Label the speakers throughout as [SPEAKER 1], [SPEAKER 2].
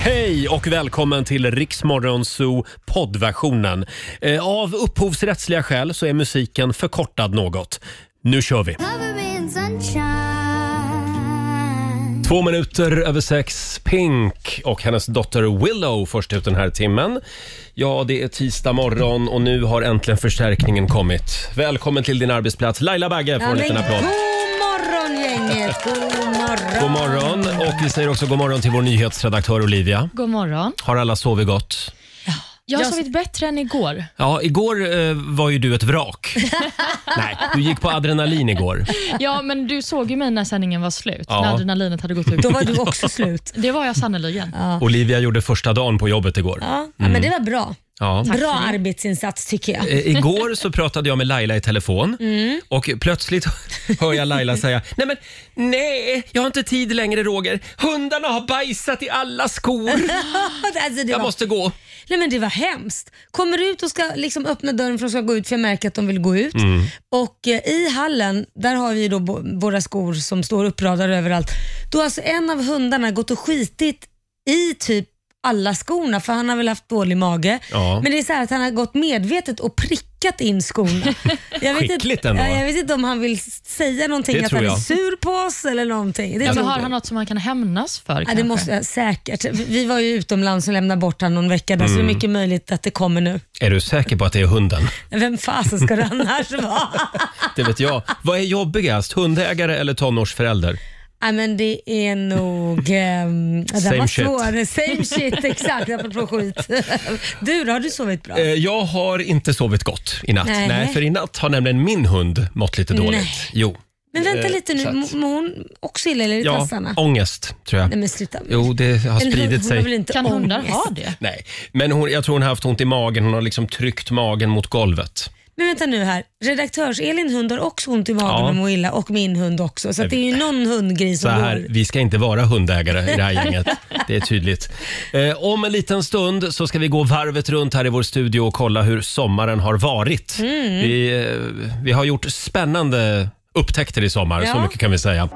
[SPEAKER 1] Hej och välkommen till Riksmorgon Zoo poddversionen. Eh, Av upphovsrättsliga skäl så är musiken förkortad något. Nu kör vi!
[SPEAKER 2] Cover me in sunshine.
[SPEAKER 1] Två minuter över sex, Pink och hennes dotter Willow först ut den här timmen. Ja, det är tisdag morgon och nu har äntligen förstärkningen kommit. Välkommen till din arbetsplats. Laila Bagge får en liten applåd.
[SPEAKER 3] God morgon gänget! God morgon!
[SPEAKER 1] God morgon och vi säger också god morgon till vår nyhetsredaktör Olivia.
[SPEAKER 4] God morgon.
[SPEAKER 1] Har alla sovit gott?
[SPEAKER 4] Jag har
[SPEAKER 3] Jag-
[SPEAKER 4] sovit bättre än igår.
[SPEAKER 1] Ja, igår eh, var ju du ett vrak. Nej, du gick på adrenalin igår.
[SPEAKER 4] Ja, men du såg ju mig när sändningen var slut,
[SPEAKER 1] Ja.
[SPEAKER 4] när adrenalinet hade gått ut.
[SPEAKER 3] Då var du också slut.
[SPEAKER 4] Det var jag sannerligen.
[SPEAKER 1] Olivia gjorde första dagen på jobbet igår.
[SPEAKER 3] Ja, ja,
[SPEAKER 1] Mm.
[SPEAKER 3] men det var bra.
[SPEAKER 1] Ja.
[SPEAKER 3] Bra arbetsinsats tycker jag.
[SPEAKER 1] Eh, Igår så pratade jag med Laila i telefon
[SPEAKER 3] Mm.
[SPEAKER 1] och plötsligt hör jag Laila säga Nej men nej, jag har inte tid längre Roger. Hundarna har bajsat i alla skor.
[SPEAKER 3] Alltså, det,
[SPEAKER 1] Jag
[SPEAKER 3] var,
[SPEAKER 1] måste gå.
[SPEAKER 3] nej, men det var hemskt. Kommer ut och ska liksom öppna dörren för att de ska gå ut för jag märker att de vill gå ut.
[SPEAKER 1] Mm.
[SPEAKER 3] Och eh, i hallen, där har vi ju då bo- våra skor som står uppradade överallt. Då har alltså en av hundarna gått och skitit i typ alla skorna för han har väl haft dålig mage.
[SPEAKER 1] Ja.
[SPEAKER 3] Men det är så här att han har gått medvetet och prickat in skorna. Jag vet
[SPEAKER 1] Skickligt
[SPEAKER 3] inte,
[SPEAKER 1] ändå.
[SPEAKER 3] Ja, Jag vet inte om han vill s- säga någonting,
[SPEAKER 1] Det
[SPEAKER 3] att
[SPEAKER 1] tror
[SPEAKER 3] han är
[SPEAKER 1] jag.
[SPEAKER 3] sur på oss eller någonting. Det
[SPEAKER 4] Ja, men
[SPEAKER 3] tror
[SPEAKER 4] har
[SPEAKER 3] jag.
[SPEAKER 4] han något som han kan hämnas för
[SPEAKER 3] Ja,
[SPEAKER 4] kanske?
[SPEAKER 3] det måste jag säkert. Vi var ju utomlands och lämnade bort honom någon vecka där, så
[SPEAKER 1] Mm.
[SPEAKER 3] det är mycket möjligt att det kommer nu.
[SPEAKER 1] Är du säker på att det är hunden?
[SPEAKER 3] Vem fasen ska det annars vara?
[SPEAKER 1] Det vet jag. Vad är jobbigast, hundägare eller tonårsförälder?
[SPEAKER 3] Nej, men det är nog... ehm, den
[SPEAKER 1] Same
[SPEAKER 3] var
[SPEAKER 1] shit.
[SPEAKER 3] svår. Same shit, exakt. Apropå skit. Du då, har du sovit bra?
[SPEAKER 1] Eh, Jag har inte sovit gott i natt. Nej.
[SPEAKER 3] Nej.
[SPEAKER 1] för i natt har nämligen min hund mått lite dåligt.
[SPEAKER 3] Nej.
[SPEAKER 1] Jo.
[SPEAKER 3] Men vänta
[SPEAKER 1] eh,
[SPEAKER 3] lite nu,
[SPEAKER 1] så att-
[SPEAKER 3] mår hon också illa eller är det
[SPEAKER 1] Ja,
[SPEAKER 3] tassarna?
[SPEAKER 1] ångest tror jag.
[SPEAKER 3] Nej men sluta.
[SPEAKER 1] Jo, det har
[SPEAKER 3] Eller hon-
[SPEAKER 1] spridit
[SPEAKER 3] hon har väl
[SPEAKER 1] sig.
[SPEAKER 3] inte
[SPEAKER 4] Kan hundar
[SPEAKER 3] ångest?
[SPEAKER 4] ha det?
[SPEAKER 1] Nej, men hon, jag tror hon har haft ont i magen. Hon har liksom tryckt magen mot golvet.
[SPEAKER 3] Men vänta nu här. Redaktörs-Elin hund har också ont i magen
[SPEAKER 1] Ja. Eh,
[SPEAKER 3] och mår illa och min hund också. Så att det är ju någon hundgrej
[SPEAKER 1] Så
[SPEAKER 3] som
[SPEAKER 1] här,
[SPEAKER 3] går.
[SPEAKER 1] vi ska inte vara hundägare i det här gänget. Det är tydligt. Eh, om en liten stund så ska vi gå varvet runt här i vår studio och kolla hur sommaren har varit.
[SPEAKER 3] Mm.
[SPEAKER 1] Vi, eh, vi har gjort spännande upptäckter i sommar, så
[SPEAKER 3] Ja.
[SPEAKER 1] mycket kan vi säga.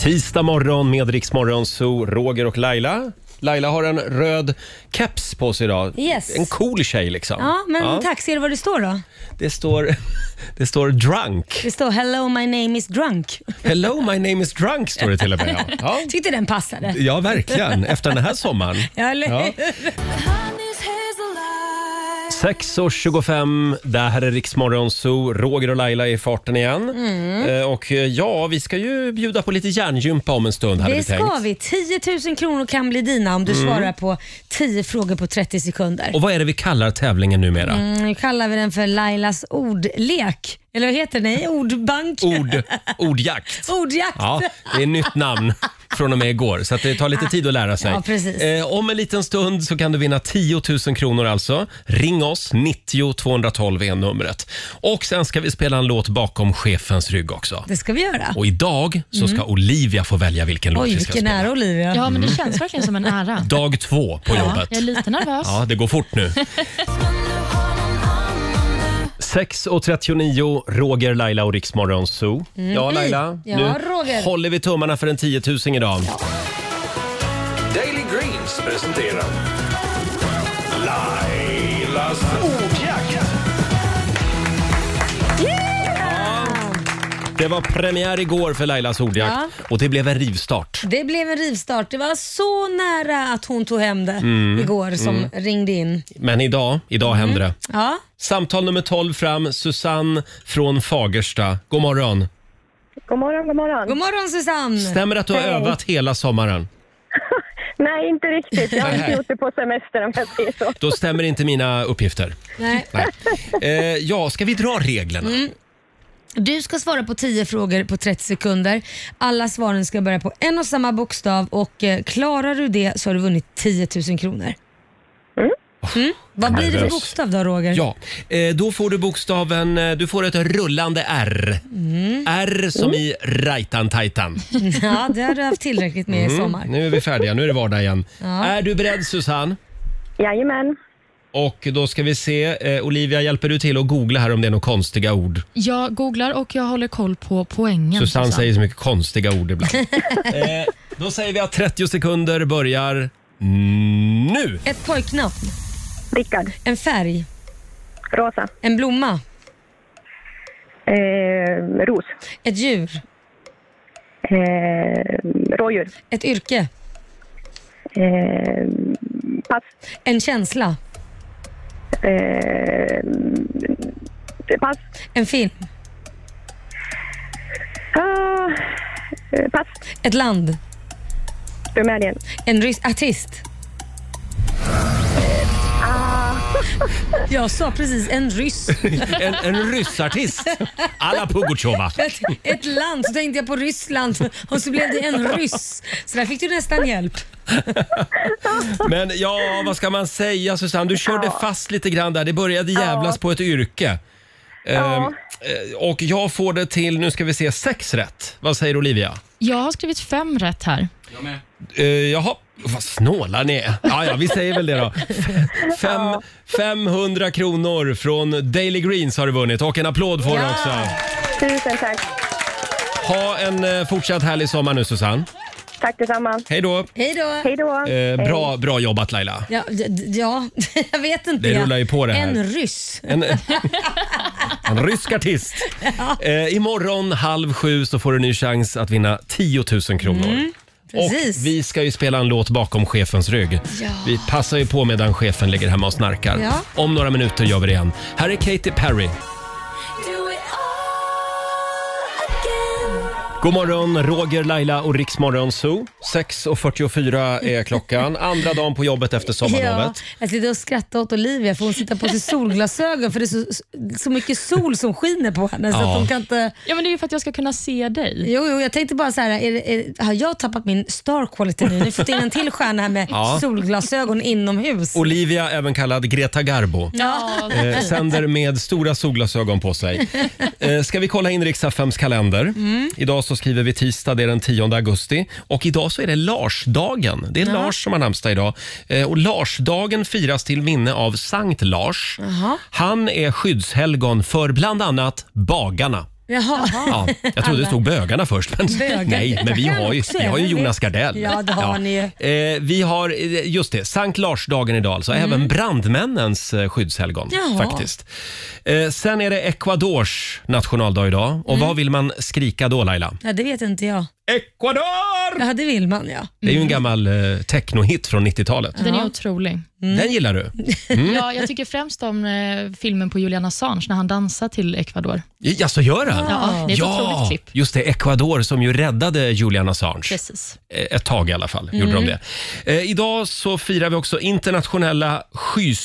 [SPEAKER 1] Tisdag morgon med Rix Morgon, så Roger och Laila. Laila har en röd keps på sig idag.
[SPEAKER 3] Yes.
[SPEAKER 1] En cool tjej liksom.
[SPEAKER 3] Ja, men tack. Ser du vad det står då?
[SPEAKER 1] Det står, det står drunk.
[SPEAKER 3] Det står “Hello my name is drunk”.
[SPEAKER 1] Hello my name is drunk står det till och med. Ja, ja.
[SPEAKER 3] Tyckte den passade.
[SPEAKER 1] ja verkligen. Efter den här sommaren.
[SPEAKER 3] Ja, eller
[SPEAKER 1] Ja.
[SPEAKER 3] hur?
[SPEAKER 1] 6.25, det här är Riksmorgon Zoo. Roger och Laila är i farten igen.
[SPEAKER 3] Mm.
[SPEAKER 1] Eh, Och eh, ja, vi ska ju bjuda på lite hjärngympa om en stund hade
[SPEAKER 3] Det
[SPEAKER 1] vi tänkt. Mm.
[SPEAKER 3] ska vi. 10 000 kronor kan bli dina om du svarar på 10 frågor på 30 sekunder.
[SPEAKER 1] Och vad är det vi kallar tävlingen numera?
[SPEAKER 3] Mm, Nu kallar vi den för Lailas ordlek. Eller vad heter den? Nej, Ordbank?
[SPEAKER 1] Ord, ordjakt.
[SPEAKER 3] Ordjakt.
[SPEAKER 1] Ja, det är nytt namn från och med igår, så att det tar lite tid att lära sig.
[SPEAKER 3] Ah. Ja, precis.
[SPEAKER 1] Eh, om en liten stund så kan du vinna 10 000 kronor alltså. Ring oss, 90 212 är numret. Och sen ska vi spela en låt bakom chefens rygg också.
[SPEAKER 3] Det ska vi göra.
[SPEAKER 1] Och idag så ska Olivia få välja vilken låt
[SPEAKER 3] Mm. Oj,
[SPEAKER 1] vi ska
[SPEAKER 3] vilken
[SPEAKER 1] spela.
[SPEAKER 3] ära Olivia.
[SPEAKER 4] Ja, men det känns verkligen som en ära.
[SPEAKER 1] Dag två på
[SPEAKER 4] Ja,
[SPEAKER 1] jobbet.
[SPEAKER 4] jag är lite nervös.
[SPEAKER 1] Ja, det går fort nu. 6.39, Roger, Laila och Riksmorgon Zoo. Ja, Laila.
[SPEAKER 3] Mm. Ja,
[SPEAKER 1] nu
[SPEAKER 3] Roger.
[SPEAKER 1] håller vi tummarna för en 10 000 idag.
[SPEAKER 5] Daily Greens presenterar Lailas ordjakt.
[SPEAKER 1] Det var premiär igår för Lailas ordjakt och det blev en rivstart.
[SPEAKER 3] Det blev en rivstart. Det var så nära att hon tog hem det
[SPEAKER 1] Mm.
[SPEAKER 3] igår som ringde in.
[SPEAKER 1] Men idag, idag händer det.
[SPEAKER 3] Ja.
[SPEAKER 1] Samtal nummer 12 fram, Susanne från Fagersta. God morgon.
[SPEAKER 6] God morgon, god morgon.
[SPEAKER 3] God morgon Susanne!
[SPEAKER 1] Stämmer det att du har övat hela sommaren?
[SPEAKER 6] Nej, inte riktigt. Jag har inte
[SPEAKER 1] Nej.
[SPEAKER 6] gjort det på semester om jag säger så.
[SPEAKER 1] Då stämmer inte mina uppgifter.
[SPEAKER 3] Nej.
[SPEAKER 1] Nej. Eh, ja, ska vi dra reglerna?
[SPEAKER 3] Du ska svara på 10 frågor på 30 sekunder. Alla svaren ska börja på en och samma bokstav och eh, klarar du det så har du vunnit 10 000 kronor. Mm. Vad blir det för
[SPEAKER 1] Nervös.
[SPEAKER 3] bokstav då Roger?
[SPEAKER 1] Ja, eh, då får du bokstaven, eh, du får ett rullande R. R som i Raitan-Taitan.
[SPEAKER 3] Ja, det har du haft tillräckligt
[SPEAKER 1] Mm.
[SPEAKER 3] med i sommar.
[SPEAKER 1] Nu är vi färdiga, nu är det vardag igen. Är du beredd Susanne?
[SPEAKER 6] Jajamän.
[SPEAKER 1] Och då ska vi se, eh, Olivia hjälper du till att googla här om det är några konstiga ord?
[SPEAKER 4] Jag googlar och jag håller koll på poängen.
[SPEAKER 1] Susanne säger så mycket konstiga ord ibland. eh, då säger vi att 30 sekunder börjar nu.
[SPEAKER 3] Ett pojknamn,
[SPEAKER 6] Rickard.
[SPEAKER 3] en färg,
[SPEAKER 6] Rosa.
[SPEAKER 3] en blomma,
[SPEAKER 6] Eh, ros.
[SPEAKER 3] ett djur,
[SPEAKER 6] Eh, rådjur.
[SPEAKER 3] ett yrke,
[SPEAKER 6] Eh, pass.
[SPEAKER 3] en känsla,
[SPEAKER 6] Eh, pass.
[SPEAKER 3] en film,
[SPEAKER 6] Ah, eh, pass.
[SPEAKER 3] ett land,
[SPEAKER 6] Rumänien.
[SPEAKER 3] en rys- artist. Jag sa precis en ryss.
[SPEAKER 1] En, en ryssartist, Alla Pugacheva.
[SPEAKER 3] Ett, ett land, så tänkte jag på Ryssland och så blev det en ryss. Så där fick du nästan hjälp.
[SPEAKER 1] Men ja, vad ska man säga Susanne? Du körde fast lite grann där. Det började jävlas på ett yrke. Ehm, eh, och jag får det till, nu ska vi se, sex rätt. Vad säger Olivia?
[SPEAKER 4] Jag har skrivit fem rätt här.
[SPEAKER 1] Eh, jaha, vad snåla ni är. Ja, ja, vi säger väl det då. F- Fem, 500 kronor från Daily Greens har du vunnit och en applåd får du
[SPEAKER 3] Ja.
[SPEAKER 1] också.
[SPEAKER 6] Tusen tack.
[SPEAKER 1] Ha en eh, fortsatt härlig sommar nu Susanne.
[SPEAKER 6] Tack detsamma.
[SPEAKER 1] Hej då.
[SPEAKER 3] Hej då.
[SPEAKER 6] Hej då.
[SPEAKER 1] Eh, bra, bra jobbat Laila.
[SPEAKER 3] Ja, d- d- ja, jag vet inte.
[SPEAKER 1] Det rullar ju på det här.
[SPEAKER 3] En ryss.
[SPEAKER 1] En, eh, en rysk artist. Eh, imorgon halv sju så får du en ny chans att vinna 10 000 kronor.
[SPEAKER 6] Mm.
[SPEAKER 3] precis.
[SPEAKER 1] Och vi ska ju spela en låt bakom chefens rygg.
[SPEAKER 3] Ja.
[SPEAKER 1] Vi passar ju på medan chefen ligger hemma och snarkar.
[SPEAKER 3] Ja.
[SPEAKER 1] Om några minuter gör vi det igen. Här är Katy Perry. God morgon, Roger, Laila och Riksmorgon Zoo. 6.44 är klockan. Andra dagen på jobbet efter sommarlovet.
[SPEAKER 3] jag sitter och skrattar åt Olivia för hon sitter på sig solglasögon för det är så, så mycket sol som skiner på henne. Så
[SPEAKER 1] Ja.
[SPEAKER 3] att hon kan inte...
[SPEAKER 4] Ja, men det är ju för att jag ska kunna se dig.
[SPEAKER 3] Jo, jo, jag tänkte bara så här, är, det- är, har jag tappat min star quality nu? Nu fått in en till stjärna här med
[SPEAKER 1] Ja.
[SPEAKER 3] solglasögon inomhus.
[SPEAKER 1] Olivia, även kallad Greta Garbo.
[SPEAKER 4] Ja,
[SPEAKER 1] Eh, sänder med stora solglasögon på sig. Eh, ska vi kolla in riks kalender? Idag så skriver vi tisdag, det är den 10 augusti. Och idag så är det Larsdagen. Det är Lars som har namnsdag idag. Eh, och Larsdagen firas till minne av Sankt Lars. Han är skyddshelgon för bland annat bagarna.
[SPEAKER 3] Jaha.
[SPEAKER 1] Ja, jag trodde det stod bögarna först. Men,
[SPEAKER 3] Bögar.
[SPEAKER 1] nej, men vi har ju,
[SPEAKER 3] Också
[SPEAKER 1] vi har ju
[SPEAKER 3] även det.
[SPEAKER 1] Jonas Gardell.
[SPEAKER 3] Ja, det har ni ju. Mm.
[SPEAKER 1] Eh, vi har, eh, just det, Sankt Larsdagen idag alltså. Även brandmännens eh, skyddshelgon
[SPEAKER 3] Jaha.
[SPEAKER 1] faktiskt. Eh, sen är det Ecuadors nationaldag idag. Och
[SPEAKER 3] Mm.
[SPEAKER 1] vad vill man skrika då Laila?
[SPEAKER 3] Ja, det vet inte jag.
[SPEAKER 1] Ecuador!
[SPEAKER 3] Ja, det vill man ja.
[SPEAKER 1] Det är ju en gammal eh, technohit från 90-talet.
[SPEAKER 4] den är otrolig.
[SPEAKER 3] Mm.
[SPEAKER 1] Den gillar du? Mm.
[SPEAKER 4] Ja, jag tycker främst om eh, filmen på Julian Assange när han dansar till Ecuador.
[SPEAKER 1] Ja, så gör han?
[SPEAKER 4] Ja, det är ett otroligt klipp.
[SPEAKER 1] just det. Ecuador som ju räddade Julian Assange.
[SPEAKER 4] Precis.
[SPEAKER 1] Eh, Ett tag i alla fall gjorde
[SPEAKER 3] Mm.
[SPEAKER 1] de det. Eh, idag så firar vi också internationella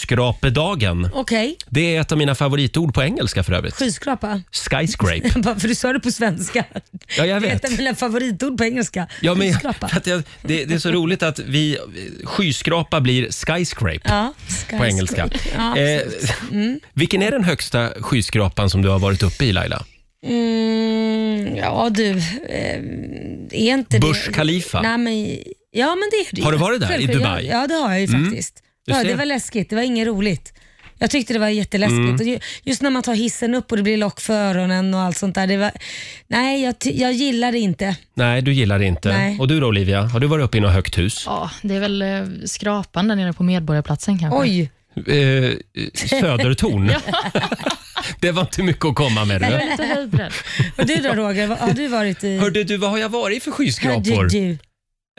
[SPEAKER 1] skyskrapedagen.
[SPEAKER 3] Okej,
[SPEAKER 1] Det är ett av mina favoritord på engelska för övrigt.
[SPEAKER 3] skyskrapa.
[SPEAKER 1] Skyscrape.
[SPEAKER 3] Bara för du sa det på svenska.
[SPEAKER 1] Ja, jag
[SPEAKER 3] Det är
[SPEAKER 1] vet.
[SPEAKER 3] ett av mina favoritord på engelska.
[SPEAKER 1] Ja, men,
[SPEAKER 3] Skyskrapa.
[SPEAKER 1] för att jag, det, det är så roligt att vi, skyskrapa blir skyscrape
[SPEAKER 3] Ja,
[SPEAKER 1] på engelska.
[SPEAKER 3] Ja, Mm.
[SPEAKER 1] Eh, vilken är den högsta skyskrapan som du har varit uppe i Laila?
[SPEAKER 3] Mm, ja du, eh, är inte
[SPEAKER 1] Burj
[SPEAKER 3] det...
[SPEAKER 1] Khalifa.
[SPEAKER 3] Nej, men, ja men det är det
[SPEAKER 1] Har
[SPEAKER 3] ju.
[SPEAKER 1] du varit där, i
[SPEAKER 3] Självklart,
[SPEAKER 1] Dubai? Mm.
[SPEAKER 3] Ja, ja det har jag ju faktiskt.
[SPEAKER 1] Du
[SPEAKER 3] Ja,
[SPEAKER 1] ser.
[SPEAKER 3] det var läskigt, det var inget roligt. Jag tyckte det var jätteläskigt.
[SPEAKER 1] Mm.
[SPEAKER 3] Och ju- Just när man tar hissen upp och det blir lock för öronen och allt sånt där. Det var, nej, jag, ty- jag gillar det inte.
[SPEAKER 1] Nej, du gillar det inte.
[SPEAKER 3] Nej.
[SPEAKER 1] Och du då Olivia, har du varit uppe i något högt hus?
[SPEAKER 4] Ja, det är väl eh, skrapan där nere på Medborgarplatsen kanske.
[SPEAKER 3] Oj,
[SPEAKER 1] Eh, södertorn. det var inte mycket att komma med.
[SPEAKER 4] Jag
[SPEAKER 1] Du.
[SPEAKER 4] är lite höjdrädd.
[SPEAKER 3] och du då Roger, vad har du varit i?
[SPEAKER 1] Hörde du, vad har jag varit i för skyskrapor?
[SPEAKER 3] Mm. Herregud.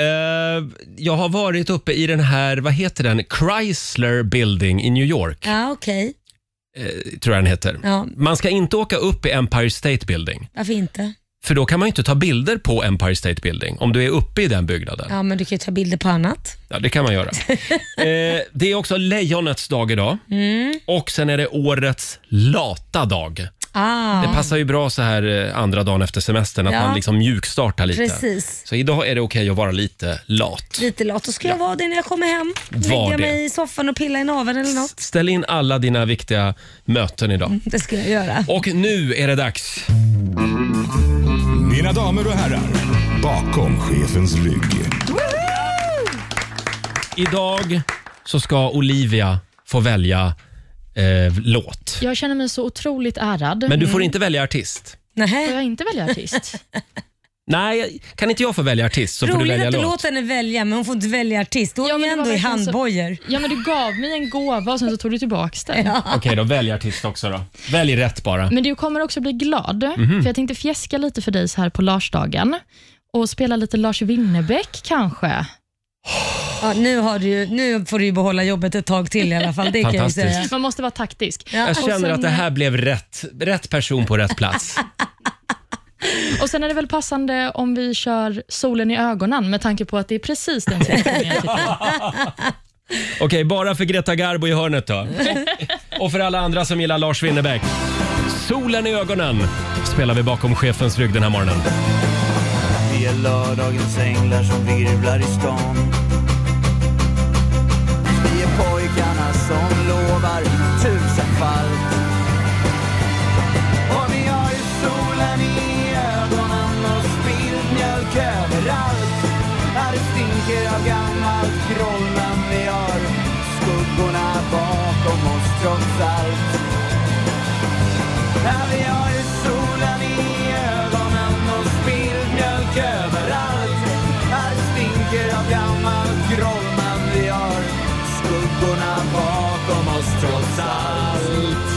[SPEAKER 1] Eh, jag har varit uppe i den här, vad heter den, Chrysler Building i New York,
[SPEAKER 3] Ja okej,
[SPEAKER 1] eh, tror jag den heter.
[SPEAKER 3] ja,
[SPEAKER 1] Man ska inte åka upp i Empire State Building,
[SPEAKER 3] varför inte?
[SPEAKER 1] för då kan man ju inte ta bilder på Empire State Building om du är uppe i den byggnaden. Ja,
[SPEAKER 3] Ja men du kan ju ta bilder på annat.
[SPEAKER 1] det kan man göra. eh, det är också lejonets dag idag
[SPEAKER 3] Mm.
[SPEAKER 1] och sen är det årets lata dag.
[SPEAKER 3] Ah,
[SPEAKER 1] Det passar ju bra så här eh, andra dagen efter semestern att
[SPEAKER 3] Ja.
[SPEAKER 1] man liksom mjukstartar lite.
[SPEAKER 3] precis.
[SPEAKER 1] Så idag är det okej att vara lite lat.
[SPEAKER 3] Lite lat, då ska jag vara det när jag kommer hem.
[SPEAKER 1] Var
[SPEAKER 3] Lägga
[SPEAKER 1] det.
[SPEAKER 3] mig i soffan och pilla i naveln eller något.
[SPEAKER 1] Ställ in alla dina viktiga möten idag.
[SPEAKER 3] Det ska jag göra.
[SPEAKER 1] Och nu är det dags.
[SPEAKER 2] Mina damer och herrar, bakom chefens rygg.
[SPEAKER 1] Idag så ska Olivia få välja eh, låt.
[SPEAKER 4] Jag känner mig så otroligt ärad.
[SPEAKER 1] Men du
[SPEAKER 3] Mm.
[SPEAKER 1] får inte välja artist.
[SPEAKER 4] Får
[SPEAKER 3] Nej.
[SPEAKER 4] jag inte välja artist?
[SPEAKER 1] Nej, kan inte jag få välja artist så får du
[SPEAKER 3] Roligt
[SPEAKER 1] välja
[SPEAKER 3] att du
[SPEAKER 1] låt.
[SPEAKER 3] låter henne välja, men hon får inte välja artist. Då är
[SPEAKER 4] Ja,
[SPEAKER 3] vi
[SPEAKER 4] men det var
[SPEAKER 3] ändå i
[SPEAKER 4] verkligen så-
[SPEAKER 3] handbojor.
[SPEAKER 4] Ja, men du gav mig en gåva och sen så tog du tillbaka den.
[SPEAKER 1] Okej då, välj artist också då. Välj rätt bara.
[SPEAKER 4] Men du kommer också bli glad,
[SPEAKER 1] Mhm.
[SPEAKER 4] för jag tänkte fjäska lite för dig så här på Larsdagen och spela lite Lars Winnerbäck kanske.
[SPEAKER 3] Ja, nu, har du, ju- nu får du ju behålla jobbet ett tag till i alla fall, det kan jag ju
[SPEAKER 1] Fantastiskt.
[SPEAKER 3] säga.
[SPEAKER 4] Man måste vara taktisk.
[SPEAKER 3] Ja.
[SPEAKER 1] Jag
[SPEAKER 4] Och
[SPEAKER 1] känner
[SPEAKER 4] sen-
[SPEAKER 1] att det här blev rätt, rätt person på rätt plats.
[SPEAKER 4] Och Sen är det väl passande om vi kör Solen i ögonen med tanke på att det är precis den situationen jag sitter i.
[SPEAKER 1] Okej, bara för Greta Garbo i hörnet då. Och för alla andra som gillar Lars Winnerbäck. Solen i ögonen spelar vi bakom chefens rygg den här morgonen.
[SPEAKER 7] Vi är lördagens änglar som virvlar i stan Vi är pojkarna som lovar tusenfalt Och vi har ju solen i ögonen och spilld mjölk överallt Här det stinker av gammalt groll men vi har skuggorna bakom oss trots allt när vi har ju solen i ögonen och spilld mjölk överallt. Här stinker av gammal groll men vi har skuggorna bakom oss trots allt.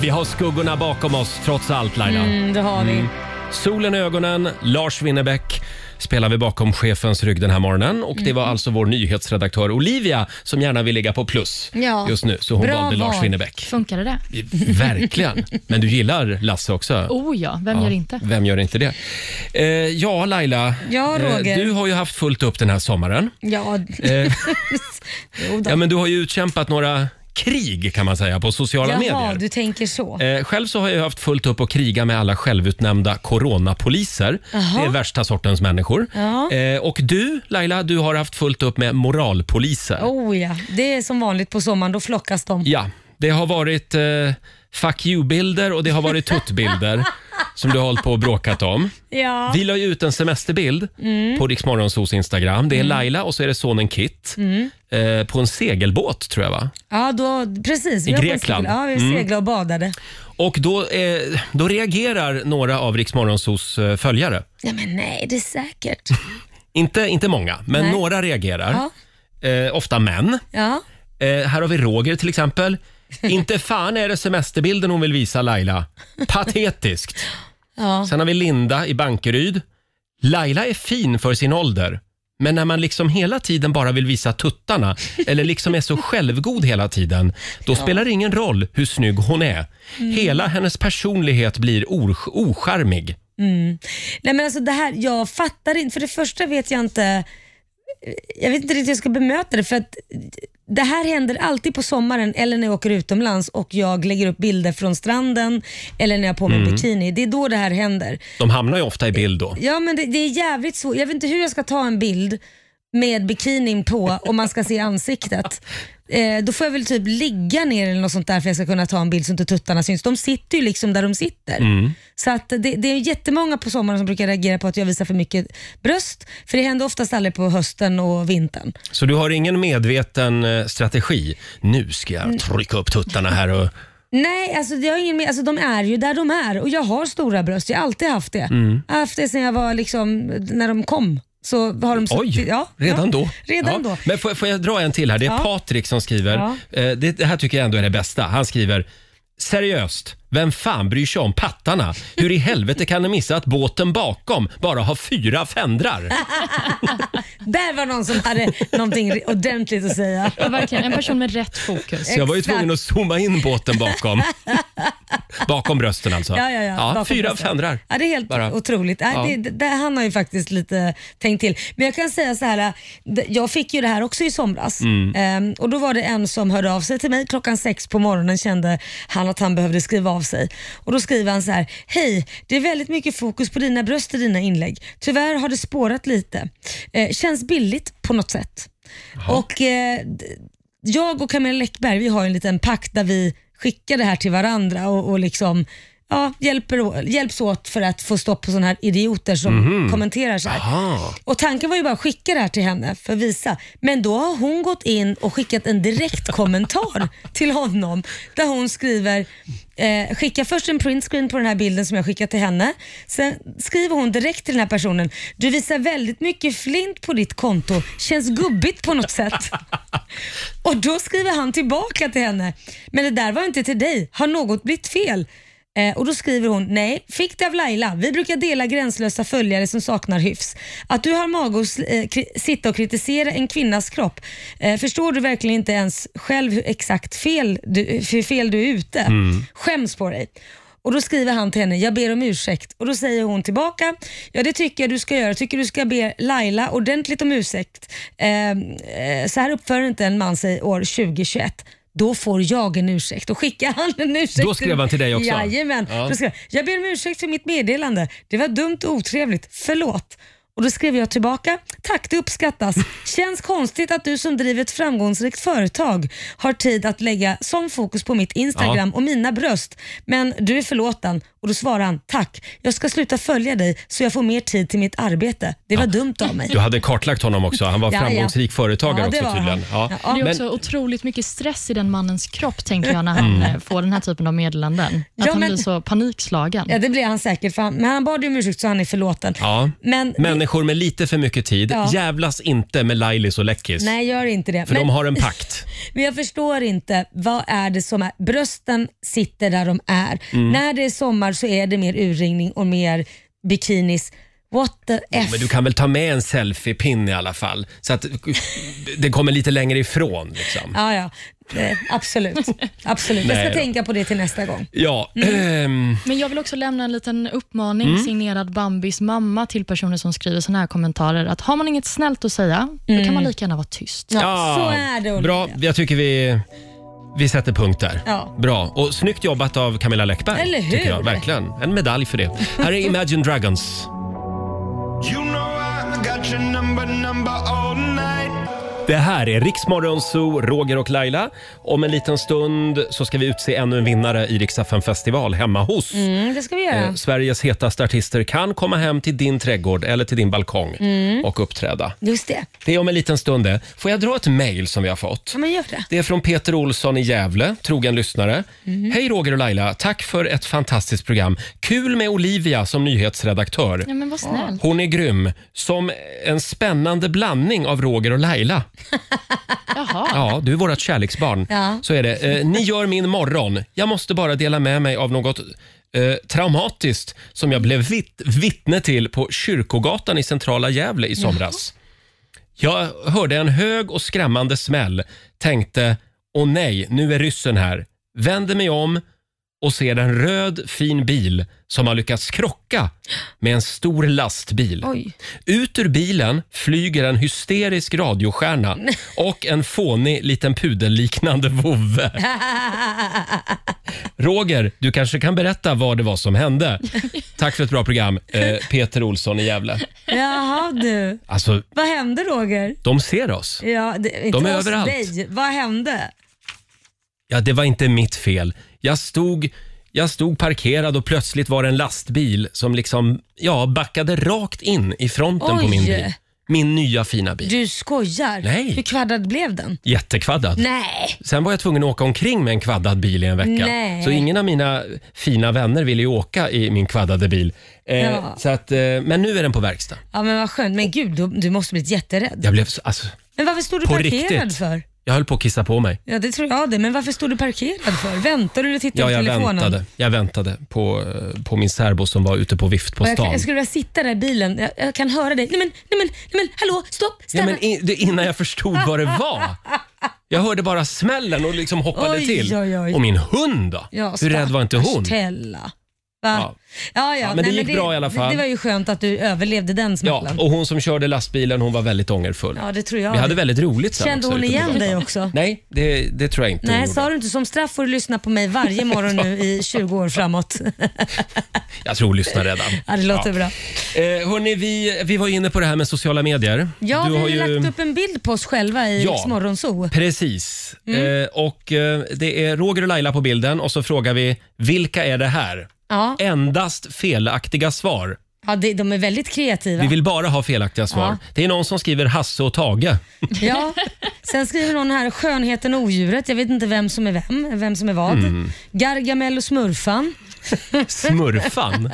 [SPEAKER 1] Vi har skuggorna bakom oss trots allt Laila.
[SPEAKER 3] Mm, det har vi.
[SPEAKER 1] Solen i ögonen, Lars Winnerbäck spelar vi bakom chefens rygg den här morgonen. Och det var
[SPEAKER 3] Mm.
[SPEAKER 1] alltså vår nyhetsredaktör Olivia som gärna vill ligga på plus
[SPEAKER 3] Ja.
[SPEAKER 1] just nu. Så hon
[SPEAKER 3] Bra
[SPEAKER 1] valde Lars
[SPEAKER 3] val.
[SPEAKER 1] Winnerbäck.
[SPEAKER 4] Funkade det?
[SPEAKER 1] Verkligen. Men du gillar Lasse också?
[SPEAKER 4] Oh ja, vem gör inte?
[SPEAKER 1] Vem gör inte det? Eh, ja, Laila. Eh,
[SPEAKER 3] Ja, Roger.
[SPEAKER 1] du har ju haft fullt upp den här sommaren.
[SPEAKER 3] Ja,
[SPEAKER 1] Eh,
[SPEAKER 3] jo då.
[SPEAKER 1] ja, men du har ju utkämpat några krig kan man säga på sociala
[SPEAKER 3] Jaha,
[SPEAKER 1] medier.
[SPEAKER 3] du tänker så.
[SPEAKER 1] Eh, själv så har jag haft fullt upp att kriga med alla självutnämnda coronapoliser.
[SPEAKER 3] Jaha.
[SPEAKER 1] Det är värsta sortens människor.
[SPEAKER 3] Ja.
[SPEAKER 1] Eh, och du, Laila, du har haft fullt upp med moralpoliser.
[SPEAKER 3] Oh ja, det är som vanligt på sommaren, då flockas de.
[SPEAKER 1] Ja, det har varit eh, fuck you-bilder och det har varit tuttbilder som du har hållit på och bråkat om.
[SPEAKER 3] Ja. Mm.
[SPEAKER 1] Vi la ju ut en semesterbild på Rix Morgonzos Instagram. Det är Laila och så är det sonen Kit
[SPEAKER 3] Mm.
[SPEAKER 1] eh, på en segelbåt tror jag va?
[SPEAKER 3] Ja, då, precis. Vi var på en
[SPEAKER 1] Grekland. Mm.
[SPEAKER 3] segel- Ja, vi seglade och badade.
[SPEAKER 1] Och då, eh, då reagerar några av Rix Morgonzos eh, följare.
[SPEAKER 3] Ja, men nej, det är säkert.
[SPEAKER 1] Inte, inte många, men
[SPEAKER 3] Nej.
[SPEAKER 1] några reagerar.
[SPEAKER 3] Ja,
[SPEAKER 1] Eh, ofta män.
[SPEAKER 3] ja.
[SPEAKER 1] Eh, här har vi Roger till exempel. Inte fan är det semesterbilden hon vill visa Laila. Patetiskt.
[SPEAKER 3] ja.
[SPEAKER 1] Sen har vi Linda i Bankeryd. Laila är fin för sin ålder. Men när man liksom hela tiden bara vill visa tuttarna eller liksom är så självgod hela tiden, då spelar det ingen roll hur snygg hon är.
[SPEAKER 3] Mm.
[SPEAKER 1] Hela hennes personlighet blir or- ocharmig.
[SPEAKER 3] Nej, men alltså det här, jag fattar inte. För det första vet jag inte jag vet inte riktigt hur jag ska bemöta det. För att det här händer alltid på sommaren eller när jag åker utomlands och jag lägger upp bilder från stranden eller när jag har på mig
[SPEAKER 1] Mm.
[SPEAKER 3] bikini. Det är då det här händer.
[SPEAKER 1] De hamnar ju ofta i bild då.
[SPEAKER 3] Ja, men det, det är jävligt svårt. Jag vet inte hur jag ska ta en bild med bikinin på om man ska se ansiktet. Eh, då får jag väl typ ligga ner eller något sånt där för jag ska kunna ta en bild så inte tuttarna syns. De sitter ju liksom där de sitter.
[SPEAKER 1] Mm.
[SPEAKER 3] Så att det, det är jättemånga på sommaren som brukar reagera på att jag visar för mycket bröst. För det händer oftast aldrig på hösten och vintern.
[SPEAKER 1] Så du har ingen medveten eh, strategi. Nu ska
[SPEAKER 3] Mm.
[SPEAKER 1] jag trycka upp tuttarna här och...
[SPEAKER 3] Nej, alltså, jag har ingen, alltså de är ju där de är och jag har stora bröst. Jag har alltid haft det.
[SPEAKER 1] Mm.
[SPEAKER 3] Jag har haft det sedan jag var liksom, när de kom. Så har de
[SPEAKER 1] Oj,
[SPEAKER 3] suttit- ja,
[SPEAKER 1] redan
[SPEAKER 3] ja,
[SPEAKER 1] då?
[SPEAKER 3] Redan
[SPEAKER 1] ja.
[SPEAKER 3] då.
[SPEAKER 1] Men får, får jag dra en till här? Det är
[SPEAKER 3] Ja.
[SPEAKER 1] Patrik som skriver.
[SPEAKER 3] Ja.
[SPEAKER 1] Eh, Det, det här tycker jag ändå är det bästa. Han skriver Seriöst, vem fan bryr sig om pattarna? Hur i helvete kan ni missa att båten bakom bara har fyra fändrar?
[SPEAKER 3] Där var någon som hade någonting ordentligt att säga.
[SPEAKER 4] Ja, verkligen. En person med rätt fokus.
[SPEAKER 1] Så jag var ju
[SPEAKER 3] Exakt.
[SPEAKER 1] tvungen att zooma in båten bakom. Bakom brösten alltså.
[SPEAKER 3] Ja, ja, ja. Bakom
[SPEAKER 1] fyra
[SPEAKER 3] bröstet.
[SPEAKER 1] fändrar.
[SPEAKER 3] Ja, det är helt
[SPEAKER 1] Bara.
[SPEAKER 3] otroligt. Nej,
[SPEAKER 1] Ja.
[SPEAKER 3] det, det, det- han har ju faktiskt lite tänkt till. Men jag kan säga så här, d- jag fick ju det här också i somras.
[SPEAKER 1] Mm.
[SPEAKER 3] Ehm, och Då var det en som hörde av sig till mig klockan sex på morgonen kände han att han behövde skriva av sig. Och Då skriver han så här, hej, det är väldigt mycket fokus på dina bröst i dina inlägg. Tyvärr har det spårat lite. Eh, känns billigt på något sätt. Och eh, d- jag och Camilla Läckberg, vi har ju en liten pakt där vi skickar det här till varandra och, och liksom ja, hjälper, å- hjälps åt för att få stopp på sådana här idioter som kommenterar så här.
[SPEAKER 1] Aha.
[SPEAKER 3] Och tanken var ju bara att skicka det här till henne för att visa. Men då har hon gått in och skickat en direkt kommentar till honom där hon skriver Eh, skicka först en printscreen på den här bilden som jag skickat till henne. Sen skriver hon direkt till den här personen. Du visar väldigt mycket flint på ditt konto. Känns gubbigt på något sätt. Och då skriver han tillbaka till henne. Men det där var inte till dig. Har något blivit fel? Eh, och då skriver hon, nej, fick det av Laila. Vi brukar dela gränslösa följare som saknar hyfs. Att du har mage att sl- eh, kri- sitta och kritisera en kvinnas kropp, eh, förstår du verkligen inte ens själv hur exakt fel du, hur fel du är ute? Skäms på dig. Och Då skriver han till henne, jag ber om ursäkt. Och Då säger hon tillbaka, ja det tycker jag du ska göra. Jag tycker du ska be Laila ordentligt om ursäkt. Eh, eh, så här uppför inte en man sig år 2021. Då får jag en ursäkt. Och skickar han en ursäkt.
[SPEAKER 1] Då skrev han till dig också?
[SPEAKER 3] Jajamän.
[SPEAKER 1] Ja.
[SPEAKER 3] Då skrev, han, jag ber om ursäkt för mitt meddelande. Det var dumt och otrevligt. Förlåt. Och Då skrev jag tillbaka, tack det uppskattas. Känns konstigt att du som driver ett framgångsrikt företag har tid att lägga sån fokus på mitt Instagram och mina bröst. Men du är förlåten. Och då svarar han, tack. Jag ska sluta följa dig så jag får mer tid till mitt arbete. Det var dumt av mig.
[SPEAKER 1] Du hade kartlagt honom också. Han var
[SPEAKER 3] Ja, ja.
[SPEAKER 1] framgångsrik företagare
[SPEAKER 3] Ja, det
[SPEAKER 1] också
[SPEAKER 3] var
[SPEAKER 1] tydligen.
[SPEAKER 3] han. Ja.
[SPEAKER 4] Det är
[SPEAKER 1] Men-
[SPEAKER 4] också otroligt mycket stress i den mannens kropp, tänker jag, när han eh, får den här typen av meddelanden. Att
[SPEAKER 3] Mm. Ja,
[SPEAKER 4] han
[SPEAKER 3] men-
[SPEAKER 4] blir så panikslagen.
[SPEAKER 3] Ja, det blev han säkert, för han, men han bad ju om ursäkt så han är förlåten.
[SPEAKER 1] Ja.
[SPEAKER 3] Men,
[SPEAKER 1] Människor med lite för mycket tid,
[SPEAKER 3] Ja.
[SPEAKER 1] jävlas inte med Lailis och Läckis.
[SPEAKER 3] nej, gör inte det.
[SPEAKER 1] För
[SPEAKER 3] men,
[SPEAKER 1] de har en pakt.
[SPEAKER 3] Men jag förstår inte, vad är det som är... Brösten sitter där de är.
[SPEAKER 1] Mm.
[SPEAKER 3] När det är sommar så är det mer urringning och mer bikinis. What the F?
[SPEAKER 1] Men du kan väl ta med en selfiepinne i alla fall? Så att det kommer lite längre ifrån. Liksom.
[SPEAKER 3] Ja, ja. Eh, absolut. absolut. Jag
[SPEAKER 1] Nej
[SPEAKER 3] ska
[SPEAKER 1] då.
[SPEAKER 3] tänka på det till nästa gång.
[SPEAKER 1] Ja,
[SPEAKER 3] Mm.
[SPEAKER 1] ehm,
[SPEAKER 4] Men jag vill också lämna en liten uppmaning signerad Bambis mamma till personer som skriver såna här kommentarer. Att har man inget snällt att säga, då kan man lika gärna vara tyst.
[SPEAKER 3] Mm. Ja,
[SPEAKER 1] ja,
[SPEAKER 3] Så är det Olivia.
[SPEAKER 1] Bra, jag tycker vi, vi sätter punkt där.
[SPEAKER 3] Ja.
[SPEAKER 1] Bra, och snyggt jobbat av Camilla Läckberg.
[SPEAKER 3] Eller hur?
[SPEAKER 1] Tycker jag. Verkligen, en medalj för det. Här är Imagine Dragons.
[SPEAKER 5] You know I got your number, number all night.
[SPEAKER 1] Det här är Riksmorgon Zoo, Roger och Laila. Om en liten stund så ska vi utse ännu en vinnare i Rix FM festival hemma hos.
[SPEAKER 3] Mm, det ska vi göra.
[SPEAKER 1] Eh, Sveriges hetaste artister kan komma hem till din trädgård eller till din balkong
[SPEAKER 3] Mm.
[SPEAKER 1] och uppträda.
[SPEAKER 3] Just det.
[SPEAKER 1] Det är om en liten stund det. Får jag dra ett mejl som vi har fått?
[SPEAKER 3] Ja, men gör det.
[SPEAKER 1] Det är från Peter Olsson i Gävle, trogen lyssnare. Hej Roger och Laila, tack för ett fantastiskt program. Kul med Olivia som nyhetsredaktör.
[SPEAKER 4] Ja, men vad snällt.
[SPEAKER 1] Hon är grym, som en spännande blandning av Roger och Laila.
[SPEAKER 4] Jaha.
[SPEAKER 1] Ja, du är vårt kärleksbarn.
[SPEAKER 3] Ja.
[SPEAKER 1] Så är det. Eh, ni gör min morgon. Jag måste bara dela med mig av något eh, traumatiskt som jag blev vitt, vittne till på Kyrkogatan i centrala Gävle i somras. Jag hörde en hög och skrämmande smäll. Tänkte, åh nej, nu är ryssen här. Vänder mig om och ser en röd fin bil som har lyckats krocka med en stor lastbil.
[SPEAKER 3] Oj.
[SPEAKER 1] Ut ur bilen flyger en hysterisk radiostjärna och en fånig liten pudelliknande vovve. Roger, du kanske kan berätta vad det var som hände. Tack för ett bra program, eh, Peter Olsson i Gävle.
[SPEAKER 3] Jaha du.
[SPEAKER 1] Alltså,
[SPEAKER 3] Vad hände Roger?
[SPEAKER 1] de ser oss.
[SPEAKER 3] Ja, det, inte
[SPEAKER 1] De är
[SPEAKER 3] hos
[SPEAKER 1] överallt.
[SPEAKER 3] Dig. Vad hände?
[SPEAKER 1] Ja, det var inte mitt fel. Jag stod, jag stod parkerad och plötsligt var det en lastbil som liksom, ja, backade rakt in i fronten på
[SPEAKER 3] Oj.
[SPEAKER 1] min bil. Min nya fina bil.
[SPEAKER 3] Du skojar?
[SPEAKER 1] Nej.
[SPEAKER 3] Hur kvaddad blev den?
[SPEAKER 1] Jättekvaddad.
[SPEAKER 3] Nej.
[SPEAKER 1] Sen var jag tvungen att åka omkring med en kvaddad bil i en vecka.
[SPEAKER 3] Nej.
[SPEAKER 1] Så ingen av mina fina vänner ville ju åka i min kvaddade bil. Eh,
[SPEAKER 3] Ja.
[SPEAKER 1] så att, eh, men nu är den på verkstad.
[SPEAKER 3] Ja, men vad skönt. Men gud, du, du måste blivit jätterädd.
[SPEAKER 1] Jag blev så, alltså,
[SPEAKER 3] Men varför stod du
[SPEAKER 1] På
[SPEAKER 3] parkerad
[SPEAKER 1] riktigt?
[SPEAKER 3] för?
[SPEAKER 1] jag höll på att kissa på mig.
[SPEAKER 3] Ja, det tror jag det. Men varför stod du parkerad för? Väntade du eller tittade
[SPEAKER 1] Ja,
[SPEAKER 3] på
[SPEAKER 1] jag
[SPEAKER 3] telefonen?
[SPEAKER 1] väntade. Jag väntade på, eh, på min särbo som var ute på vift på
[SPEAKER 3] Och jag,
[SPEAKER 1] stan.
[SPEAKER 3] jag skulle vilja sitta där i bilen. Jag, jag kan höra dig. Nej men, nej men, nej men, hallå, stopp,
[SPEAKER 1] Ja,
[SPEAKER 3] stanna.
[SPEAKER 1] men in, det, innan jag förstod vad det var. Jag hörde bara smällen och liksom hoppade
[SPEAKER 3] Oj,
[SPEAKER 1] till.
[SPEAKER 3] oj, oj.
[SPEAKER 1] Och min hund då?
[SPEAKER 3] Ja,
[SPEAKER 1] Hur rädd var inte hon?
[SPEAKER 3] stackars Tella. Va?
[SPEAKER 1] Ja.
[SPEAKER 3] Ja. Ja,
[SPEAKER 1] men det
[SPEAKER 3] nej,
[SPEAKER 1] gick bra i alla fall.
[SPEAKER 3] Det, det var ju skönt att du överlevde den
[SPEAKER 1] Ja,
[SPEAKER 3] smällen. Ja,
[SPEAKER 1] och hon som körde lastbilen hon var väldigt ångerfull.
[SPEAKER 3] det tror jag.
[SPEAKER 1] Vi hade väldigt roligt sen
[SPEAKER 3] Kände
[SPEAKER 1] också
[SPEAKER 3] hon
[SPEAKER 1] ute på
[SPEAKER 3] igen
[SPEAKER 1] gatan.
[SPEAKER 3] dig också?
[SPEAKER 1] Nej, det, det tror jag inte hon
[SPEAKER 3] Nej,
[SPEAKER 1] gjorde.
[SPEAKER 3] sa du inte som straff får du lyssna på mig varje morgon nu i 20 år framåt.
[SPEAKER 1] Jag tror hon lyssnar redan.
[SPEAKER 3] ja, det låter bra.
[SPEAKER 1] Eh, hörni, vi, vi var ju inne på det här med sociala medier.
[SPEAKER 3] Ja,
[SPEAKER 1] Du
[SPEAKER 3] vi har
[SPEAKER 1] har ju-
[SPEAKER 3] lagt upp en bild på oss själva i
[SPEAKER 1] Ja.
[SPEAKER 3] ja. Morgonzoo.
[SPEAKER 1] Precis.
[SPEAKER 3] Mm.
[SPEAKER 1] Eh, och eh, Det är Roger och Laila på bilden och så frågar vi vilka är det här?
[SPEAKER 3] Ja.
[SPEAKER 1] Endast felaktiga svar.
[SPEAKER 3] Ja, det, de är väldigt kreativa.
[SPEAKER 1] Vi vill bara ha felaktiga svar.
[SPEAKER 3] Ja.
[SPEAKER 1] Det är någon som skriver Hasse och Tage.
[SPEAKER 3] Ja. Sen skriver någon här, skönheten och odjuret. Jag vet inte vem som är vem, vem som är vad.
[SPEAKER 1] Mm.
[SPEAKER 3] Gargamel och smurfan.
[SPEAKER 1] Smurfan.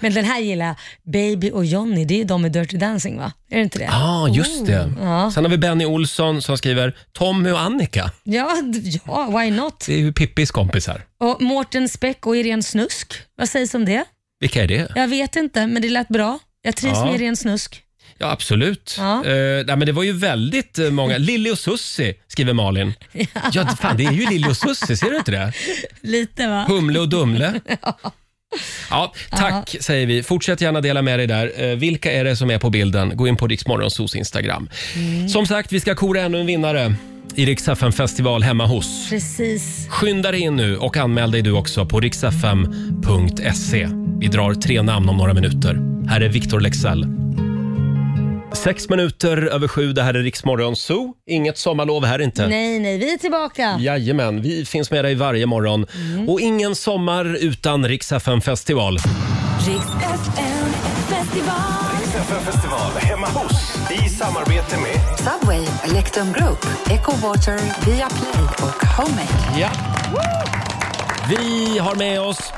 [SPEAKER 3] Men den här gillar jag. Baby och Johnny, det är de i Dirty Dancing va? Är det inte det?
[SPEAKER 1] Ja, ah, just
[SPEAKER 3] Oh,
[SPEAKER 1] det. Sen har vi Benny Olsson som skriver Tommy och Annika.
[SPEAKER 3] Ja, d- ja why not?
[SPEAKER 1] Det är ju Pippis kompisar.
[SPEAKER 3] Och Mårten Speck och Irene Snusk. Vad sägs om det?
[SPEAKER 1] Vilka är det?
[SPEAKER 3] Jag vet inte, men det lät bra. Jag trivs
[SPEAKER 1] Ja.
[SPEAKER 3] med Irene Snusk.
[SPEAKER 1] Ja, absolut.
[SPEAKER 3] Ja.
[SPEAKER 1] Eh, nej, men det var ju väldigt eh, många. Lilly och Sussi skriver Malin. Ja, fan det är ju Lilly och Sussi, ser du inte det?
[SPEAKER 3] Lite va?
[SPEAKER 1] Humle och Dumle. Ja, tack säger vi. Fortsätt gärna dela med dig där. Eh, vilka är det som är på bilden? Gå in på Riksmorgonsos Instagram. Som sagt, vi ska kora ännu en vinnare i Rix FM festival hemma hos.
[SPEAKER 3] Precis.
[SPEAKER 1] Skynda dig in nu och anmäl dig du också på riksfm.se. Vi drar tre namn om några minuter. Här är Victor Lexell. Sex minuter över sju, det här är Riksmorgon Zoo. Inget sommarlov här inte.
[SPEAKER 3] Nej, nej, vi är tillbaka.
[SPEAKER 1] Jajamän, vi finns med dig varje morgon. Och ingen sommar utan Rix FM festival.
[SPEAKER 8] Riks FM festival.
[SPEAKER 9] FN-festival hemma hos i samarbete med
[SPEAKER 8] Subway, Electrum Group, Echo Water, Viaplay och Homemade.
[SPEAKER 1] Ja. Vi har med oss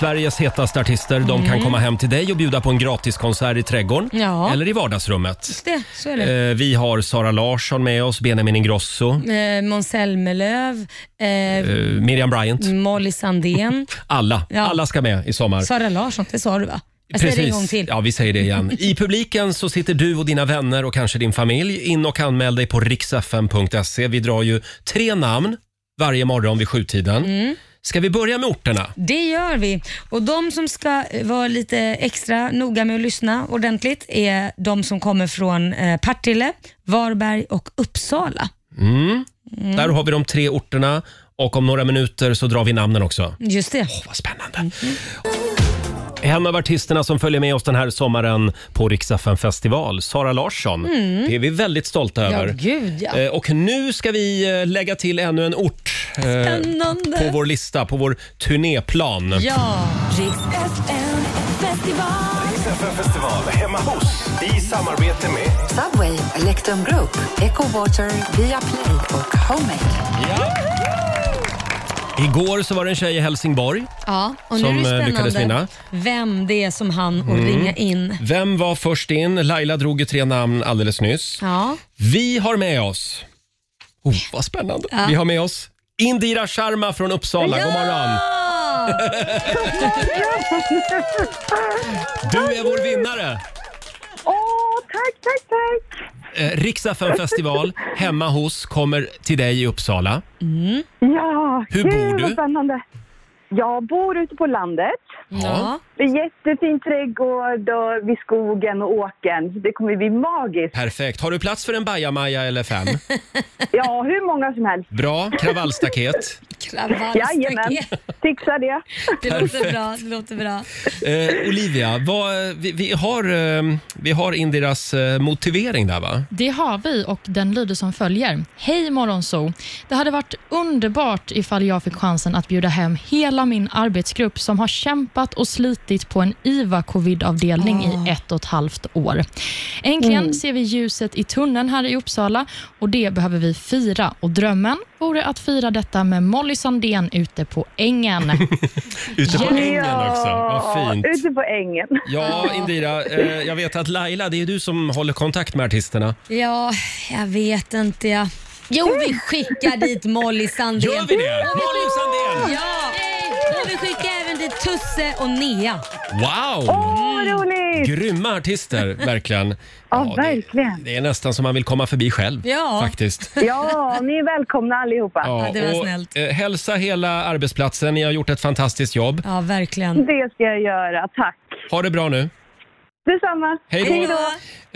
[SPEAKER 1] Sveriges hetaste artister. De kan komma hem till dig och bjuda på en gratiskonsert i trädgården
[SPEAKER 3] Mm. Ja.
[SPEAKER 1] eller i vardagsrummet.
[SPEAKER 3] Det, så är det.
[SPEAKER 1] Eh, Vi har Sara Larsson med oss, Benjamin Ingrosso,
[SPEAKER 3] Eh, Måns Zelmerlöw, eh,
[SPEAKER 1] eh, Miriam Bryant.
[SPEAKER 3] Molly Sandén,
[SPEAKER 1] Alla.
[SPEAKER 3] Mm. Ja.
[SPEAKER 1] Alla ska med i sommar.
[SPEAKER 3] Sara Larsson, det sa du va? Jag säger det en gång till.
[SPEAKER 1] Ja, vi säger det igen. I publiken så sitter du och dina vänner och kanske din familj. In och anmäl dig på riksfm.se. Vi drar ju tre namn varje morgon vid sjutiden.
[SPEAKER 3] Mm.
[SPEAKER 1] Ska vi börja med orterna?
[SPEAKER 3] Det gör vi. Och De som ska eh, vara lite extra noga med att lyssna ordentligt är de som kommer från eh, Partille, Varberg och Uppsala. Mm.
[SPEAKER 1] Där har vi de tre orterna och om några minuter så drar vi namnen också.
[SPEAKER 3] Just det.
[SPEAKER 1] Vad spännande.
[SPEAKER 3] Mm.
[SPEAKER 1] En av artisterna som följer med oss den här sommaren på Riksaffen festival, Sara Larsson. Det är vi väldigt stolta
[SPEAKER 3] Mm. Ja,
[SPEAKER 1] över.
[SPEAKER 3] gud ja.
[SPEAKER 1] Eh, Och nu ska vi eh, lägga till ännu en ort eh, på
[SPEAKER 3] Spännande.
[SPEAKER 1] vår lista, på vår turnéplan.
[SPEAKER 3] Ja,
[SPEAKER 8] Riks FM festival.
[SPEAKER 9] FN-festival hemma hos i samarbete med
[SPEAKER 8] Subway, Electrum Group, Echo Water, Viaplay och Homemade.
[SPEAKER 1] Ja. Igår så var det en tjej i Helsingborg.
[SPEAKER 3] ja. Och nu
[SPEAKER 1] Som,
[SPEAKER 3] är
[SPEAKER 1] eh,
[SPEAKER 3] det
[SPEAKER 1] lyckades vinna. Mm.
[SPEAKER 3] spännande vem det är som han och ringa in.
[SPEAKER 1] Vem var först in? Laila drog ju tre namn alldeles nyss.
[SPEAKER 3] Ja.
[SPEAKER 1] Vi har med oss... Oh, vad spännande. Vi har med oss Indira Sharma från Uppsala. God morgon! Du är vår vinnare!
[SPEAKER 6] Åh, tack, tack, tack!
[SPEAKER 1] Eh, Rix FM festival hemma hos kommer till dig i Uppsala.
[SPEAKER 6] Ja,
[SPEAKER 1] Hur
[SPEAKER 6] gud,
[SPEAKER 1] bor
[SPEAKER 6] vad
[SPEAKER 1] du?
[SPEAKER 6] spännande. Jag bor ute på landet.
[SPEAKER 3] Ja.
[SPEAKER 6] Det är jättefin trädgård och vid skogen och åkern. Det kommer bli magiskt.
[SPEAKER 1] Perfekt. Har du plats för en bajamaja eller fem?
[SPEAKER 6] Ja, hur många som helst.
[SPEAKER 1] Bra. Kravallstaket.
[SPEAKER 6] Jajamän,
[SPEAKER 3] Kravallstaket.
[SPEAKER 6] fixa det.
[SPEAKER 3] Det låter bra. Det låter bra.
[SPEAKER 1] Eh, Olivia, vad, vi, vi, har, eh, vi har Indiras eh, motivering där va?
[SPEAKER 4] Det har vi och den lyder som följer. Hej Morgonzoo! Det hade varit underbart ifall jag fick chansen att bjuda hem hela min arbetsgrupp som har kämpat och slitit på en IVA-covid-avdelning
[SPEAKER 3] Ah.
[SPEAKER 4] i ett och ett halvt år. Äntligen
[SPEAKER 3] Mm.
[SPEAKER 4] ser vi ljuset i tunneln här i Uppsala och det behöver vi fira. Och drömmen vore att fira detta med Molly Sandén ute på ängen.
[SPEAKER 1] Ute på ängen också. Vad fint.
[SPEAKER 6] ute på ängen.
[SPEAKER 1] Ja, Indira, eh, jag vet att Laila, det är du som håller kontakt med artisterna.
[SPEAKER 3] Ja, jag vet inte jag. Jo, vi skickar dit Molly Sandén.
[SPEAKER 1] Gör vi det? Molly Sandén!
[SPEAKER 3] Ja! Och vi skickar även dit Tusse och Nea.
[SPEAKER 1] Wow!
[SPEAKER 6] Åh, vad roligt!
[SPEAKER 1] Grymma artister, verkligen.
[SPEAKER 6] Ja,
[SPEAKER 1] det-
[SPEAKER 6] verkligen.
[SPEAKER 1] Det är nästan som man vill komma förbi själv.
[SPEAKER 3] Ja.
[SPEAKER 1] Faktiskt.
[SPEAKER 6] Ja, ni är välkomna allihopa.
[SPEAKER 1] Ja,
[SPEAKER 3] det var
[SPEAKER 1] och,
[SPEAKER 3] snällt.
[SPEAKER 1] eh, hälsa hela arbetsplatsen. Ni har gjort ett fantastiskt jobb.
[SPEAKER 3] Ja, verkligen.
[SPEAKER 6] Det ska jag göra, tack.
[SPEAKER 1] Ha det bra nu.
[SPEAKER 6] Detsamma.
[SPEAKER 1] Hej då.
[SPEAKER 3] Hej då.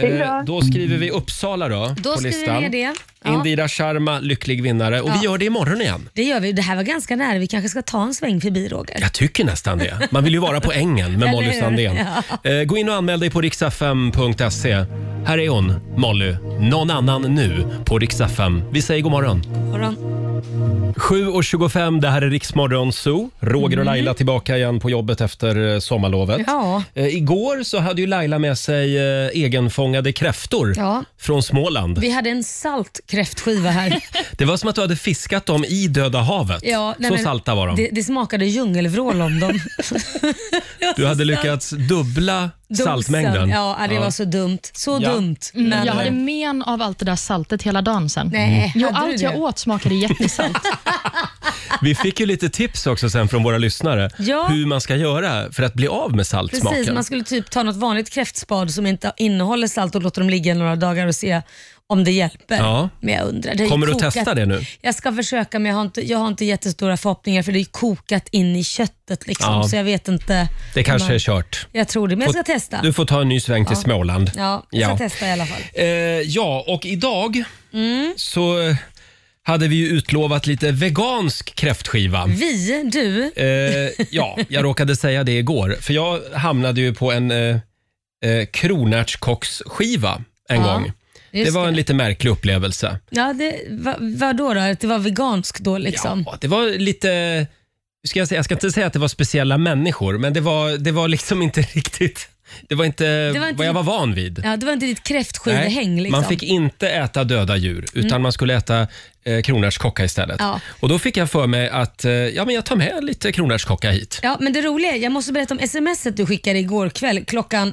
[SPEAKER 6] Hej då.
[SPEAKER 1] Eh, Då skriver vi Uppsala då,
[SPEAKER 3] Då
[SPEAKER 1] på
[SPEAKER 3] skriver vi
[SPEAKER 1] listan.
[SPEAKER 3] ner det. Ja,
[SPEAKER 1] Indira Sharma, lycklig vinnare. Och vi gör det imorgon igen.
[SPEAKER 3] det gör vi. Det här var ganska nära. Vi kanske ska ta en sväng förbi Roger.
[SPEAKER 1] Jag tycker nästan det. Man vill ju vara på ängen med Molly
[SPEAKER 3] Eller hur?
[SPEAKER 1] Sandén. Eh, Gå in och anmäl dig på riksfm.se. Här är hon, Molly. Någon annan nu på Riksa 5. Vi säger god morgon.
[SPEAKER 3] Morgon.
[SPEAKER 1] 7.25, det här är Riksmorgon Zoo. Roger och Laila tillbaka igen på jobbet efter eh, sommarlovet.
[SPEAKER 3] Mm. Ja.
[SPEAKER 1] Eh, igår så hade ju Laila med sig eh, egenfångade kräftor
[SPEAKER 3] Ja.
[SPEAKER 1] från Småland.
[SPEAKER 3] Vi hade en salt kräftskiva här.
[SPEAKER 1] Det var som att du hade fiskat dem i Döda havet.
[SPEAKER 3] Ja, nej,
[SPEAKER 1] så
[SPEAKER 3] men
[SPEAKER 1] salta var de.
[SPEAKER 3] Det, det smakade djungelvrål om dem.
[SPEAKER 1] Du hade lyckats dubbla
[SPEAKER 3] Dosen.
[SPEAKER 1] saltmängden.
[SPEAKER 3] Ja, det var så dumt. Så
[SPEAKER 1] Ja.
[SPEAKER 3] dumt. Men,
[SPEAKER 4] Jag hade men av allt det där saltet hela dagen sen.
[SPEAKER 1] Mm.
[SPEAKER 3] Nej,
[SPEAKER 4] Jo,
[SPEAKER 3] hade du
[SPEAKER 4] allt
[SPEAKER 3] det?
[SPEAKER 4] jag åt smakade jättesalt.
[SPEAKER 1] Vi fick ju lite tips också sen från våra lyssnare
[SPEAKER 3] Ja.
[SPEAKER 1] hur man ska göra för att bli av med saltsmaken.
[SPEAKER 3] Precis, man skulle typ ta något vanligt kräftspad som inte innehåller salt och låta dem ligga några dagar och se om det hjälper.
[SPEAKER 1] Ja.
[SPEAKER 3] Men jag undrar. Det har ju
[SPEAKER 1] Kommer du att
[SPEAKER 3] kokat-
[SPEAKER 1] testa det nu?
[SPEAKER 3] Jag ska försöka men jag har inte, jag har inte jättestora förhoppningar för det är ju kokat in i köttet liksom
[SPEAKER 1] Ja.
[SPEAKER 3] så jag vet inte.
[SPEAKER 1] Det
[SPEAKER 3] om
[SPEAKER 1] kanske
[SPEAKER 3] man-
[SPEAKER 1] är kört.
[SPEAKER 3] Jag tror det, men jag ska testa.
[SPEAKER 1] Du får ta en ny sväng till
[SPEAKER 3] Ja.
[SPEAKER 1] Småland.
[SPEAKER 3] Ja, jag ska
[SPEAKER 1] Ja.
[SPEAKER 3] testa i alla fall.
[SPEAKER 1] Eh, ja, och idag
[SPEAKER 3] Mm.
[SPEAKER 1] så hade vi ju utlovat lite vegansk kräftskiva.
[SPEAKER 3] Mm. Vi, du,
[SPEAKER 1] Eh, ja, jag råkade säga det igår, för jag hamnade ju på en eh, eh, kronärtskocksskiva en
[SPEAKER 3] Ja,
[SPEAKER 1] gång.
[SPEAKER 3] just
[SPEAKER 1] Det var en
[SPEAKER 3] det.
[SPEAKER 1] lite märklig upplevelse.
[SPEAKER 3] ja, det, va, vadå då? Att det var vegansk då liksom?
[SPEAKER 1] Ja, det var lite... Ska jag, säga, jag ska inte säga att det var speciella människor, men det var, det var liksom inte riktigt... Det var inte,
[SPEAKER 3] Det var inte-
[SPEAKER 1] vad jag var van vid.
[SPEAKER 3] Ja, det var inte ditt kräftskivehäng
[SPEAKER 1] Nej,
[SPEAKER 3] liksom? Mm.
[SPEAKER 1] Man fick inte äta döda djur, utan man skulle äta eh, kronärtskocka istället.
[SPEAKER 3] Ja.
[SPEAKER 1] Och Då fick jag för mig att eh, ja, men jag tar med lite kronärtskocka hit.
[SPEAKER 3] Ja, men det roliga är, jag måste berätta om smset du skickade igår kväll klockan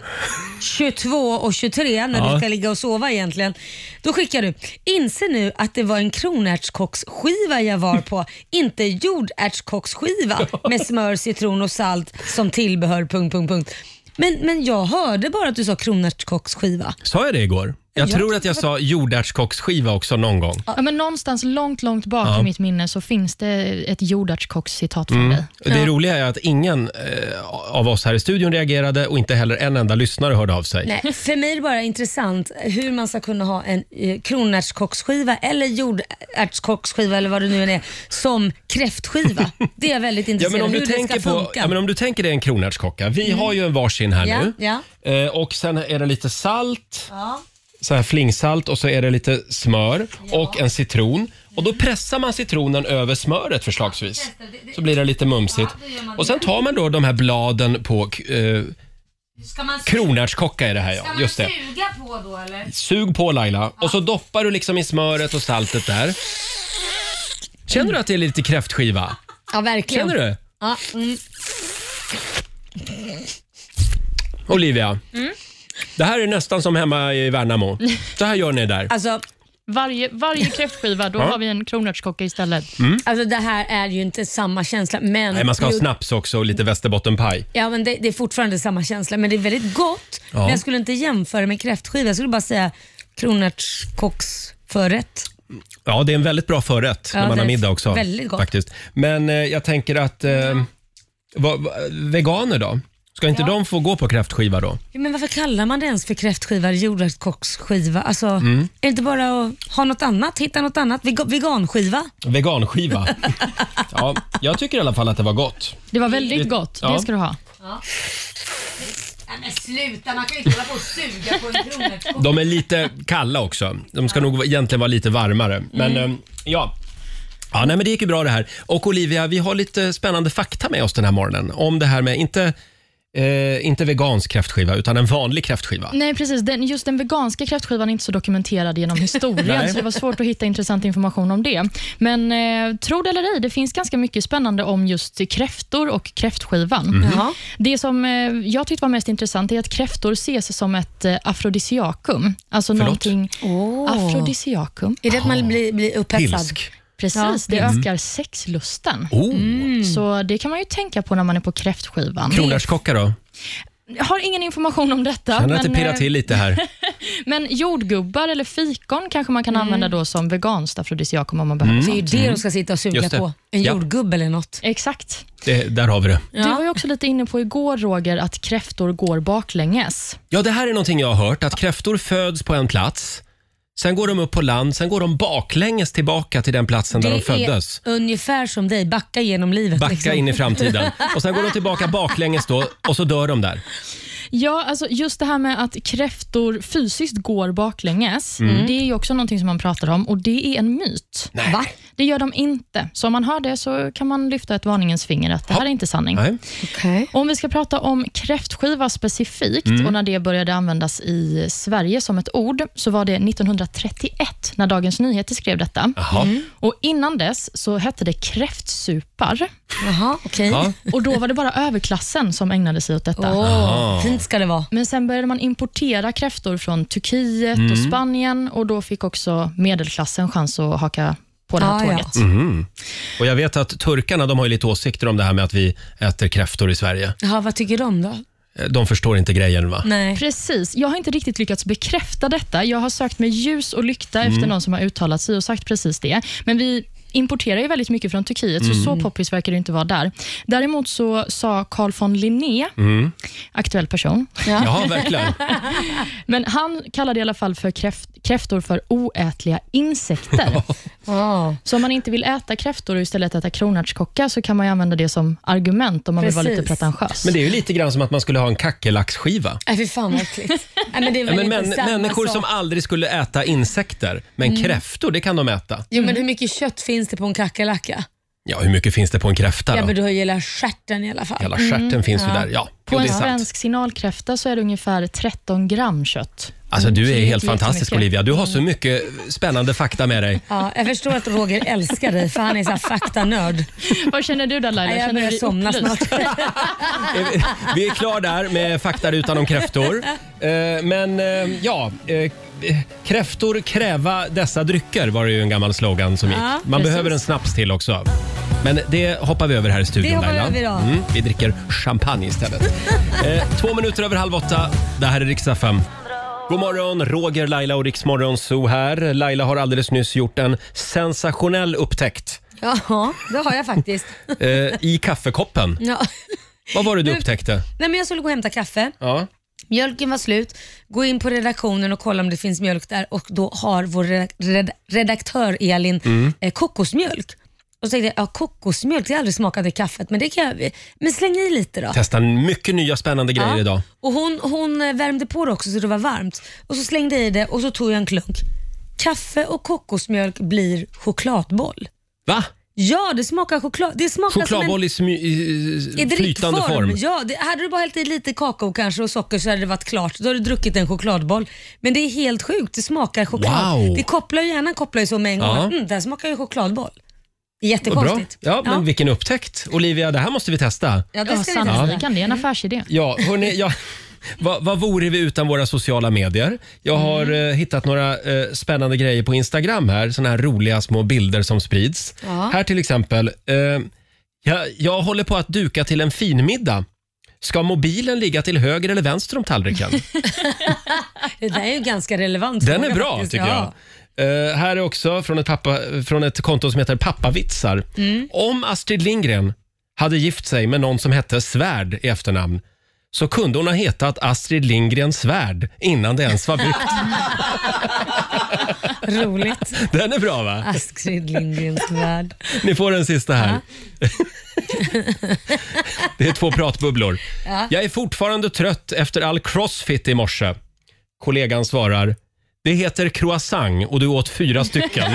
[SPEAKER 3] 22.23 när
[SPEAKER 1] Ja.
[SPEAKER 3] du ska ligga och sova egentligen. Då skickar du, inse nu att det var en kronärtskocksskiva jag var på, inte jordärtskocksskiva med smör, citron och salt som tillbehör... Punkt, punkt, punkt. Men, men jag hörde bara att du sa kronärtskocksskiva.
[SPEAKER 1] Sa jag det igår? Jag
[SPEAKER 3] Ja.
[SPEAKER 1] tror att jag sa jordärtskocksskiva också någon gång.
[SPEAKER 4] Ja, men någonstans långt, långt bak i mitt minne så finns det ett jordärtskockscitat från dig.
[SPEAKER 1] Det roliga är att ingen eh, av oss här i studion reagerade och inte heller en enda lyssnare hörde av sig.
[SPEAKER 3] Nej, för mig är det bara intressant hur man ska kunna ha en eh, kronärtskocksskiva eller jordärtskocksskiva eller vad det nu än är som kräftskiva. Det är jag väldigt
[SPEAKER 1] Ja,
[SPEAKER 3] intresserad
[SPEAKER 1] men om
[SPEAKER 3] av
[SPEAKER 1] du
[SPEAKER 3] hur
[SPEAKER 1] tänker
[SPEAKER 3] det ska
[SPEAKER 1] på,
[SPEAKER 3] funka. Mm.
[SPEAKER 1] ja, men om du tänker dig en kronärtskocka. Vi har ju en varsin här
[SPEAKER 3] Ja,
[SPEAKER 1] nu.
[SPEAKER 3] ja.
[SPEAKER 1] Eh, och sen är det lite salt, så här flingsalt och så är det lite smör och en citron. Och då pressar man citronen över smöret förslagsvis. Så blir det lite mumsigt.
[SPEAKER 3] Ja, det gör man.
[SPEAKER 1] Och sen tar man då de här bladen på eh,
[SPEAKER 3] ska man,
[SPEAKER 1] kronärtskocka är det här ja.
[SPEAKER 3] ska man
[SPEAKER 1] Just det.
[SPEAKER 3] suga på då eller?
[SPEAKER 1] Sug på Laila och så doppar du liksom i smöret och saltet där. Känner du att det är lite kräftskiva?
[SPEAKER 3] Ja, verkligen.
[SPEAKER 1] Känner du?
[SPEAKER 3] Ja, mm.
[SPEAKER 1] Olivia,
[SPEAKER 3] Mm.
[SPEAKER 1] det här är nästan som hemma i Värnamo. Så här gör ni där.
[SPEAKER 3] alltså,
[SPEAKER 4] Varje, varje kräftskiva, då har vi en kronärtskocka istället.
[SPEAKER 1] Mm.
[SPEAKER 3] alltså, det här är ju inte samma känsla men...
[SPEAKER 1] Nej, man ska ha
[SPEAKER 3] ju-
[SPEAKER 1] snaps också och lite västerbottenpaj.
[SPEAKER 3] Ja, men det, det är fortfarande samma känsla men det är väldigt gott.
[SPEAKER 1] Ja.
[SPEAKER 3] Men jag skulle inte jämföra med kräftskiva. Jag skulle bara säga kronärtskocksförrätt.
[SPEAKER 1] Ja, det är en väldigt bra förrätt
[SPEAKER 3] Ja,
[SPEAKER 1] när man
[SPEAKER 3] det
[SPEAKER 1] har
[SPEAKER 3] är
[SPEAKER 1] middag också.
[SPEAKER 3] väldigt gott.
[SPEAKER 1] Faktiskt. Men eh, jag tänker att eh, vad- vad- veganer då? Ska inte de få gå på kräftskiva då?
[SPEAKER 3] Ja, Men varför kallar man det ens för kräftskiva eller jordärtskocksskiva? Alltså,
[SPEAKER 1] Mm.
[SPEAKER 3] Är det inte bara att ha något annat? Hitta något annat? Vega- veganskiva?
[SPEAKER 1] Veganskiva? ja, jag tycker i alla fall att det var gott.
[SPEAKER 4] Det var väldigt gott,
[SPEAKER 1] Ja.
[SPEAKER 4] det ska du ha.
[SPEAKER 3] Nej men sluta, man kan ju inte hålla på och suga på en kronärtskocka.
[SPEAKER 1] De är lite kalla också. De ska nog egentligen vara lite varmare. Men
[SPEAKER 3] Mm.
[SPEAKER 1] eh, ja. Ja, nej, men det gick ju bra det här. Och Olivia, vi har lite spännande fakta med oss den här morgonen. Om det här med, inte, eh, inte vegansk kräftskiva, utan en vanlig kräftskiva.
[SPEAKER 3] Mm.
[SPEAKER 4] Nej, precis. Den, just den veganska kräftskivan är inte så dokumenterad genom historien,
[SPEAKER 1] Nej.
[SPEAKER 4] så det var svårt att hitta intressant information om det. Men eh, tro det eller ej, det finns ganska mycket spännande om just kräftor och kräftskivan.
[SPEAKER 1] Mm.
[SPEAKER 3] Jaha.
[SPEAKER 4] Det som eh, jag tyckte var mest intressant är att kräftor ses som ett eh, afrodisiakum. Alltså
[SPEAKER 1] Förlåt?
[SPEAKER 4] någonting...
[SPEAKER 3] Åh.
[SPEAKER 4] Afrodisiakum.
[SPEAKER 3] Är det att man blir, blir upphetsad?
[SPEAKER 1] Pilsk.
[SPEAKER 4] Precis, det ökar sexlusten.
[SPEAKER 1] Oh.
[SPEAKER 3] Mm.
[SPEAKER 4] Så det kan man ju tänka på när man är på kräftskivan.
[SPEAKER 1] Kronärtskocka då?
[SPEAKER 4] Jag har ingen information om detta.
[SPEAKER 1] Känner att det pirrar
[SPEAKER 4] eh,
[SPEAKER 1] till lite här.
[SPEAKER 4] Men jordgubbar eller fikon kanske man kan använda då som veganskt afrodisiakum om man behöver
[SPEAKER 3] Mm. Det är ju
[SPEAKER 4] sånt.
[SPEAKER 3] det de ska sitta och suga
[SPEAKER 1] Mm. Just det.
[SPEAKER 3] på. En
[SPEAKER 1] Ja.
[SPEAKER 3] jordgubbe eller något.
[SPEAKER 4] Exakt.
[SPEAKER 1] Det, där har vi det.
[SPEAKER 4] Du var ju också lite inne på igår, Roger, att kräftor går baklänges.
[SPEAKER 1] Ja, det här är någonting jag har hört. Att kräftor föds på en plats. Sen går de upp på land, sen går de baklänges tillbaka till den platsen där de
[SPEAKER 3] det
[SPEAKER 1] föddes.
[SPEAKER 3] är ungefär som dig, backa genom livet.
[SPEAKER 1] Backa
[SPEAKER 3] liksom.
[SPEAKER 1] in i framtiden. Och sen går de tillbaka baklänges då och så dör de där.
[SPEAKER 4] Ja, alltså just det här med att kräftor Mm. fysiskt går baklänges, det är ju också någonting som man pratar om och det är en myt.
[SPEAKER 1] Nej.
[SPEAKER 3] Va?
[SPEAKER 4] Det gör de inte. Så om man hör det så kan man lyfta ett varningens finger att det här är inte sanning.
[SPEAKER 1] Nej.
[SPEAKER 4] Och Om vi ska prata om kräftskiva specifikt och när det började användas i Sverige som ett ord, så var det 1931 när Dagens Nyheter skrev detta.
[SPEAKER 1] Jaha.
[SPEAKER 3] Mm.
[SPEAKER 4] Och Innan dess så hette det kräftsupar
[SPEAKER 3] Jaha, okej.
[SPEAKER 1] Ja.
[SPEAKER 4] och då var det bara överklassen som ägnade sig åt detta.
[SPEAKER 3] Åh,
[SPEAKER 1] Jaha.
[SPEAKER 3] fint ska det vara.
[SPEAKER 4] Men sen började man importera kräftor från Turkiet och Spanien och då fick också medelklassen chans att haka på det här
[SPEAKER 3] Ah, ja.
[SPEAKER 4] tåget.
[SPEAKER 1] Och jag vet att turkarna de har ju lite åsikter om det här med att vi äter kräftor i Sverige.
[SPEAKER 3] Jaha, vad tycker de då?
[SPEAKER 1] Eh, De förstår inte grejen va?
[SPEAKER 3] Nej.
[SPEAKER 4] Precis. Jag har inte riktigt lyckats bekräfta detta. Jag har sökt med ljus och lykta efter
[SPEAKER 1] Mm.
[SPEAKER 4] någon som har uttalat sig och sagt precis det. Men vi importerar ju väldigt mycket från Turkiet, så
[SPEAKER 1] Mm.
[SPEAKER 4] så poppis verkar det inte vara där. Däremot så sa Carl von Linné,
[SPEAKER 1] Mm.
[SPEAKER 4] aktuell person,
[SPEAKER 1] Jaha, verkligen.
[SPEAKER 4] men han kallade i alla fall för kräft, kräftor för oätliga insekter.
[SPEAKER 3] Ja.
[SPEAKER 4] så om man inte vill äta kräftor och istället äta kronärtskocka så kan man ju använda det som argument om man vill vara lite
[SPEAKER 3] Precis.
[SPEAKER 4] pretentiös.
[SPEAKER 1] Men det är ju lite grann som att man skulle ha en kackerlacksskiva.
[SPEAKER 3] Nej, fy fan vad äckligt. Nej, men det är alltså. väl
[SPEAKER 1] Ja, men
[SPEAKER 3] inte
[SPEAKER 1] män,
[SPEAKER 3] samma
[SPEAKER 1] människor
[SPEAKER 3] sak. Mm.
[SPEAKER 1] som aldrig skulle äta insekter, men kräftor det kan de äta.
[SPEAKER 3] Jo, men hur mycket kött finns det på en kackerlacka?
[SPEAKER 1] Ja, hur mycket finns det på en kräfta
[SPEAKER 3] Ja,
[SPEAKER 1] då?
[SPEAKER 3] men Mm. du har ju hela stjärten i alla fall.
[SPEAKER 1] Hela stjärten finns ju där. Ja,
[SPEAKER 4] På
[SPEAKER 1] jo, det
[SPEAKER 4] en
[SPEAKER 1] är sant.
[SPEAKER 4] svensk signalkräfta så är det ungefär 13 gram kött.
[SPEAKER 1] Alltså
[SPEAKER 4] Så
[SPEAKER 1] du
[SPEAKER 4] det
[SPEAKER 3] Mm.
[SPEAKER 1] är
[SPEAKER 4] är
[SPEAKER 1] helt
[SPEAKER 4] inte
[SPEAKER 1] fantastisk
[SPEAKER 4] jättemycket.
[SPEAKER 1] Olivia. Du har så mycket spännande fakta med dig.
[SPEAKER 3] Ja, jag förstår att Roger älskar dig för han är så här faktanörd.
[SPEAKER 4] Vad känner du där Laila?
[SPEAKER 3] Nej, jag
[SPEAKER 4] känner du
[SPEAKER 3] börjar
[SPEAKER 4] dig
[SPEAKER 3] somna
[SPEAKER 4] upplyst?
[SPEAKER 3] snart.
[SPEAKER 1] Eh, vi- Vi är klar där med faktarutan om kräftor. Eh, Men eh, ja, eh, kräftor kräva dessa drycker var det ju en gammal slogan som gick.
[SPEAKER 3] Ja,
[SPEAKER 1] Man
[SPEAKER 4] precis.
[SPEAKER 1] behöver en snaps till också. Men det hoppar vi över här i studion
[SPEAKER 3] Det hoppar
[SPEAKER 1] Laila.
[SPEAKER 3] vi över idag.
[SPEAKER 1] Mm, vi dricker champagne istället. eh, två minuter över halv åtta. Det här är riksdag 5. God morgon, Roger, Laila och Riksmorgon Zoo här. Laila har alldeles nyss gjort en sensationell upptäckt
[SPEAKER 3] Ja, det har jag faktiskt.
[SPEAKER 1] eh, i kaffekoppen.
[SPEAKER 3] Ja.
[SPEAKER 1] Vad var det du upptäckte?
[SPEAKER 3] Nej, men jag skulle gå och hämta kaffe.
[SPEAKER 1] Ja.
[SPEAKER 3] Mjölken var slut. Gå in på redaktionen och kolla om det finns mjölk där och då har vår redak- red- redaktör Elin
[SPEAKER 1] Mm.
[SPEAKER 3] eh, kokosmjölk. Och så tänkte jag, ja, kokosmjölk, det har jag aldrig smakat i kaffet, men det kan jag, men släng i lite då.
[SPEAKER 1] testar mycket nya spännande grejer
[SPEAKER 3] Ja.
[SPEAKER 1] idag.
[SPEAKER 3] Och hon, hon eh, värmde på det också så det var varmt. Och så slängde jag i det och så tog jag en klunk. Kaffe och kokosmjölk blir chokladboll.
[SPEAKER 1] Va?
[SPEAKER 3] Ja, det smakar choklad. Det smakar
[SPEAKER 1] Chokladboll
[SPEAKER 3] som
[SPEAKER 1] i, smy, i,
[SPEAKER 3] en, i
[SPEAKER 1] flytande form.
[SPEAKER 3] Ja, det, hade du bara hällt i lite kakao kanske och socker så hade det varit klart. Då hade du druckit en chokladboll. Men det är helt sjukt, det smakar choklad.
[SPEAKER 1] Wow.
[SPEAKER 3] Det kopplar ju, hjärnan kopplar ju så med en gång.
[SPEAKER 1] Ja.
[SPEAKER 3] Mm, det här smakar ju chokladboll.
[SPEAKER 1] Vad Bra.
[SPEAKER 3] Jättekonstigt.
[SPEAKER 1] Ja, men
[SPEAKER 3] ja.
[SPEAKER 1] vilken upptäckt. Olivia, det här måste vi testa.
[SPEAKER 3] ja,
[SPEAKER 4] Ja,
[SPEAKER 3] det ska vi testa.
[SPEAKER 4] sannoliken. Det är en affärsidé.
[SPEAKER 1] Ja, hörni, ja, vad, vad vore vi utan våra sociala medier? Jag har
[SPEAKER 3] Mm.
[SPEAKER 1] eh, hittat några eh, spännande grejer på Instagram här. Såna här roliga små bilder som sprids. Här till exempel. Eh, jag, jag håller på att duka till en finmiddag. Ska mobilen ligga till höger eller vänster om tallriken?
[SPEAKER 3] Det där är ju ganska relevant
[SPEAKER 1] Den
[SPEAKER 3] fråga
[SPEAKER 1] är bra
[SPEAKER 3] faktiskt.
[SPEAKER 1] tycker
[SPEAKER 3] Ja.
[SPEAKER 1] jag. Eh, här är också från ett, pappa, från ett konto som heter Pappavitsar.
[SPEAKER 3] Mm.
[SPEAKER 1] Om Astrid Lindgren hade gift sig med någon som hette Svärd i efternamn så kunde hon ha hetat Astrid Lindgren Svärd innan det ens var byggt.
[SPEAKER 3] Roligt.
[SPEAKER 1] Den är bra va?
[SPEAKER 3] Astrid Lindgrens värld.
[SPEAKER 1] Ni får den sista här. Det är två pratbubblor. Jag är fortfarande trött efter all crossfit i morse. Kollegan svarar. Det heter croissant och du åt fyra stycken.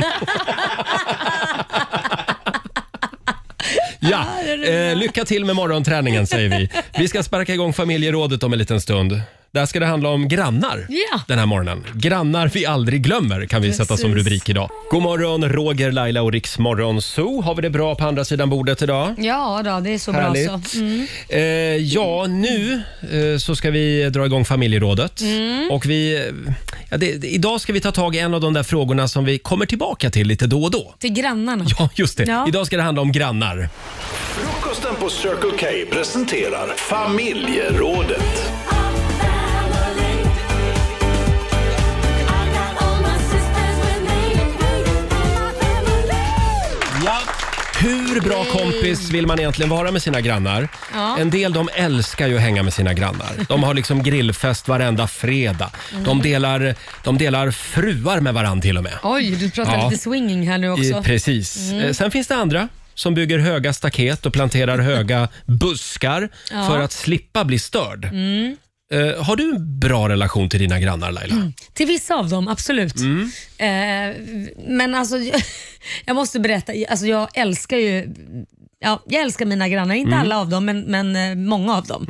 [SPEAKER 1] Ja, eh, lycka till med morgonträningen säger vi. Vi ska sparka igång familjerådet om en liten stund. Där ska det handla om grannar
[SPEAKER 3] Ja.
[SPEAKER 1] den här morgonen. Grannar vi aldrig glömmer kan vi sätta som
[SPEAKER 3] Precis.
[SPEAKER 1] rubrik idag. God morgon, Roger, Laila och Riks Zoo. Har vi det bra på andra sidan bordet idag?
[SPEAKER 3] Ja, då, det är så bra
[SPEAKER 1] Härligt.
[SPEAKER 3] så. Mm.
[SPEAKER 1] Eh, ja, nu eh, så ska vi dra igång familjerådet.
[SPEAKER 3] Mm.
[SPEAKER 1] Och vi, eh, ja, det, det- idag ska vi ta tag i en av de där frågorna som vi kommer tillbaka till lite då och då.
[SPEAKER 3] Till grannarna.
[SPEAKER 1] Ja, just det.
[SPEAKER 3] Ja.
[SPEAKER 1] Idag ska det handla om grannar.
[SPEAKER 9] Frukosten på Circle K presenterar Familjerådet.
[SPEAKER 1] Ja. Hur bra kompis vill man egentligen vara med sina grannar? En del de älskar ju att hänga med sina grannar. De har liksom grillfest varenda fredag. De
[SPEAKER 3] Mm.
[SPEAKER 1] delar, de delar fruar med varandra till och med.
[SPEAKER 3] Oj, du pratar
[SPEAKER 1] Ja.
[SPEAKER 3] lite swinging här nu också. Mm.
[SPEAKER 1] I, precis. Eh, Sen finns det andra som bygger höga
[SPEAKER 3] Mm.
[SPEAKER 1] staket och planterar höga buskar för att slippa bli störd. Eh, har du en bra relation till dina grannar Laila?
[SPEAKER 3] Till vissa av dem, absolut.
[SPEAKER 1] Mm.
[SPEAKER 3] Eh, men alltså, jag, jag måste berätta, alltså jag älskar ju ja, jag älskar mina grannar.
[SPEAKER 1] Mm.
[SPEAKER 3] Inte alla av dem, men, men eh, många av dem.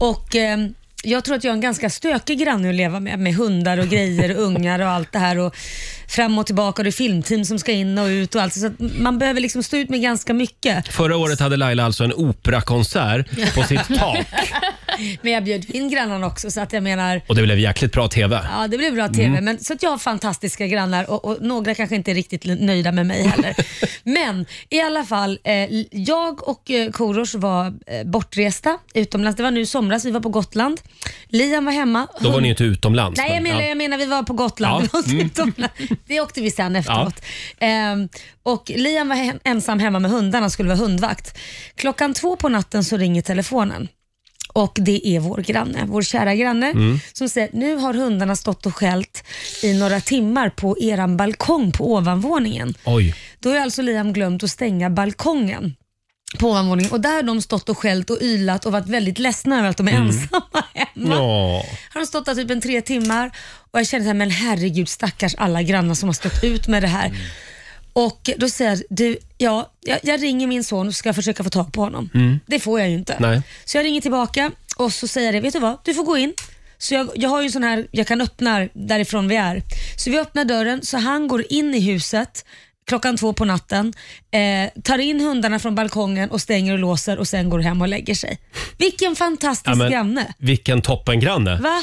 [SPEAKER 3] Och eh, Jag tror att jag är en ganska stökig granne att leva med, med hundar och grejer och ungar och allt det här. Och fram och tillbaka och det är filmteam som ska in och ut och allt. Så att man behöver liksom stå ut med ganska mycket.
[SPEAKER 1] Förra året hade Laila alltså en operakonsert på sitt tak
[SPEAKER 3] Men jag bjöd in grannarna också så att jag menar,
[SPEAKER 1] och det blev jäkligt bra TV.
[SPEAKER 3] Ja, det blir bra TV. Men, så att jag har fantastiska grannar och, och några kanske inte är riktigt l- nöjda med mig heller. men i alla fall, eh, jag och eh, Korosh var eh, bortresta utomlands. Det var nu i somras, vi var på Gotland. Liam var hemma.
[SPEAKER 1] Då var
[SPEAKER 3] Hon-
[SPEAKER 1] ni ju inte utomlands.
[SPEAKER 3] Nej, jag menar,
[SPEAKER 1] ja.
[SPEAKER 3] jag menar vi var på Gotland.
[SPEAKER 1] Ja, Mm.
[SPEAKER 3] Vi var inte utomlands. Det åkte vi sen efteråt. Ehm, och Liam var he- ensam hemma med hundarna och skulle vara hundvakt. Klockan två på natten så ringer telefonen. Och det är vår granne, vår kära granne,
[SPEAKER 1] Mm.
[SPEAKER 3] som säger nu har hundarna stått och skällt i några timmar på eran balkong på ovanvåningen.
[SPEAKER 1] Oj.
[SPEAKER 3] Då har alltså Liam glömt att stänga balkongen på ovanvåningen och där har de stått och skällt och ylat och varit väldigt ledsna över att
[SPEAKER 1] Mm.
[SPEAKER 3] de är ensamma hemma.
[SPEAKER 1] Ja.
[SPEAKER 3] Har de stått där typ en tre timmar och jag känner så här, men herregud stackars alla grannar som har stått ut med det här.
[SPEAKER 1] Mm.
[SPEAKER 3] Och då säger jag, du, ja, jag, jag ringer min son och ska försöka få tag på honom. Det får jag ju inte.
[SPEAKER 1] Mm. Nej.
[SPEAKER 3] Så jag ringer tillbaka och så säger jag det, vet du vad, du får gå in. Så jag, jag har ju en sån här, jag kan öppna därifrån vi är. Så vi öppnar dörren, så han går in i huset klockan två på natten, eh, tar in hundarna från balkongen och stänger och låser och sen går hem och lägger sig. Vilken
[SPEAKER 1] Ja,
[SPEAKER 3] fantastisk
[SPEAKER 1] men
[SPEAKER 3] granne.
[SPEAKER 1] Vilken toppengranne.
[SPEAKER 3] Va?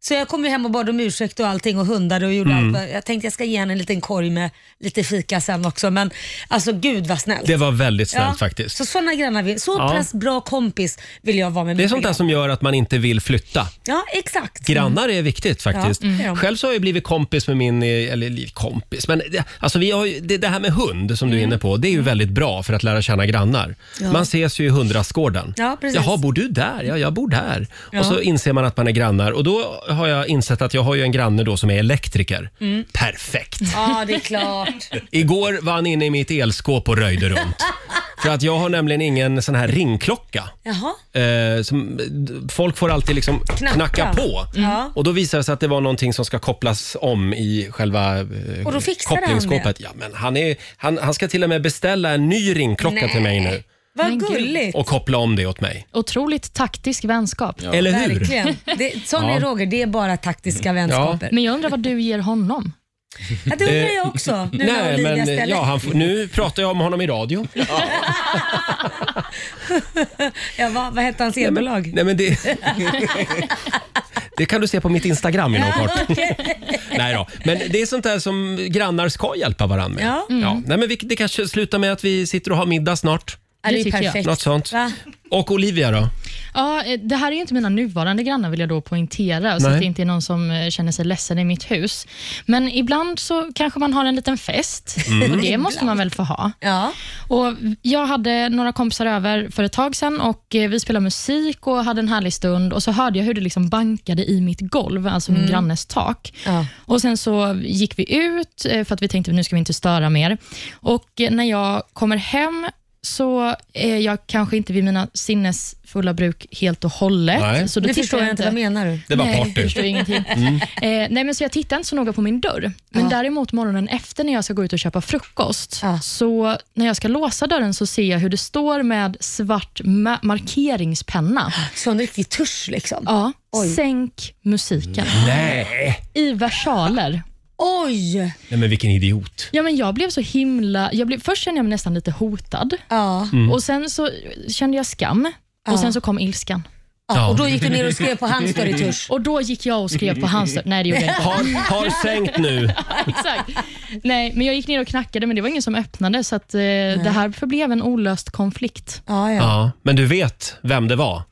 [SPEAKER 3] Så jag kom ju hem och bad om ursäkt och allting och hundar och gjorde
[SPEAKER 1] Mm.
[SPEAKER 3] allt. vad- Jag tänkte jag ska ge henne en liten korg med lite fika sen också. Men alltså gud vad snällt.
[SPEAKER 1] Det var väldigt snällt
[SPEAKER 3] Ja,
[SPEAKER 1] faktiskt.
[SPEAKER 3] Så sådana grannar vill, så
[SPEAKER 1] Ja.
[SPEAKER 3] pass bra kompis vill jag vara med
[SPEAKER 1] Det är
[SPEAKER 3] mina
[SPEAKER 1] sånt där
[SPEAKER 3] grannar.
[SPEAKER 1] som gör att man inte vill flytta.
[SPEAKER 3] Ja, exakt.
[SPEAKER 1] Grannar är viktigt faktiskt.
[SPEAKER 3] Mm. Ja, det är de.
[SPEAKER 1] Själv så har jag blivit kompis med min, eh, eller li- kompis, men det- alltså vi har ju, det, det här med hund som du är
[SPEAKER 3] Mm.
[SPEAKER 1] inne på, det är ju väldigt bra för att lära känna grannar. Man ses ju i hundrastgården.
[SPEAKER 3] Ja, precis.
[SPEAKER 1] Jaha, bor du där? Ja, jag bor där.
[SPEAKER 3] Ja.
[SPEAKER 1] Och så inser man att man är grannar och då har jag insett att jag har ju en granne då som är elektriker.
[SPEAKER 3] Mm.
[SPEAKER 1] Perfekt!
[SPEAKER 3] Ja, det är klart.
[SPEAKER 1] Igår var han inne i mitt elskåp och röjde runt. för att jag har nämligen ingen sån här ringklocka.
[SPEAKER 3] Jaha.
[SPEAKER 1] Eh, som, d- folk får alltid liksom knacka,
[SPEAKER 3] Knacka. Mm.
[SPEAKER 1] på.
[SPEAKER 3] Ja.
[SPEAKER 1] Och då visar det sig att det var någonting som ska kopplas om i själva eh,
[SPEAKER 3] Och då fixade han
[SPEAKER 1] kopplingsskåpet.
[SPEAKER 3] det?
[SPEAKER 1] Ja, men han, är, han, han ska till och med beställa en ny ringklocka till mig nu
[SPEAKER 3] Vad
[SPEAKER 4] Men gud.
[SPEAKER 3] gulligt.
[SPEAKER 1] och koppla om det åt mig.
[SPEAKER 4] Otroligt taktisk vänskap.
[SPEAKER 1] Eller hur?
[SPEAKER 3] Verkligen. Det, sån
[SPEAKER 1] Ja. Mm.
[SPEAKER 3] är Roger, det är bara taktiska vänskaper. Ja.
[SPEAKER 4] Men jag undrar vad du ger honom?
[SPEAKER 3] det undrar jag
[SPEAKER 1] Eh,
[SPEAKER 3] också. Nu när
[SPEAKER 1] Nej,
[SPEAKER 3] Olivia
[SPEAKER 1] men eh,
[SPEAKER 3] ställer.
[SPEAKER 1] ja, han, får- nu pratar jag om honom i radio.
[SPEAKER 3] ja, vad, vad hette hans elbolag?
[SPEAKER 1] Nej, men det, det kan du se på mitt Instagram inom kort. Nej då. Men det är sånt där som grannar ska hjälpa varandra med.
[SPEAKER 3] Ja. Mm.
[SPEAKER 1] Nej, men vi, det kanske slutar med att vi sitter och har middag snart.
[SPEAKER 3] Ja, det är
[SPEAKER 4] Det
[SPEAKER 3] ju
[SPEAKER 4] tycker jag.
[SPEAKER 3] perfekt.
[SPEAKER 1] Något sånt.
[SPEAKER 3] Va?
[SPEAKER 1] Och Olivia då?
[SPEAKER 4] Ja, eh, det här är ju inte mina nuvarande grannar vill jag då poängtera, så
[SPEAKER 1] Nej.
[SPEAKER 4] att det inte är någon som eh, känner sig ledsen i mitt hus. Men ibland så kanske man har en liten fest och det måste man väl få ha.
[SPEAKER 3] Ja.
[SPEAKER 4] Och jag hade några kompisar över för ett tag sedan och eh, vi spelade musik och hade en härlig stund och så hörde jag hur det liksom bankade i mitt golv, alltså min grannes tak.
[SPEAKER 3] Mm. Ja.
[SPEAKER 4] Och Sen så gick vi ut eh, för att vi tänkte nu ska vi inte störa mer. Och eh, När jag kommer hem så är jag kanske inte vid mina sinnesfulla bruk helt och hållet.
[SPEAKER 1] Nej.
[SPEAKER 4] Så då
[SPEAKER 3] Nu
[SPEAKER 4] tittar
[SPEAKER 3] förstår jag inte, vad menar du?
[SPEAKER 1] Det var
[SPEAKER 4] Nej, jag
[SPEAKER 1] party. Mm.
[SPEAKER 4] förstår ingenting. Eh, nej, men så jag tittar inte så noga på min dörr. Men däremot morgonen efter när jag ska gå ut och köpa frukost,
[SPEAKER 3] Ja.
[SPEAKER 4] så när jag ska låsa dörren så ser jag hur det står med svart ma- markeringspenna.
[SPEAKER 3] Sån riktig tusch liksom.
[SPEAKER 4] Ja,
[SPEAKER 3] Oj.
[SPEAKER 4] sänk musiken.
[SPEAKER 1] Nej.
[SPEAKER 4] I versaler.
[SPEAKER 3] Oj!
[SPEAKER 1] Nej, men vilken idiot.
[SPEAKER 4] Ja, men jag blev så himla... Jag blev, först kände jag mig nästan lite hotad
[SPEAKER 3] Ja.
[SPEAKER 1] Mm.
[SPEAKER 4] och sen så kände jag skam. Och sen så kom ilskan.
[SPEAKER 3] ja. Och då gick du ner och skrev på hans dörr i tusch.
[SPEAKER 4] Och då gick jag och skrev på hans dörr. Nej, det gjorde jag inte.
[SPEAKER 1] Har, har sänkt nu.
[SPEAKER 4] Exakt. Nej, men jag gick ner och knackade, men det var ingen som öppnade, så att, eh, det här förblev en olöst konflikt.
[SPEAKER 3] Ja, ja.
[SPEAKER 1] Ja, men du vet vem det var.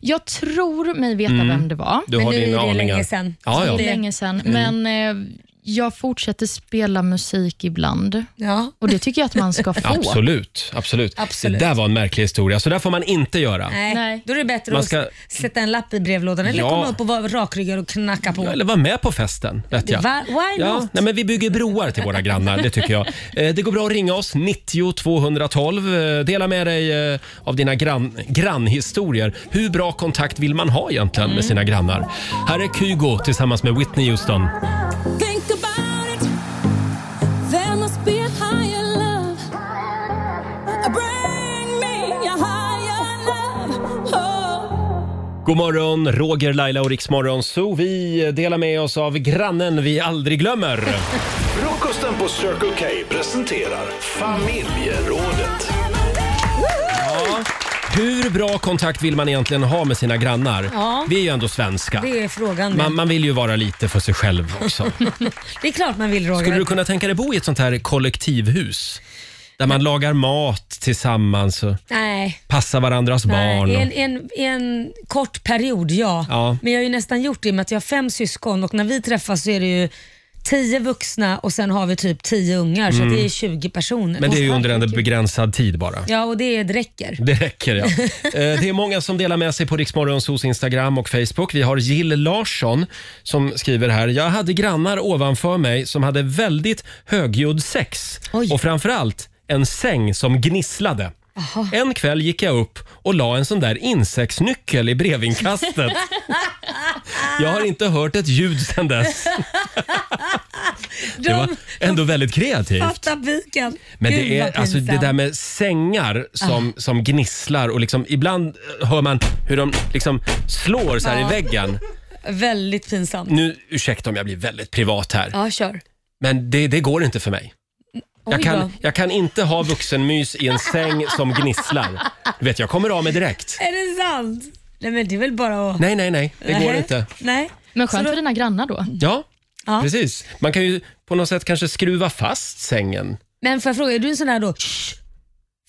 [SPEAKER 4] Jag tror mig veta vem det var.
[SPEAKER 1] Du
[SPEAKER 3] Men
[SPEAKER 1] har
[SPEAKER 3] nu är
[SPEAKER 1] dina
[SPEAKER 3] det
[SPEAKER 1] aningar.
[SPEAKER 3] länge sedan.
[SPEAKER 1] Ja,
[SPEAKER 4] Det är
[SPEAKER 1] ja.
[SPEAKER 4] länge sedan, men eh, jag fortsätter spela musik ibland.
[SPEAKER 3] Ja.
[SPEAKER 4] Och det tycker jag att man ska få.
[SPEAKER 1] Absolut, absolut,
[SPEAKER 3] Absolut.
[SPEAKER 1] Det där var en märklig historia, så där får man inte göra.
[SPEAKER 3] Nej,
[SPEAKER 4] Nej.
[SPEAKER 3] då är det bättre
[SPEAKER 1] Man
[SPEAKER 3] att
[SPEAKER 1] ska-
[SPEAKER 3] sätta en lapp i brevlådan eller
[SPEAKER 1] Ja.
[SPEAKER 3] komma upp och vara rakryggad och knacka på.
[SPEAKER 1] Eller vara med på festen, vet jag.
[SPEAKER 3] Va- why
[SPEAKER 1] Ja,
[SPEAKER 3] not?
[SPEAKER 1] nej, men vi bygger broar till våra grannar, det tycker jag. Eh, Det går bra att ringa oss, 90 212. Eh, Dela med dig eh, av dina grann, grannhistorier. Hur bra kontakt vill man ha egentligen med sina grannar? Här är Kygo tillsammans med Whitney Houston.
[SPEAKER 10] Think about it. There must be a higher love. Bring me a higher love. Oh.
[SPEAKER 1] God morgon, Roger, Laila och Riksmorgon. Så vi delar med oss av grannen vi aldrig glömmer.
[SPEAKER 9] Frukosten på Circle K presenterar Familjerådet.
[SPEAKER 1] Hur bra kontakt vill man egentligen ha med sina grannar?
[SPEAKER 3] Ja.
[SPEAKER 1] Vi är ju ändå svenska.
[SPEAKER 3] Det är frågan. det.
[SPEAKER 1] Man, man vill ju vara lite för sig själv också.
[SPEAKER 3] Det är klart man vill Roger.
[SPEAKER 1] Skulle du kunna tänka dig bo i ett sånt här kollektivhus? Där man lagar mat tillsammans och
[SPEAKER 3] Nej.
[SPEAKER 1] passar varandras barn.
[SPEAKER 3] Nej,
[SPEAKER 1] Och...
[SPEAKER 3] en, en, en kort period, ja.
[SPEAKER 1] Ja.
[SPEAKER 3] Men jag har ju nästan gjort det i och med att jag har fem syskon och när vi träffas så är det ju tio vuxna och sen har vi typ tio ungar så det är 20 personer.
[SPEAKER 1] Mm. Men det är ju under en begränsad tid bara.
[SPEAKER 3] Ja, och det räcker.
[SPEAKER 1] Det räcker ja. Eh, Det är många som delar med sig på Riksmorgonsos Instagram och Facebook. Vi har Jill Larsson som skriver här. Jag hade grannar ovanför mig som hade väldigt högljudd sex
[SPEAKER 3] Oj.
[SPEAKER 1] och framförallt en säng som gnisslade. En kväll gick jag upp och la en sån där insektsnyckel i brevinkastet. Jag har inte hört ett ljud sedan dess. Det var
[SPEAKER 3] De
[SPEAKER 1] ändå väldigt kreativt.
[SPEAKER 3] fattar piken.
[SPEAKER 1] Men
[SPEAKER 3] Gud,
[SPEAKER 1] det,
[SPEAKER 3] vad
[SPEAKER 1] är, alltså, det
[SPEAKER 3] pinsamt. Ah.
[SPEAKER 1] där med sängar som, som gnisslar och liksom, ibland hör man hur de liksom slår så här
[SPEAKER 3] Ja.
[SPEAKER 1] i väggen.
[SPEAKER 3] Väldigt pinsamt.
[SPEAKER 1] Nu, ursäkta om jag blir väldigt privat här,
[SPEAKER 3] Ja, kör.
[SPEAKER 1] men det, det går inte för mig.
[SPEAKER 3] Oj
[SPEAKER 1] Jag
[SPEAKER 3] då.
[SPEAKER 1] kan, jag kan inte ha vuxenmys i en säng som gnisslar. Du vet, jag kommer av mig direkt.
[SPEAKER 3] Är det sant? Nej, men det är väl bara att...
[SPEAKER 1] Nej, nej, nej, det går
[SPEAKER 3] Nej.
[SPEAKER 1] inte.
[SPEAKER 3] Nej.
[SPEAKER 4] Men
[SPEAKER 3] Så
[SPEAKER 4] skönt
[SPEAKER 3] då-
[SPEAKER 4] för dina grannar då.
[SPEAKER 1] Ja,
[SPEAKER 3] Ja.
[SPEAKER 1] precis. Man kan ju på något sätt kanske skruva fast sängen.
[SPEAKER 3] Men får jag fråga, är du en sån här då...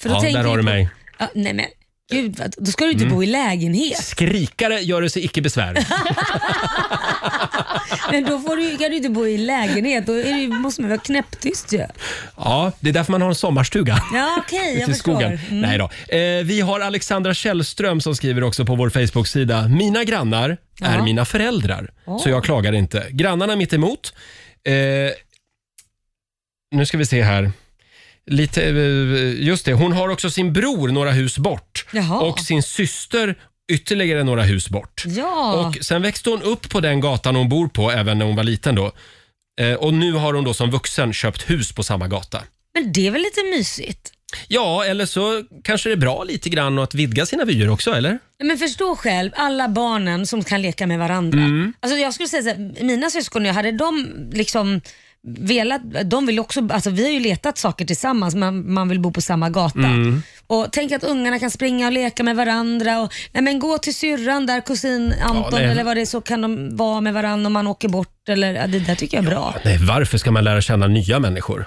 [SPEAKER 3] För då
[SPEAKER 1] Ja,
[SPEAKER 3] tänker
[SPEAKER 1] där har
[SPEAKER 3] jag
[SPEAKER 1] du
[SPEAKER 3] på-
[SPEAKER 1] mig. Mm.
[SPEAKER 3] Ja, nej men gud, vad- då ska du inte bo i lägenhet.
[SPEAKER 1] Skrikare gör sig icke besvär.
[SPEAKER 3] Men då får du, kan du inte bo i lägenhet. Då är det, ju- måste man vara knäpptyst ju.
[SPEAKER 1] Ja, det är därför man har en sommarstuga.
[SPEAKER 3] Ja, okej, jag
[SPEAKER 1] Ute i
[SPEAKER 3] förstår. Mm.
[SPEAKER 1] skogen. Nej då. Eh, vi har Alexandra Källström som skriver också på vår Facebook-sida. Mina grannar är
[SPEAKER 3] Ja.
[SPEAKER 1] mina föräldrar, så jag klagar inte. Grannarna mitt emot. Eh, nu ska vi se här. Lite, eh, just det, hon har också sin bror några hus bort
[SPEAKER 3] Jaha.
[SPEAKER 1] och sin syster ytterligare några hus bort.
[SPEAKER 3] Ja,
[SPEAKER 1] Och Sen växte hon upp på den gatan hon bor på även när hon var liten. då. Eh, och Nu har hon då som vuxen köpt hus på samma gata.
[SPEAKER 3] men det är väl lite mysigt?
[SPEAKER 1] Ja, eller så kanske det är bra lite grann att vidga sina vyer också, eller?
[SPEAKER 3] Nej, Men förstå själv, alla barnen som kan leka med varandra. Alltså jag skulle säga så här, mina syskon och jag, hade de liksom velat, de vill också, alltså vi har ju letat saker tillsammans, man, man vill bo på samma gata. Och Tänk att ungarna kan springa och leka med varandra. Och, nej men gå till syrran där, kusin Anton
[SPEAKER 1] nej.
[SPEAKER 3] eller vad det är, så kan de vara med varandra om man åker bort. Eller, ja, det där tycker jag är bra.
[SPEAKER 1] Nej, varför ska man lära känna nya människor?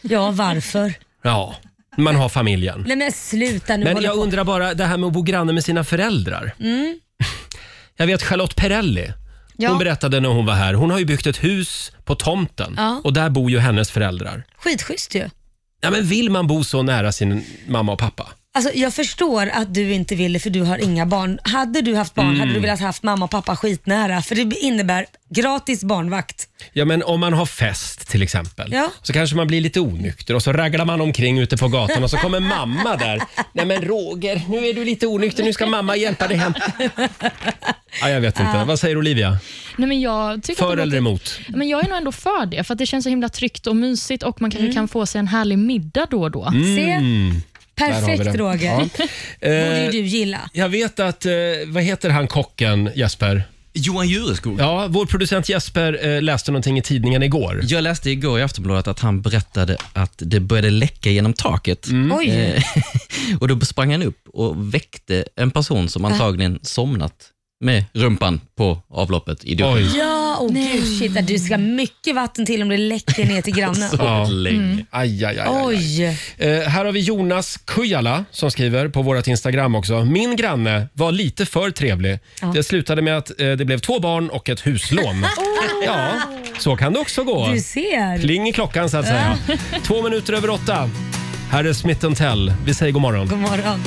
[SPEAKER 3] Ja, varför?
[SPEAKER 1] Ja, man har familjen.
[SPEAKER 3] Nej men sluta nu.
[SPEAKER 1] Men
[SPEAKER 3] hålla
[SPEAKER 1] jag
[SPEAKER 3] på. Mm.
[SPEAKER 1] undrar bara, det här med att bo granne med sina föräldrar. Jag vet Charlotte Perrelli.
[SPEAKER 3] Ja.
[SPEAKER 1] Hon berättade när hon var här, hon har ju byggt ett hus på tomten
[SPEAKER 3] Ja.
[SPEAKER 1] och där bor ju hennes föräldrar.
[SPEAKER 3] Skitschysst ju.
[SPEAKER 1] Ja, men vill man bo så nära sin mamma och pappa?
[SPEAKER 3] Alltså, jag förstår att du inte vill det för du har inga barn. Hade du haft barn
[SPEAKER 1] Mm.
[SPEAKER 3] hade du velat haft mamma och pappa skitnära för det innebär gratis barnvakt.
[SPEAKER 1] Ja, men om man har fest till exempel,
[SPEAKER 3] Ja.
[SPEAKER 1] så kanske man blir lite onykter och så raglar man omkring ute på gatan och så kommer mamma där. Nej men Roger, nu är du lite onykter, nu ska mamma hjälpa dig hem. Ja, jag vet inte. Vad säger Olivia?
[SPEAKER 4] Nej, men jag tycker att
[SPEAKER 1] För
[SPEAKER 4] det
[SPEAKER 1] eller
[SPEAKER 4] låter-
[SPEAKER 1] emot?
[SPEAKER 4] Men jag är nog ändå för det, för att det känns så himla tryggt och mysigt och man kanske kan få sig en härlig middag då och då.
[SPEAKER 1] Mm.
[SPEAKER 3] Se? Perfekt
[SPEAKER 1] det.
[SPEAKER 3] Roger.
[SPEAKER 1] Ja.
[SPEAKER 3] borde ju
[SPEAKER 1] Eh,
[SPEAKER 3] du gilla.
[SPEAKER 1] jag vet att, eh, vad heter han kocken Jesper?
[SPEAKER 11] Johan Jureskog.
[SPEAKER 1] Ja, vår producent Jesper eh, läste någonting i tidningen igår.
[SPEAKER 11] Jag läste igår i Aftonbladet att han berättade att det började läcka genom taket.
[SPEAKER 1] mm.
[SPEAKER 3] Oj.
[SPEAKER 11] Eh, och då sprang han upp och väckte en person som antagligen somnat med rumpan på avloppet i duschen.
[SPEAKER 1] Oj.
[SPEAKER 3] Ja, åh gud shit. att Du ska mycket vatten till om det läcker ner till grannen.
[SPEAKER 1] Ja. Mm.
[SPEAKER 11] Länge.
[SPEAKER 1] Aj, aj, aj, aj, aj.
[SPEAKER 3] Oj.
[SPEAKER 1] Eh, här har vi Jonas Kujala som skriver på vårt Instagram också. Min granne var
[SPEAKER 3] Oh.
[SPEAKER 1] lite för trevlig. Det slutade med att eh, det blev två barn och ett huslån. Ja, Så kan det också gå.
[SPEAKER 3] Du ser.
[SPEAKER 1] Pling i klockan så att säga. Två minuter över åtta. Här är Smith Tell. Vi säger god morgon.
[SPEAKER 3] God morgon.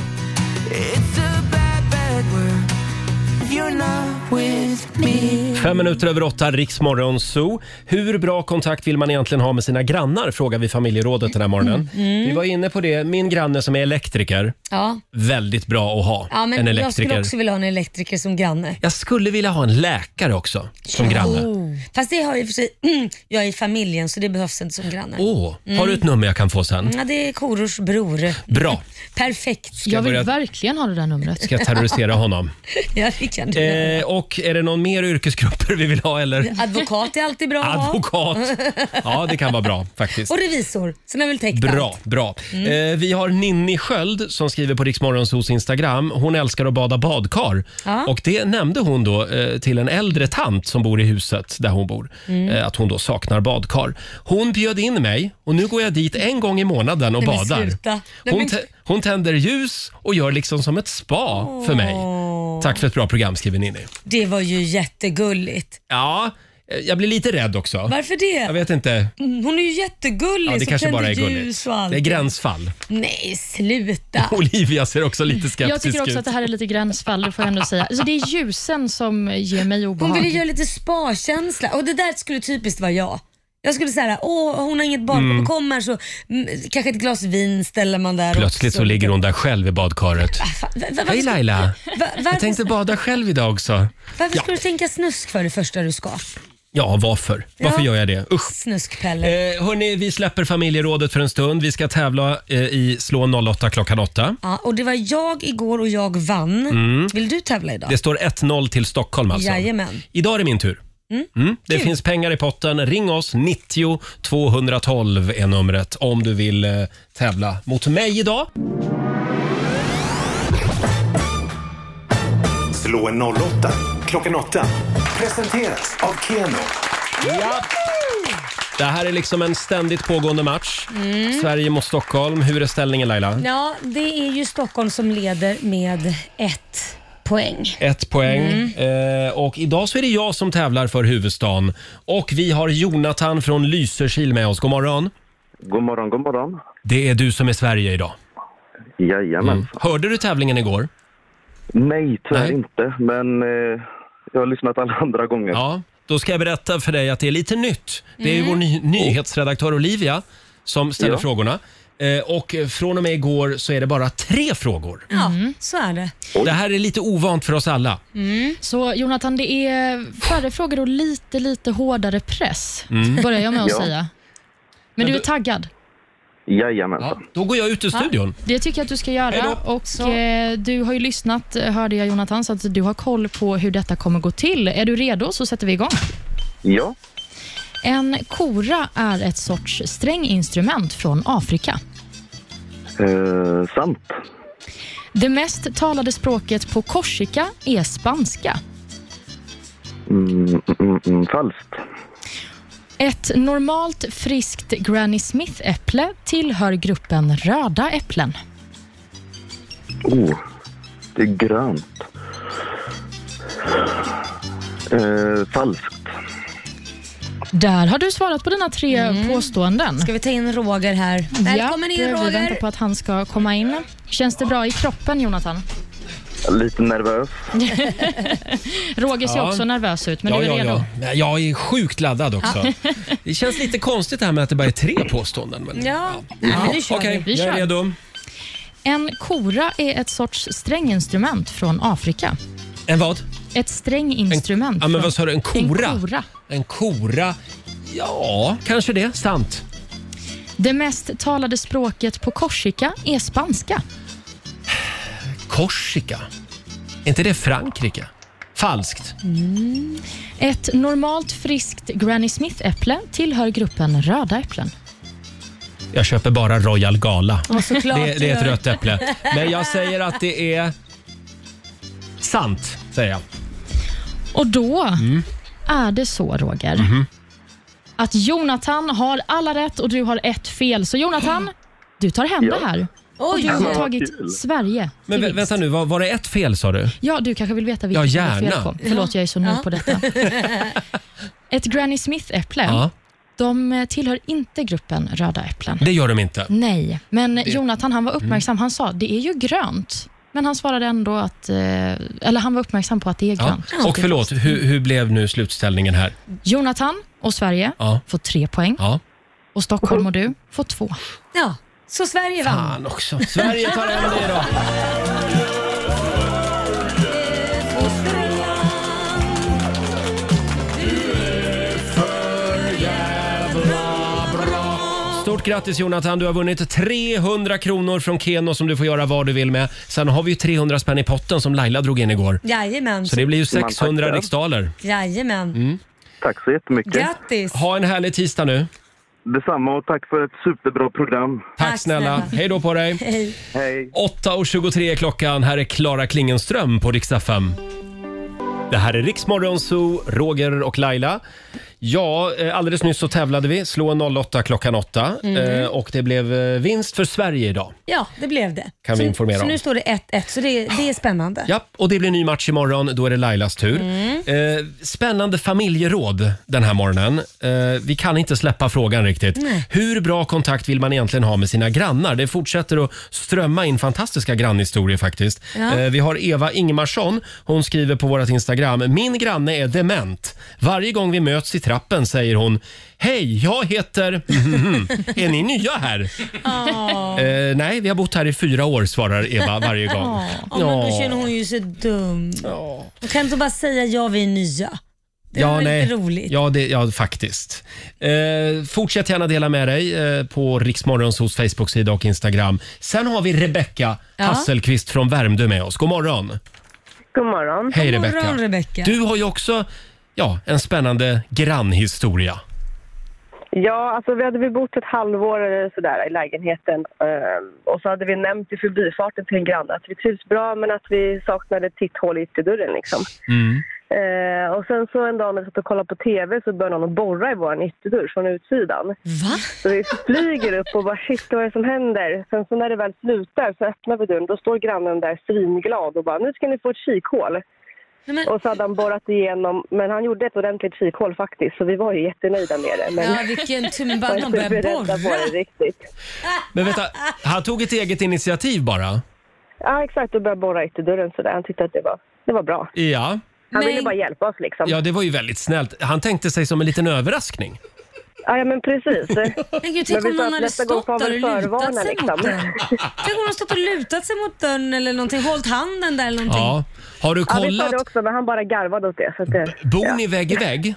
[SPEAKER 1] Fem minuter över åtta, Riksmorgon Zoo. Hur bra kontakt vill man egentligen ha med sina grannar? Frågar vi familjerådet den här morgonen.
[SPEAKER 3] Mm.
[SPEAKER 1] Vi var inne på det. Min granne som är elektriker,
[SPEAKER 3] Ja.
[SPEAKER 1] väldigt bra att ha.
[SPEAKER 3] Ja,
[SPEAKER 1] en
[SPEAKER 3] men jag
[SPEAKER 1] elektriker.
[SPEAKER 3] skulle också vilja ha en elektriker som granne.
[SPEAKER 1] Jag skulle vilja ha en läkare också som granne.
[SPEAKER 3] Oh. Fast det har jag i och för sig, jag är i familjen så det behövs inte som granne.
[SPEAKER 1] Åh,
[SPEAKER 3] Mm.
[SPEAKER 1] har du ett nummer jag kan få sen?
[SPEAKER 3] Ja, det är Korors bror.
[SPEAKER 1] Bra,
[SPEAKER 3] Perfekt.
[SPEAKER 1] jag Jag vill börja-
[SPEAKER 3] verkligen ha det där numret.
[SPEAKER 1] ska jag terrorisera honom.
[SPEAKER 3] ja, det kan du.
[SPEAKER 1] Eh, och är det någon mer yrkesgrupper vi vill ha eller?
[SPEAKER 3] Advokat är alltid bra att ha.
[SPEAKER 1] Advokat. Ja, det kan vara bra faktiskt.
[SPEAKER 3] Och revisor, som är väl täckt
[SPEAKER 1] Bra,
[SPEAKER 3] allt.
[SPEAKER 1] bra.
[SPEAKER 3] Mm.
[SPEAKER 1] Eh, vi har Ninni Sköld som skriver på Riksmorgonsos Instagram. Hon älskar att bada badkar.
[SPEAKER 3] Ja.
[SPEAKER 1] Och det nämnde hon då eh, till en äldre tant som bor i huset där hon bor.
[SPEAKER 7] Mm.
[SPEAKER 1] Eh, att hon då saknar badkar. Hon bjöd in mig och nu går jag dit en gång i månaden och
[SPEAKER 7] Nej, men
[SPEAKER 1] badar.
[SPEAKER 7] sluta. Nej,
[SPEAKER 1] Hon,
[SPEAKER 7] men-
[SPEAKER 1] tä- hon tänder ljus och gör liksom som ett spa för mig. Tack för ett bra program skriver Ninni.
[SPEAKER 3] Det var ju jättegulligt.
[SPEAKER 1] Ja, eh, jag blir lite rädd också.
[SPEAKER 3] Varför det?
[SPEAKER 1] Jag vet inte.
[SPEAKER 3] Mm, Hon är ju jättegullig
[SPEAKER 1] Ja, det
[SPEAKER 3] som
[SPEAKER 1] kanske
[SPEAKER 3] tänder
[SPEAKER 1] bara är gulligt.
[SPEAKER 3] ljus och allt.
[SPEAKER 1] Det är gränsfall.
[SPEAKER 3] Nej, sluta.
[SPEAKER 1] Olivia ser också lite skeptisk
[SPEAKER 4] Jag tycker också
[SPEAKER 1] ut.
[SPEAKER 4] att det här är lite gränsfall, det får jag ändå säga. Alltså, det är ljusen som ger mig obehag.
[SPEAKER 3] Hon ville göra lite spa-känsla och det där skulle typiskt vara jag. Jag skulle säga, åh hon har inget barn,
[SPEAKER 1] Mm.
[SPEAKER 3] kommer så mm, kanske ett glas vin ställer man där
[SPEAKER 1] Plötsligt
[SPEAKER 3] också.
[SPEAKER 1] så ligger hon där själv i badkaret.
[SPEAKER 3] Va- va-
[SPEAKER 1] Hej
[SPEAKER 3] varför-
[SPEAKER 1] Laila!
[SPEAKER 3] Va-
[SPEAKER 1] Jag
[SPEAKER 3] varför-
[SPEAKER 1] tänkte bada själv idag också.
[SPEAKER 3] Varför ska du tänka snusk för det första du ska?
[SPEAKER 1] Ja, varför? Varför
[SPEAKER 3] Ja.
[SPEAKER 1] gör jag det? Usch.
[SPEAKER 3] Snuskpelle.
[SPEAKER 1] Eh, hörni, vi släpper familjerådet för en stund. Vi ska tävla eh, i Slå 08 klockan 8.
[SPEAKER 3] Ja, och det var jag igår och jag vann.
[SPEAKER 1] Mm.
[SPEAKER 3] Vill du tävla idag?
[SPEAKER 1] Det står 1-0 till Stockholm alltså.
[SPEAKER 3] Jajamän.
[SPEAKER 1] Idag är det min tur.
[SPEAKER 3] Mm.
[SPEAKER 1] Mm. Det
[SPEAKER 3] Kul.
[SPEAKER 1] finns pengar i potten. Ring oss, 90 212 är numret om du vill eh, tävla mot mig idag.
[SPEAKER 9] Slå en 08 klockan 8. Presenteras av Keno.
[SPEAKER 1] Ja. Det här är liksom en ständigt pågående match.
[SPEAKER 3] Mm.
[SPEAKER 1] Sverige mot Stockholm. Hur är ställningen Laila?
[SPEAKER 3] Ja, det är ju Stockholm som leder med ett poäng.
[SPEAKER 1] Ett poäng.
[SPEAKER 3] Mm.
[SPEAKER 1] Eh, och idag så är det jag som tävlar för huvudstaden. Och vi har Jonathan från Lysekil med oss. God morgon.
[SPEAKER 12] God morgon, god morgon.
[SPEAKER 1] Det är du som är Sverige idag.
[SPEAKER 12] Jajamän.
[SPEAKER 1] Mm. Hörde du tävlingen igår?
[SPEAKER 12] Nej, tyvärr
[SPEAKER 1] Nej.
[SPEAKER 12] inte, men eh, jag har lyssnat alla andra gånger.
[SPEAKER 1] Ja, då ska jag berätta för dig att det är lite nytt. Det är ju
[SPEAKER 12] Mm.
[SPEAKER 1] vår
[SPEAKER 3] Oh.
[SPEAKER 1] ny- nyhetsredaktör Olivia som ställer
[SPEAKER 12] Ja.
[SPEAKER 1] frågorna. Eh, och från och med igår så är det bara tre frågor.
[SPEAKER 3] Ja, så är det.
[SPEAKER 1] Det här är lite ovant för oss alla.
[SPEAKER 4] Så Jonathan, det är färre frågor och lite, lite hårdare press,
[SPEAKER 1] Mm.
[SPEAKER 4] börjar jag med att
[SPEAKER 1] Ja.
[SPEAKER 4] säga. Men du är taggad?
[SPEAKER 12] Jajamensan.
[SPEAKER 1] då går jag ut ur studion.
[SPEAKER 4] Ja, det tycker jag att du ska göra. Och, eh, du har ju lyssnat, eh, hörde jag Jonathan, så att du har koll på hur detta kommer gå till. Är du redo så sätter vi igång.
[SPEAKER 12] Ja.
[SPEAKER 4] En kora är ett sorts stränginstrument från Afrika.
[SPEAKER 12] Eh, sant.
[SPEAKER 4] Det mest talade språket på Korsika är spanska.
[SPEAKER 12] Mm, mm, mm, falskt.
[SPEAKER 4] Ett normalt friskt Granny Smith-äpple tillhör gruppen röda äpplen.
[SPEAKER 12] Oh, det är grönt. Eh, falskt.
[SPEAKER 4] Där har du svarat på dina tre påståenden. Ska
[SPEAKER 3] vi ta in Roger här? Välkommen in, Roger.
[SPEAKER 4] Vi väntar på att han ska komma in. Känns det bra i kroppen, Jonathan?
[SPEAKER 12] Jag är Lite nervös.
[SPEAKER 4] Roger ser
[SPEAKER 1] Ja.
[SPEAKER 4] också nervös ut, men
[SPEAKER 1] ja,
[SPEAKER 4] du är
[SPEAKER 1] ja,
[SPEAKER 4] redo.
[SPEAKER 1] ja. Nej, Jag är sjukt laddad också.
[SPEAKER 4] Ja.
[SPEAKER 1] det känns lite konstigt det här med att det bara är tre påståenden. Men...
[SPEAKER 4] Ja,
[SPEAKER 1] Okej, jag är redo.
[SPEAKER 4] En kora är ett sorts stränginstrument från Afrika.
[SPEAKER 1] En vad?
[SPEAKER 4] Ett stränginstrument.
[SPEAKER 1] Ja, men vad sa du? En
[SPEAKER 4] från-
[SPEAKER 1] kora?
[SPEAKER 4] En kora.
[SPEAKER 1] En kora. Ja, kanske det. Sant.
[SPEAKER 4] Det mest talade språket på Korsika är spanska.
[SPEAKER 1] Korsika. Är inte det Frankrike? Falskt.
[SPEAKER 4] Ett normalt friskt Granny Smith-äpple tillhör gruppen röda äpplen.
[SPEAKER 1] Jag köper bara Royal Gala.
[SPEAKER 4] Ja, såklart.
[SPEAKER 1] det, det är ett rött äpple. Men jag säger att det är sant, säger jag.
[SPEAKER 4] Och då
[SPEAKER 1] Mm. Mhm.
[SPEAKER 4] är det så, Roger, att Jonathan har alla rätt och du har ett fel. Så Jonathan, du tar hem
[SPEAKER 1] Ja.
[SPEAKER 4] det här. och
[SPEAKER 3] Oj.
[SPEAKER 4] du har
[SPEAKER 1] Vad
[SPEAKER 4] tagit
[SPEAKER 1] kul.
[SPEAKER 4] Sverige
[SPEAKER 1] Men
[SPEAKER 4] till
[SPEAKER 1] vä- vänta nu, var, var det ett fel sa du?
[SPEAKER 4] Ja, du kanske vill veta vilket
[SPEAKER 1] Ja,
[SPEAKER 4] det är fel
[SPEAKER 1] gärna.
[SPEAKER 4] på. Förlåt, jag är så ny på detta. Ett Granny Smith-äpple,
[SPEAKER 1] Ja.
[SPEAKER 4] de eh, tillhör inte gruppen röda äpplen.
[SPEAKER 1] Det gör de inte.
[SPEAKER 4] Nej, men
[SPEAKER 1] Det- Mm.
[SPEAKER 4] Jonathan han var uppmärksam. Han sa det är ju grönt. Men han svarade ändå att, eh, eller han var uppmärksam på att det är
[SPEAKER 1] Ja.
[SPEAKER 4] grönt.
[SPEAKER 1] Och förlåt, hur, hur blev nu slutställningen här?
[SPEAKER 4] Jonathan och Sverige
[SPEAKER 1] Ja.
[SPEAKER 4] får tre poäng.
[SPEAKER 1] Ja.
[SPEAKER 4] Och Stockholm och du får två.
[SPEAKER 3] Ja, så Sverige
[SPEAKER 4] vann.
[SPEAKER 1] Fan också. Sverige tar hem det idag. Stort grattis Jonathan, du har vunnit 300 kronor från Keno som du får göra vad du vill med. Sen har vi ju 300 spänn i potten som Laila drog in igår.
[SPEAKER 3] Jajamän.
[SPEAKER 1] Så det blir ju 600 riksdaler.
[SPEAKER 3] Jajamän.
[SPEAKER 12] Tack så jättemycket.
[SPEAKER 3] Grattis!
[SPEAKER 1] Ha en härlig tisdag nu.
[SPEAKER 12] Detsamma och tack för ett superbra program.
[SPEAKER 1] Tack, snälla. Hej då på dig.
[SPEAKER 3] Hej.
[SPEAKER 12] Hej.
[SPEAKER 1] 8.23 är klockan. Här är Klara Klingenström på riksdag 5. Det här är Riksmorgon Zoo, Roger och Laila. Ja, eh, alldeles nyss så tävlade vi. Slå en 08 klockan 8.
[SPEAKER 3] Mm.
[SPEAKER 1] Eh, och det blev eh, vinst för Sverige idag.
[SPEAKER 3] Ja, det blev det.
[SPEAKER 1] Kan vi
[SPEAKER 3] så,
[SPEAKER 1] informera
[SPEAKER 3] så
[SPEAKER 1] om.
[SPEAKER 3] nu står det 1-1, så det, det är spännande.
[SPEAKER 1] Ja, och det blir ny match imorgon. Då är det Lailas tur.
[SPEAKER 3] Mm.
[SPEAKER 1] Eh, spännande familjeråd den här morgonen. Eh, vi kan inte släppa frågan riktigt.
[SPEAKER 3] Nej.
[SPEAKER 1] Hur bra kontakt vill man egentligen ha med sina grannar? Det fortsätter att strömma in fantastiska grannhistorier faktiskt.
[SPEAKER 7] Ja.
[SPEAKER 1] Eh, vi har Eva Ingmarsson. Hon skriver på vårt Instagram. Min granne är dement. Varje gång vi möts i trappen säger hon Hej, jag heter... är ni nya här? Eh, nej, vi har bott här i fyra år, svarar Eva varje gång.
[SPEAKER 3] Ja, men då
[SPEAKER 1] Ja.
[SPEAKER 3] känner hon ju sig dum. Hon kan inte bara säga ja, vi är nya. Det
[SPEAKER 1] ja,
[SPEAKER 3] var
[SPEAKER 1] nej.
[SPEAKER 3] inte roligt.
[SPEAKER 1] Ja, det, ja faktiskt. Eh, fortsätt gärna dela med dig eh, på Riksmorgons hos Facebook-sida och Instagram. Sen har vi Rebecka
[SPEAKER 13] Ja.
[SPEAKER 1] Hasselqvist från Värmdö med oss. God morgon!
[SPEAKER 13] God morgon.
[SPEAKER 1] Hej Rebecka. Du har ju också ja, en spännande grannhistoria.
[SPEAKER 13] Ja, alltså vi hade väl bott ett halvår eller sådär i lägenheten eh, och så hade vi nämnt i förbifarten till en granne att vi trivs bra men att vi saknade ett titthål i ytterdörren liksom. Eh, och sen så en dag när vi satt och kollade på TV så började någon borra i vår ytterdörr från utsidan.
[SPEAKER 3] Va?
[SPEAKER 13] Så vi flyger upp och bara shit vad är det som händer? Sen så när det väl slutar så öppnar vi dörren, då står grannen där svinglad och bara nu ska ni få ett kikhål. Och så hade han borrat igenom, men han gjorde ett ordentligt kikhål faktiskt så vi var ju jättenöjda med det. Men
[SPEAKER 3] Ja, vilken tur, men bara
[SPEAKER 13] var
[SPEAKER 3] att man
[SPEAKER 13] inte
[SPEAKER 3] börjar
[SPEAKER 13] beredda på
[SPEAKER 3] borra.
[SPEAKER 13] det riktigt.
[SPEAKER 1] Men vänta, han tog ett eget initiativ bara?
[SPEAKER 13] Ja exakt, och började borra ytterdörren sådär. Han tyckte att det var, det var bra.
[SPEAKER 1] Ja.
[SPEAKER 13] Han ville bara hjälpa oss liksom.
[SPEAKER 1] ja, det var ju väldigt snällt. Han tänkte sig som en liten överraskning.
[SPEAKER 13] Ja, ja men precis.
[SPEAKER 3] Men gud,
[SPEAKER 13] Men
[SPEAKER 3] tänk
[SPEAKER 13] vi
[SPEAKER 3] om
[SPEAKER 13] sa
[SPEAKER 3] någon
[SPEAKER 13] att
[SPEAKER 3] hade
[SPEAKER 13] nästa gång
[SPEAKER 3] stått
[SPEAKER 13] får han
[SPEAKER 3] där och
[SPEAKER 13] väl
[SPEAKER 3] lutat
[SPEAKER 13] förvarna,
[SPEAKER 3] sig mot
[SPEAKER 13] liksom.
[SPEAKER 3] dörren. Tänk om någon stått och lutat sig mot dörren eller någonting, hållit handen där eller någonting.
[SPEAKER 1] Ja. Har du
[SPEAKER 13] Ja, vi sa
[SPEAKER 1] kollat?
[SPEAKER 13] det också, men han bara garvade åt det. Så att det
[SPEAKER 1] Bor ni vägg i vägg?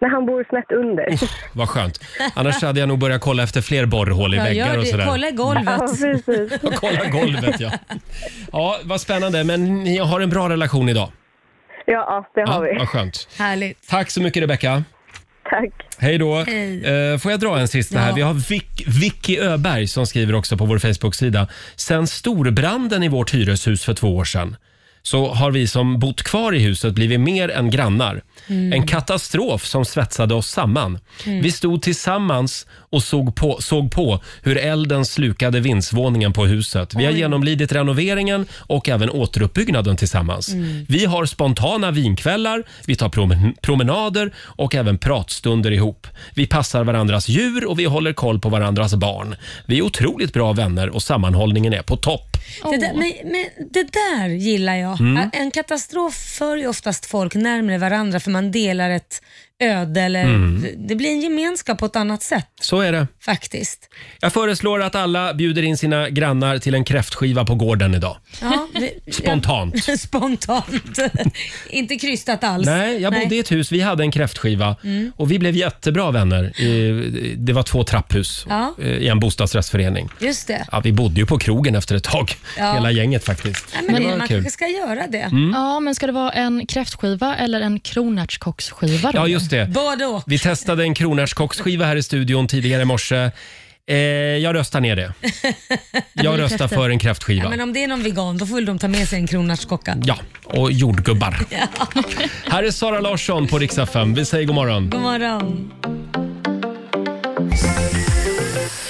[SPEAKER 13] Nej, han bor snett under.
[SPEAKER 1] Vad skönt. Annars hade jag nog börjat kolla efter fler borrhål i
[SPEAKER 13] Ja, gör
[SPEAKER 1] väggar och
[SPEAKER 13] det.
[SPEAKER 1] sådär.
[SPEAKER 13] Kolla i golvet. Ja, precis.
[SPEAKER 1] Ja, kolla golvet, ja. Ja, vad spännande. Men ni har en bra relation idag.
[SPEAKER 13] Ja, det
[SPEAKER 1] Ja, vad skönt.
[SPEAKER 3] Härligt.
[SPEAKER 1] Tack så mycket, Rebecka.
[SPEAKER 13] Tack.
[SPEAKER 1] Hej då.
[SPEAKER 3] Hej.
[SPEAKER 1] Eh, får jag dra en sista här? Vi har Vic, Vicky Öberg som skriver också på vår Facebook-sida. Sen storbranden i vårt hyreshus för två år sedan så har vi som bott kvar i huset blivit mer än grannar.
[SPEAKER 7] Mm.
[SPEAKER 1] En katastrof som svetsade oss samman.
[SPEAKER 7] Mm.
[SPEAKER 1] Vi stod tillsammans och såg på, såg på hur elden slukade vindsvåningen på huset. Vi har
[SPEAKER 7] Oj.
[SPEAKER 1] genomlidit renoveringen och även återuppbyggnaden tillsammans.
[SPEAKER 7] Mm.
[SPEAKER 1] Vi har spontana vinkvällar, vi tar promen- promenader och även pratstunder ihop. Vi passar varandras djur och vi håller koll på varandras barn. Vi är otroligt bra vänner och sammanhållningen är på topp.
[SPEAKER 3] Det där, men, men det där gillar jag.
[SPEAKER 1] Mm.
[SPEAKER 3] En katastrof för ju oftast folk närmare varandra för man delar ett öde eller
[SPEAKER 1] Mm.
[SPEAKER 3] det blir en gemenskap på ett annat sätt
[SPEAKER 1] Så är det.
[SPEAKER 3] faktiskt.
[SPEAKER 1] Jag föreslår att alla bjuder in sina grannar till en kräftskiva på gården idag.
[SPEAKER 3] Ja, det,
[SPEAKER 1] Spontant.
[SPEAKER 3] Spontant. Inte krystat alls.
[SPEAKER 1] Nej, jag bodde i ett hus. Vi hade en kräftskiva Mm. och vi blev jättebra vänner. I- Det var två trapphus
[SPEAKER 3] Ja.
[SPEAKER 1] eh, i en bostadsrättsförening.
[SPEAKER 3] Just det.
[SPEAKER 1] Ja, vi bodde ju på krogen efter ett tag,
[SPEAKER 4] Ja.
[SPEAKER 1] hela gänget faktiskt.
[SPEAKER 3] Nej,
[SPEAKER 1] det
[SPEAKER 4] det-
[SPEAKER 1] var kul.
[SPEAKER 3] ska göra det.
[SPEAKER 1] Mm.
[SPEAKER 4] Ja, men ska det vara en kräftskiva eller en kronärtskocksskiva? då?
[SPEAKER 1] Ja, just det.
[SPEAKER 3] Både och.
[SPEAKER 1] Vi testade en kronärtskocksskiva här i studion tidigare i morse. Eh, jag röstar ner det. Jag röstar för en
[SPEAKER 3] Ja,
[SPEAKER 1] kräftskiva.
[SPEAKER 3] men om det är någon vegan, då får väl de ta med sig en kronärtskocka.
[SPEAKER 1] Ja, och jordgubbar. Här är Sara Larsson på Riksaffären. Vi säger god morgon.
[SPEAKER 3] God morgon.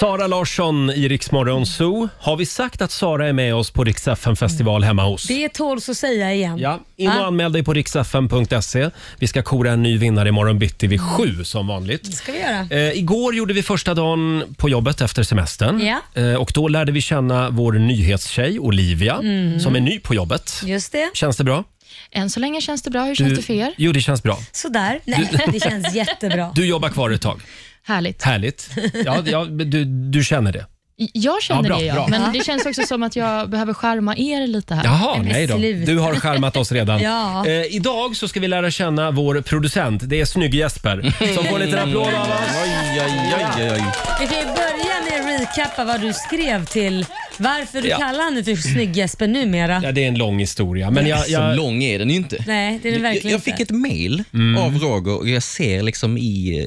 [SPEAKER 1] Sara Larsson i Rix Morgon Zoo. Har vi sagt att Sara är med oss på Rix FM festival hemma hos?
[SPEAKER 3] Det tåls att säga igen.
[SPEAKER 1] Ja, In och anmäl dig på riksfm.se. Vi ska kora en ny vinnare imorgon bitti vid sju som vanligt.
[SPEAKER 3] ska vi göra.
[SPEAKER 1] Eh, igår gjorde vi första dagen på jobbet efter semestern.
[SPEAKER 3] Ja.
[SPEAKER 1] Eh, och då lärde vi känna vår nyhetstjej Olivia
[SPEAKER 4] Mm.
[SPEAKER 1] som är ny på jobbet.
[SPEAKER 3] Just det.
[SPEAKER 1] Känns det bra?
[SPEAKER 4] Än så länge känns det bra. Hur känns
[SPEAKER 1] Du-
[SPEAKER 4] det för er?
[SPEAKER 1] Jo, det känns bra.
[SPEAKER 3] Sådär. Nej, det känns jättebra.
[SPEAKER 1] Du jobbar kvar ett tag.
[SPEAKER 4] Härligt.
[SPEAKER 1] Härligt. Ja, ja, du, du känner det.
[SPEAKER 4] Jag känner
[SPEAKER 1] Ja, bra,
[SPEAKER 4] det, ja.
[SPEAKER 1] bra.
[SPEAKER 4] men det känns också som att jag behöver skärma er lite här.
[SPEAKER 1] Jaha, nej då. Du har charmat oss redan.
[SPEAKER 4] Ja.
[SPEAKER 1] eh, idag så ska vi lära känna vår producent. Det är snygg-Jesper som får en liten applåd av oss.
[SPEAKER 11] Oj, oj, oj, oj.
[SPEAKER 3] Vi kan ju börja med att recappa vad du skrev till varför du
[SPEAKER 1] Ja.
[SPEAKER 3] kallar honom för Snygg-Jesper numera.
[SPEAKER 1] Ja, det är en lång historia. Men jag,
[SPEAKER 11] Så
[SPEAKER 1] jag...
[SPEAKER 11] lång är den ju inte.
[SPEAKER 3] Nej, det är det
[SPEAKER 11] Jag,
[SPEAKER 3] verkligen
[SPEAKER 11] jag fick
[SPEAKER 3] inte. Mm.
[SPEAKER 11] ett mail av Roger och jag ser liksom i,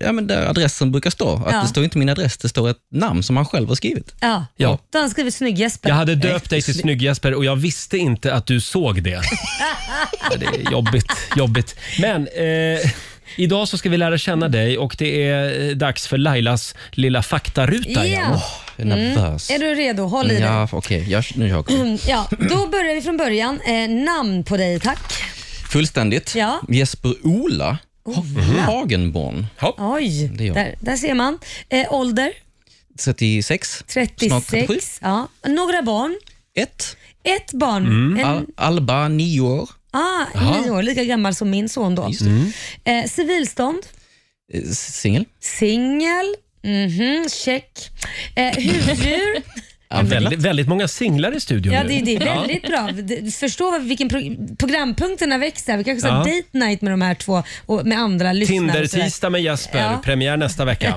[SPEAKER 11] eh, ja men där adressen brukar stå, att
[SPEAKER 3] Ja.
[SPEAKER 11] det står inte min adress, det står ett namn som han själv har skrivit.
[SPEAKER 3] Ja.
[SPEAKER 1] Ja.
[SPEAKER 3] Då har han skrivit Snygg-Jesper.
[SPEAKER 1] Jag hade döpt dig till Snygg-Jesper och jag visste inte att du såg det. Ja, Det är jobbigt. jobbigt. Men eh, idag så ska vi lära känna dig och det är eh, dags för Lailas lilla faktaruta
[SPEAKER 3] Ja. Mm.
[SPEAKER 1] igen.
[SPEAKER 11] jag är nervös.
[SPEAKER 3] Är du redo? Håll i dig.
[SPEAKER 11] Ja, okej. Jag, nu Jakob.
[SPEAKER 3] Mm, Ja, då börjar vi från början. Eh, namn på dig, tack.
[SPEAKER 11] Fullständigt.
[SPEAKER 3] Ja.
[SPEAKER 11] Jesper Ola
[SPEAKER 3] Ola.
[SPEAKER 11] Hagenborn.
[SPEAKER 3] Oj,
[SPEAKER 11] Det är jag.
[SPEAKER 3] där, där ser man. Eh, ålder?
[SPEAKER 11] 36. Snart 37.
[SPEAKER 3] 36. Ja. Några barn?
[SPEAKER 11] Ett.
[SPEAKER 3] Ett barn. En,
[SPEAKER 11] Al- Alba, nio år.
[SPEAKER 3] ah,
[SPEAKER 11] Jaha. Mm.
[SPEAKER 3] nio år, lika gammal som min son då. Eh, civilstånd?
[SPEAKER 11] Eh, Singel.
[SPEAKER 3] Singel? Mhm, check. Eh, husdjur?
[SPEAKER 1] Ja, väldigt, väldigt många singlar i studion
[SPEAKER 3] Ja,
[SPEAKER 1] nu.
[SPEAKER 3] det, det är
[SPEAKER 1] Ja.
[SPEAKER 3] väldigt bra. Du förstår vad- vilken pro- programpunkterna växer. Vi kanske ska ha
[SPEAKER 1] Ja.
[SPEAKER 3] date night med de här två och med andra lyssnare. och sådär.
[SPEAKER 1] Tinder-tisdag med Jesper,
[SPEAKER 3] Ja.
[SPEAKER 1] premiär nästa vecka.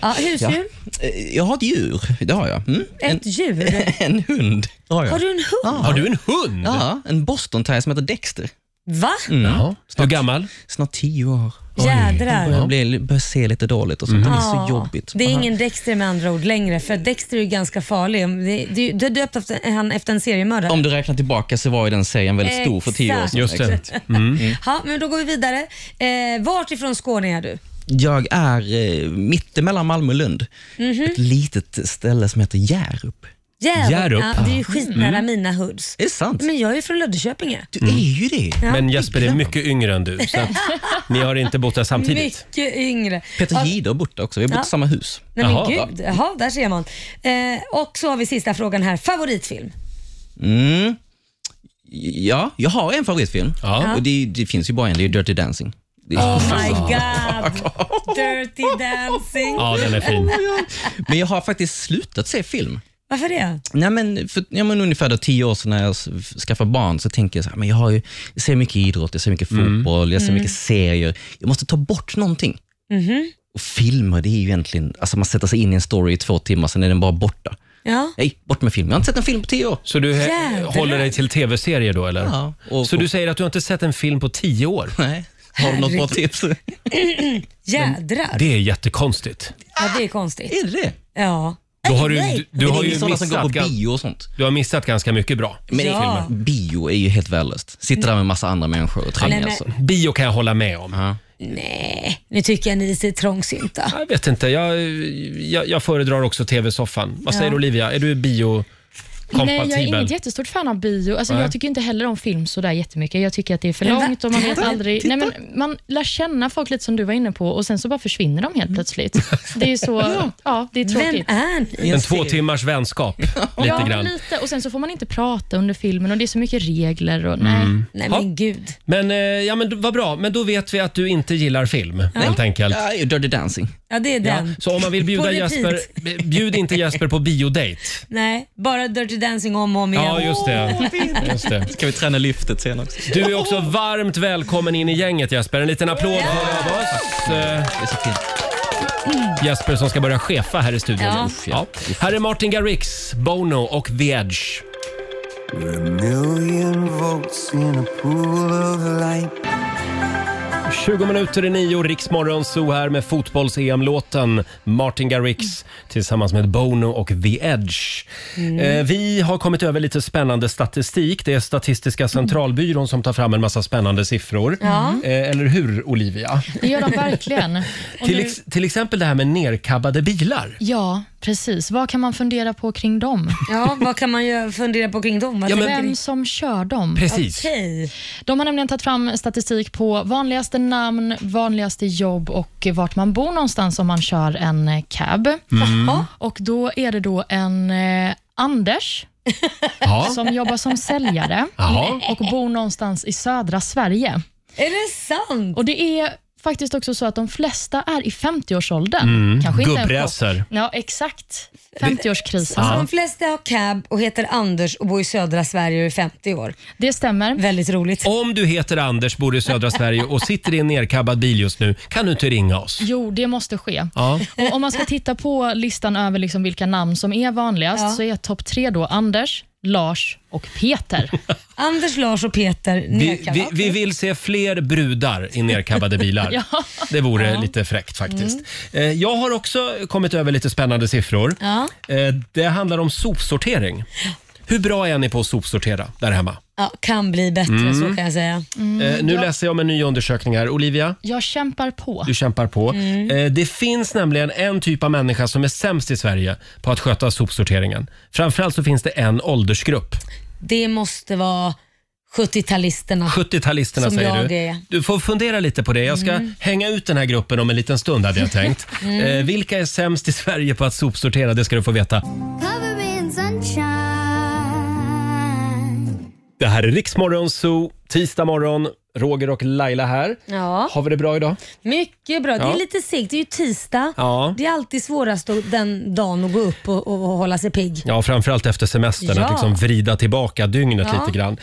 [SPEAKER 3] ja, husdjur?
[SPEAKER 11] Ja. Eh, Jag har ett djur, det har jag. Mm.
[SPEAKER 3] Ett djur?
[SPEAKER 11] En hund har jag.
[SPEAKER 3] Eh. Har du en hund?
[SPEAKER 1] Har du en hund?
[SPEAKER 11] Ja, en boston terrier som heter Dexter.
[SPEAKER 3] Va?
[SPEAKER 1] Ja. Hur gammal?
[SPEAKER 11] Snart tio år.
[SPEAKER 3] Jädrar. Mm.
[SPEAKER 11] Jag börjar, börjar se lite dåligt och sånt. Det är
[SPEAKER 3] Ja,
[SPEAKER 11] så jobbigt.
[SPEAKER 3] Det är ingen Dexter med andra ord längre, för Dexter är ju ganska farlig. Det- Du, du har döpt efter, han efter en seriemördare.
[SPEAKER 11] Om du räknar tillbaka så var ju den serien väldigt stor för tio år sedan.
[SPEAKER 3] Exakt. Just det.
[SPEAKER 11] Exakt. Mm. Mm.
[SPEAKER 3] Ja, men då går vi vidare. Eh, vart ifrån Skåne är du?
[SPEAKER 11] Jag är eh, mittemellan Malmö och Lund.
[SPEAKER 3] Mhm.
[SPEAKER 11] Ett litet ställe som heter Hjärup.
[SPEAKER 3] Jävlar,
[SPEAKER 11] Hjärup.
[SPEAKER 3] Ja, det är ju skitnära
[SPEAKER 11] Mm.
[SPEAKER 3] mina hoods.
[SPEAKER 11] Är det sant?
[SPEAKER 3] Men jag är ju från Löddeköpinge.
[SPEAKER 11] Du är ju det.
[SPEAKER 3] Ja.
[SPEAKER 1] Men Jesper är mycket yngre än du, så att ni har inte bott där samtidigt.
[SPEAKER 3] Mycket yngre.
[SPEAKER 11] Peter
[SPEAKER 3] Ja,
[SPEAKER 11] Jihde har bott där också. Vi har bott
[SPEAKER 3] Ja.
[SPEAKER 11] i samma hus.
[SPEAKER 3] Nej men gud, jaha, där ser man. Eh, och så har vi sista frågan här, favoritfilm?
[SPEAKER 11] Mm. Ja, jag har en favoritfilm.
[SPEAKER 3] Ja.
[SPEAKER 11] Och det, det finns ju bara en, det är Dirty Dancing. Det är-
[SPEAKER 3] Oh my god, Dirty Dancing.
[SPEAKER 11] Ja, den är fin. Men jag har faktiskt slutat se film.
[SPEAKER 3] Varför det?
[SPEAKER 11] Nej, men för, ja, men ungefär då, tio år sedan när jag s- skaffade barn så tänker jag så här, men jag, har ju, jag ser mycket idrott, jag ser mycket fotboll, jag ser
[SPEAKER 3] Mm.
[SPEAKER 11] mycket serier. Jag måste ta bort någonting.
[SPEAKER 3] Mhm.
[SPEAKER 11] Och filmer, det är ju egentligen, alltså man sätter sig in i en story i två timmar, sen är den bara borta.
[SPEAKER 3] Ja.
[SPEAKER 11] Nej, bort med film. Jag har inte sett en film på tio år.
[SPEAKER 1] Så du he-
[SPEAKER 11] Jävlar.
[SPEAKER 1] håller dig till tv-serier då, eller?
[SPEAKER 11] Ja.
[SPEAKER 1] så du säger att du har inte sett en film på tio år?
[SPEAKER 11] Nej. Har du något bra tips?
[SPEAKER 3] Jädrar.
[SPEAKER 1] Det är jättekonstigt.
[SPEAKER 3] Ja, det är konstigt.
[SPEAKER 11] Är det det?
[SPEAKER 3] Ja.
[SPEAKER 1] Då har du,
[SPEAKER 3] Nej.
[SPEAKER 1] du, du
[SPEAKER 11] Men
[SPEAKER 1] har
[SPEAKER 11] det är
[SPEAKER 1] ju
[SPEAKER 11] sådana som går på
[SPEAKER 1] missat,
[SPEAKER 11] bio och sånt.
[SPEAKER 1] du har missat ganska mycket bra.
[SPEAKER 11] Men
[SPEAKER 3] Ja.
[SPEAKER 11] bio är ju helt värdelöst. Sitter där med massa andra människor och
[SPEAKER 3] Nej,
[SPEAKER 11] trängas.
[SPEAKER 3] men-
[SPEAKER 1] Bio kan jag hålla med om.
[SPEAKER 3] Nej, nu tycker jag ni är så trångsynta.
[SPEAKER 1] Jag vet inte, jag, jag, jag föredrar också tv-soffan. Vad säger
[SPEAKER 4] Ja.
[SPEAKER 1] Olivia, är du
[SPEAKER 4] Nej, jag är
[SPEAKER 1] biokompatibel?
[SPEAKER 4] inget jättestort fan av bio. Alltså,
[SPEAKER 1] Nej.
[SPEAKER 4] jag tycker inte heller om film så där jättemycket. Jag tycker att det är för
[SPEAKER 3] Men va?
[SPEAKER 4] långt och man vet
[SPEAKER 3] Titta,
[SPEAKER 4] aldrig... Nej, men man lär känna folk lite som du var inne på och sen så bara försvinner de
[SPEAKER 1] Mm.
[SPEAKER 4] helt plötsligt. Det är ju så...
[SPEAKER 3] Ja.
[SPEAKER 4] ja. det är tråkigt.
[SPEAKER 3] Vem är ni?
[SPEAKER 1] En två timmars vänskap,
[SPEAKER 4] ja,
[SPEAKER 1] lite
[SPEAKER 4] men
[SPEAKER 1] grann.
[SPEAKER 4] lite. Och sen så får man inte prata under filmen och det är så mycket regler. Och, nej.
[SPEAKER 1] Mm.
[SPEAKER 3] Nej,
[SPEAKER 1] Ja.
[SPEAKER 3] men gud.
[SPEAKER 1] Men eh, ja, men d- vad bra. Men då vet vi att du inte gillar film helt enkelt.
[SPEAKER 11] Ja, Dirty Dancing.
[SPEAKER 3] Ja, det
[SPEAKER 1] Ja,
[SPEAKER 3] är den.
[SPEAKER 1] så om man vill
[SPEAKER 3] På
[SPEAKER 1] bjuda
[SPEAKER 3] repeat.
[SPEAKER 1] Jesper, b- bjud inte Jesper på biodate.
[SPEAKER 3] Nej, bara Dirty Dancing om och om igen.
[SPEAKER 1] Ja, just det. Just det.
[SPEAKER 11] Ska vi träna lyftet sen också?
[SPEAKER 1] Du är också varmt välkommen in i gänget Jesper. En liten applåd för av oss. Eh, Jesper som ska börja chefa här i studion.
[SPEAKER 3] Ja.
[SPEAKER 1] Uff, Ja. Här är Martin Garrix, Bono och The Edge.
[SPEAKER 7] million volts in a pool of light
[SPEAKER 1] 20 minuter i nio, Riksmorgon Zoo här med fotbolls-EM-låten Martin Garrix tillsammans med Bono och The Edge.
[SPEAKER 7] Mm.
[SPEAKER 1] Eh, vi har kommit över lite spännande statistik. Det är Statistiska centralbyrån som tar fram en massa spännande siffror.
[SPEAKER 4] Ja.
[SPEAKER 1] Eh, eller hur, Olivia?
[SPEAKER 4] Det gör de verkligen. Och
[SPEAKER 1] Till,
[SPEAKER 4] nu-
[SPEAKER 1] ex- till exempel det här med nerkabbade bilar.
[SPEAKER 4] Ja, precis. Vad kan man fundera på kring dem?
[SPEAKER 3] Ja, vad kan man ju fundera på kring dem? Vad
[SPEAKER 4] Ja, men...
[SPEAKER 3] tänker
[SPEAKER 4] Vem
[SPEAKER 3] ni?
[SPEAKER 4] som kör dem.
[SPEAKER 1] Precis.
[SPEAKER 4] De har nämligen tagit fram statistik på vanligaste namn, vanligaste jobb och vart man bor någonstans om man kör en eh, cab.
[SPEAKER 7] Mm. Jaha.
[SPEAKER 4] Och Då är det då en eh, Anders
[SPEAKER 7] Ja.
[SPEAKER 4] som jobbar som säljare
[SPEAKER 7] Jaha.
[SPEAKER 4] och bor någonstans i södra Sverige.
[SPEAKER 3] Är det sant?
[SPEAKER 4] Och Det är faktiskt också så att de flesta är i 50-årsåldern.
[SPEAKER 1] Mm,
[SPEAKER 4] Kanske inte en chock.
[SPEAKER 1] gubbräser.
[SPEAKER 4] Ja, exakt. 50-årskrisen.
[SPEAKER 3] Alltså, De flesta har cab och heter Anders och bor i södra Sverige och är 50 år.
[SPEAKER 4] Det stämmer.
[SPEAKER 3] Väldigt roligt.
[SPEAKER 1] Om du heter Anders, bor i södra Sverige och sitter i en nerkabbad bil just nu, kan du inte ringa oss?
[SPEAKER 4] Jo, det måste ske.
[SPEAKER 1] Ja.
[SPEAKER 4] Och om man ska titta på listan över liksom vilka namn som är vanligast
[SPEAKER 3] Ja.
[SPEAKER 4] så är topp tre då Anders, Lars och Peter.
[SPEAKER 3] Anders, Lars och Peter
[SPEAKER 1] Vi,
[SPEAKER 3] nekar.
[SPEAKER 1] vi, vi vill se fler brudar i nerkabbade bilar.
[SPEAKER 3] Ja.
[SPEAKER 1] Det vore
[SPEAKER 3] Ja. Mm.
[SPEAKER 1] lite fräckt faktiskt. Eh, Jag har också kommit över lite spännande siffror.
[SPEAKER 3] Ja.
[SPEAKER 1] Eh, Det handlar om sopsortering. Hur bra är ni på att sopsortera där hemma?
[SPEAKER 3] Ja, kan bli bättre,
[SPEAKER 1] Mm.
[SPEAKER 3] så kan jag säga.
[SPEAKER 1] Eh, Nu
[SPEAKER 3] Ja.
[SPEAKER 1] läser jag om en ny undersökning här. Olivia,
[SPEAKER 4] Jag kämpar på.
[SPEAKER 1] du kämpar på.
[SPEAKER 4] Mm.
[SPEAKER 1] Eh, Det finns nämligen en typ av människa som är sämst i Sverige på att sköta sopsorteringen. Framförallt så finns det en åldersgrupp.
[SPEAKER 3] Det måste vara 70-talisterna.
[SPEAKER 1] 70-talisterna
[SPEAKER 3] Som
[SPEAKER 1] säger
[SPEAKER 3] jag
[SPEAKER 1] du.
[SPEAKER 3] är.
[SPEAKER 1] Du får fundera lite på det. Jag ska
[SPEAKER 3] Mm.
[SPEAKER 1] hänga ut den här gruppen om en liten stund hade jag tänkt.
[SPEAKER 7] Mm.
[SPEAKER 1] eh, vilka är sämst i Sverige på att sopsortera? Det ska du få veta.
[SPEAKER 7] Cover me in sunshine.
[SPEAKER 1] Det här är Riksmorgon Zoo, tisdag morgon. Roger och Laila här.
[SPEAKER 3] Ja.
[SPEAKER 1] Har vi det bra idag?
[SPEAKER 3] Mycket bra. Det
[SPEAKER 1] Ja.
[SPEAKER 3] är lite segt. Det är ju tisdag.
[SPEAKER 1] Ja.
[SPEAKER 3] Det är alltid svårast att- den dagen att gå upp och, och, och hålla sig pigg.
[SPEAKER 1] Ja, framförallt efter semestern,
[SPEAKER 3] Ja.
[SPEAKER 1] att liksom vrida tillbaka dygnet
[SPEAKER 3] Ja.
[SPEAKER 1] lite grann.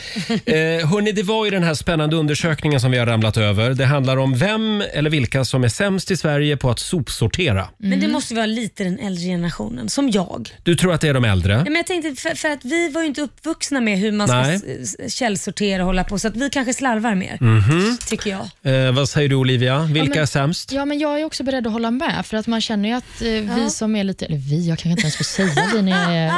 [SPEAKER 1] Eh, hörni, det var ju den här spännande undersökningen som vi har ramlat över. Det handlar om vem eller vilka som är sämst i Sverige på att sopsortera.
[SPEAKER 3] Men det måste vara lite den äldre generationen, som jag.
[SPEAKER 1] Du tror att det är de äldre?
[SPEAKER 3] Ja, men jag tänkte, för, för att vi var ju inte uppvuxna med hur man ska
[SPEAKER 1] Nej.
[SPEAKER 3] s- s- källsortera och hålla på, så att vi kanske slarvar mer,
[SPEAKER 1] Mhm.
[SPEAKER 3] tycker jag.
[SPEAKER 1] Eh, vad säger du Olivia? Vilka
[SPEAKER 4] Ja, men-
[SPEAKER 1] är sämst?
[SPEAKER 4] Ja, men jag är också beredd att hålla med, för att man känner ju att eh, vi som är lite, eller vi, jag kanske inte ens får säga vi när jag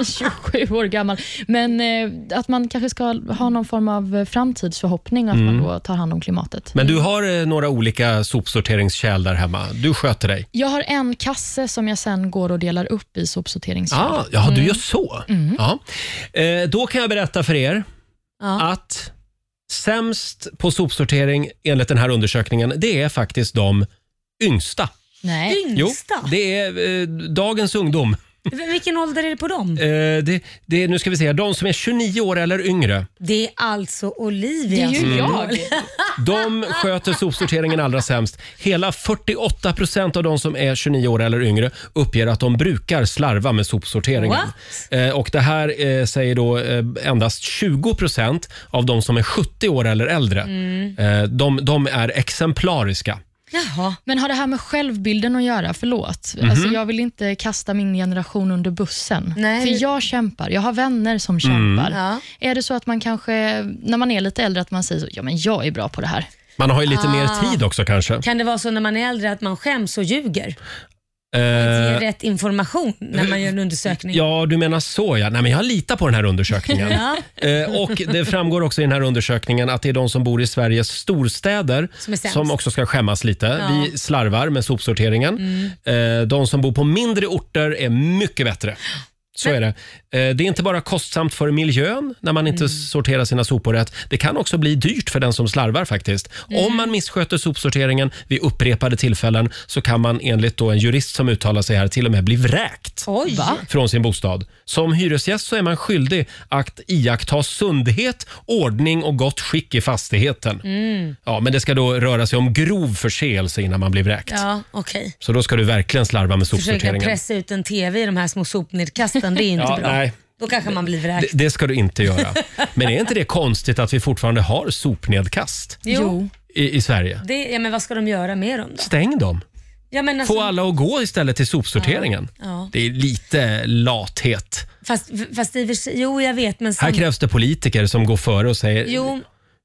[SPEAKER 4] är 27 år gammal, men eh, att man kanske ska ha någon form av eh, framtidsförhoppning och att
[SPEAKER 1] Mm.
[SPEAKER 4] man då tar hand om klimatet.
[SPEAKER 1] Men du har eh, några olika sopsorteringskärl där hemma. Du sköter dig.
[SPEAKER 4] Jag har en kasse som jag sen går och delar upp i sopsorteringskärl.
[SPEAKER 1] Ah, ja, du
[SPEAKER 4] Mm.
[SPEAKER 1] gör så. Ja. Eh, då kan jag berätta för er att sämst på sopsortering enligt den här undersökningen, det är faktiskt de yngsta.
[SPEAKER 4] Nej.
[SPEAKER 3] Yngsta?
[SPEAKER 1] Jo, det är eh, dagens ungdom.
[SPEAKER 3] V- Vilken ålder är det på dem?
[SPEAKER 1] Eh, det, det, nu ska vi se, de som är 29 år eller yngre,
[SPEAKER 3] Det är alltså Olivia.
[SPEAKER 1] Det är ju
[SPEAKER 3] som-
[SPEAKER 1] jag. de sköter sopsorteringen allra sämst. Hela 48 procent av de som är 29 år eller yngre uppger att de brukar slarva med sopsorteringen.
[SPEAKER 7] What?
[SPEAKER 1] Eh, och det här eh, säger då eh, endast 20 procent av de som är 70 år eller äldre.
[SPEAKER 4] Mm.
[SPEAKER 1] Eh, de, de är exemplariska.
[SPEAKER 4] Men har det här med självbilden att göra? Förlåt.
[SPEAKER 1] Mhm.
[SPEAKER 4] Alltså, jag vill inte kasta min generation under bussen.
[SPEAKER 3] Nej.
[SPEAKER 4] För jag kämpar. Jag har vänner som
[SPEAKER 1] Mm.
[SPEAKER 4] kämpar.
[SPEAKER 1] Ja.
[SPEAKER 4] Är det så att man kanske, när man är lite äldre, att man säger så, ja men jag är bra på det här.
[SPEAKER 1] Man har ju lite
[SPEAKER 3] Ah.
[SPEAKER 1] mer tid också kanske. Eh,
[SPEAKER 3] Kan det vara så när man är äldre att man skäms och ljuger? Ger
[SPEAKER 1] Eh,
[SPEAKER 3] rätt information när man gör en undersökning?
[SPEAKER 1] Ja, du menar så ja. Nej, men jag litar på den här undersökningen.
[SPEAKER 3] Ja.
[SPEAKER 1] Eh, och Det framgår också i den här undersökningen att det är de som bor i Sveriges storstäder
[SPEAKER 7] Som är sämst.
[SPEAKER 1] också ska skämmas lite.
[SPEAKER 7] Ja. Mm.
[SPEAKER 1] Vi slarvar med sopsorteringen. Eh, de som bor på mindre orter är mycket bättre. Så är det. Eh, Det är inte bara kostsamt för miljön när man
[SPEAKER 7] Mm.
[SPEAKER 1] inte sorterar sina sopor rätt. Det kan också bli dyrt för den som slarvar faktiskt.
[SPEAKER 7] Mm.
[SPEAKER 1] Om man missköter sopsorteringen vid upprepade tillfällen så kan man enligt då en jurist som uttalar sig här till och med bli vräkt
[SPEAKER 3] Oj. Va?
[SPEAKER 1] från sin bostad. Som hyresgäst så är man skyldig att iaktta sundhet, ordning och gott skick i fastigheten.
[SPEAKER 3] Mm.
[SPEAKER 1] Ja, men det ska då röra sig om grov förseelse innan man blir vräkt.
[SPEAKER 3] Ja, okej.
[SPEAKER 1] Så då ska du verkligen slarva med
[SPEAKER 3] Försöka
[SPEAKER 1] sopsorteringen.
[SPEAKER 3] pressa ut en TV i de här små sopnedkasten, det är inte
[SPEAKER 1] Ja,
[SPEAKER 3] bra.
[SPEAKER 1] nej.
[SPEAKER 3] Då kanske man blir
[SPEAKER 1] Det,
[SPEAKER 3] vräkt.
[SPEAKER 1] det ska du inte göra. Men är inte det konstigt att vi fortfarande har sopnedkast
[SPEAKER 3] Jo.
[SPEAKER 1] i, i Sverige?
[SPEAKER 3] Det, ja, men vad ska de göra med dem då?
[SPEAKER 1] Stäng dem.
[SPEAKER 3] Ja, men alltså,
[SPEAKER 1] Få alla att gå istället till sopsorteringen.
[SPEAKER 3] ja.
[SPEAKER 1] Det är lite lathet.
[SPEAKER 3] Fast, fast i och för sig, jo jag vet men...
[SPEAKER 1] Här
[SPEAKER 3] sam-
[SPEAKER 1] krävs det politiker som går före och säger
[SPEAKER 3] Jo,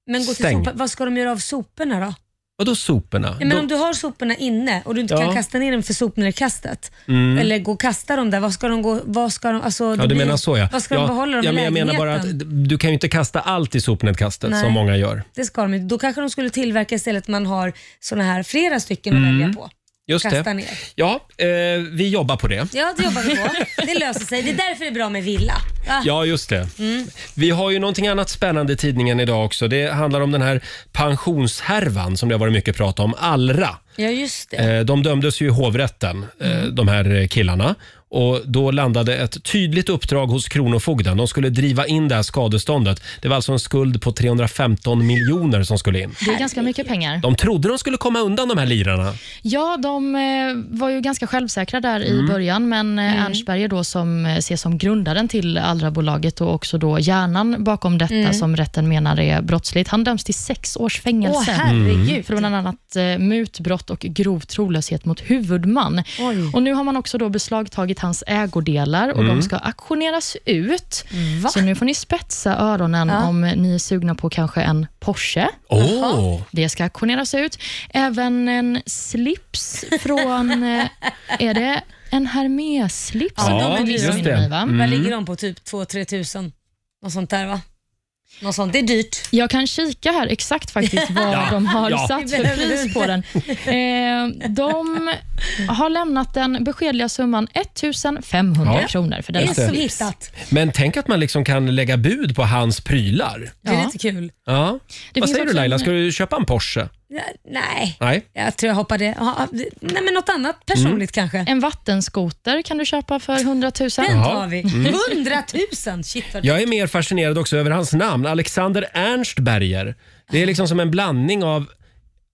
[SPEAKER 3] men gå till
[SPEAKER 1] Stäng.
[SPEAKER 3] sopa, vad ska de göra av soporna då?
[SPEAKER 1] Vadå soporna?
[SPEAKER 3] Ja, men
[SPEAKER 1] Då-
[SPEAKER 3] om du har soporna inne och du inte
[SPEAKER 1] Ja.
[SPEAKER 3] kan kasta ner dem för sopnedkastet,
[SPEAKER 1] Mm.
[SPEAKER 3] eller gå och kasta dem där, vad ska de gå... Vad ska de, alltså,
[SPEAKER 1] Ja,
[SPEAKER 3] det
[SPEAKER 1] du
[SPEAKER 3] blir-
[SPEAKER 1] menar så ja.
[SPEAKER 3] Vad ska
[SPEAKER 1] ja,
[SPEAKER 3] de behålla dem
[SPEAKER 1] ja,
[SPEAKER 3] i
[SPEAKER 1] men Jag menar bara att
[SPEAKER 3] lägenheten?
[SPEAKER 1] d- du kan ju inte kasta allt i sopnedkastet
[SPEAKER 3] Nej.
[SPEAKER 1] som många gör.
[SPEAKER 3] Det ska de inte. Då kanske de skulle tillverka istället att man har såna här flera stycken att
[SPEAKER 1] Mm.
[SPEAKER 3] välja på.
[SPEAKER 1] Just
[SPEAKER 3] Kasta
[SPEAKER 1] det.
[SPEAKER 3] ner.
[SPEAKER 1] Ja, eh, vi jobbar på det.
[SPEAKER 3] Ja, det jobbar vi på. Det löser sig. Det är därför det är bra med villa. Ah.
[SPEAKER 1] Ja, just det.
[SPEAKER 3] Mm.
[SPEAKER 1] Vi har ju någonting annat spännande i tidningen idag också. Det handlar om den här pensionshärvan som det har varit mycket prat om, Allra.
[SPEAKER 3] Ja, Mm. just det.
[SPEAKER 1] Eh, De dömdes ju i hovrätten, eh, de här eh, killarna. Och Då landade ett tydligt uppdrag hos Kronofogden. De skulle driva in det här skadeståndet. Det var alltså en skuld på 315 miljoner som skulle in.
[SPEAKER 4] Det är ganska mycket pengar.
[SPEAKER 1] De trodde de skulle komma undan de här lirarna.
[SPEAKER 4] Ja, de eh, var ju ganska självsäkra där
[SPEAKER 1] Mm.
[SPEAKER 4] i början, men
[SPEAKER 14] Mm.
[SPEAKER 4] eh, Ernstberger då som eh, ses som grundaren till Allra-bolaget och också då hjärnan bakom detta
[SPEAKER 14] Mm.
[SPEAKER 4] som rätten menar är brottsligt. Han döms till sex års fängelse
[SPEAKER 14] Åh, herregud. Mm.
[SPEAKER 4] för bland annat eh, mutbrott och grov trolöshet mot huvudman. Och Nu har man också då beslagtagit hans ägodelar och
[SPEAKER 14] Mm.
[SPEAKER 4] de ska auktioneras ut. Så nu får ni spetsa öronen
[SPEAKER 14] Ja.
[SPEAKER 4] om ni är sugna på kanske en Porsche.
[SPEAKER 1] Åh.
[SPEAKER 4] Det ska auktioneras ut. Även en slips från, eh, är det en Hermès-slips?
[SPEAKER 3] Ja, de är dyra.
[SPEAKER 4] Minns ni, va?
[SPEAKER 1] Mm.
[SPEAKER 3] Vad ligger de på? Typ 2-3 tusen? Något sånt där va? Något sånt. Det är dyrt.
[SPEAKER 4] Jag kan kika här exakt faktiskt vad
[SPEAKER 3] Ja,
[SPEAKER 4] de har
[SPEAKER 3] ja.
[SPEAKER 4] satt för pris på den. Eh, de har lämnat den beskedliga summan 1500
[SPEAKER 1] Ja.
[SPEAKER 4] kronor för denna
[SPEAKER 1] Just det.
[SPEAKER 4] slips.
[SPEAKER 1] Men tänk att man liksom kan lägga bud på hans prylar.
[SPEAKER 3] Det är lite kul.
[SPEAKER 1] Ja.
[SPEAKER 3] Det
[SPEAKER 1] Vad
[SPEAKER 3] finns
[SPEAKER 1] säger du
[SPEAKER 3] också
[SPEAKER 1] Laila,
[SPEAKER 3] en-
[SPEAKER 1] ska du köpa en Porsche?
[SPEAKER 3] Ja, Nej,
[SPEAKER 1] Nej.
[SPEAKER 3] jag tror jag hoppade... ja, det- Nej, men något annat personligt
[SPEAKER 1] Mm.
[SPEAKER 3] kanske.
[SPEAKER 4] En vattenskoter kan du köpa för 100
[SPEAKER 1] Den
[SPEAKER 4] 000.
[SPEAKER 1] tar Jaha. vi. Mm.
[SPEAKER 3] 100 000! Shit vad
[SPEAKER 1] Jag är mer fascinerad också över hans namn, Alexander Ernst Berger. Det är liksom som en blandning av,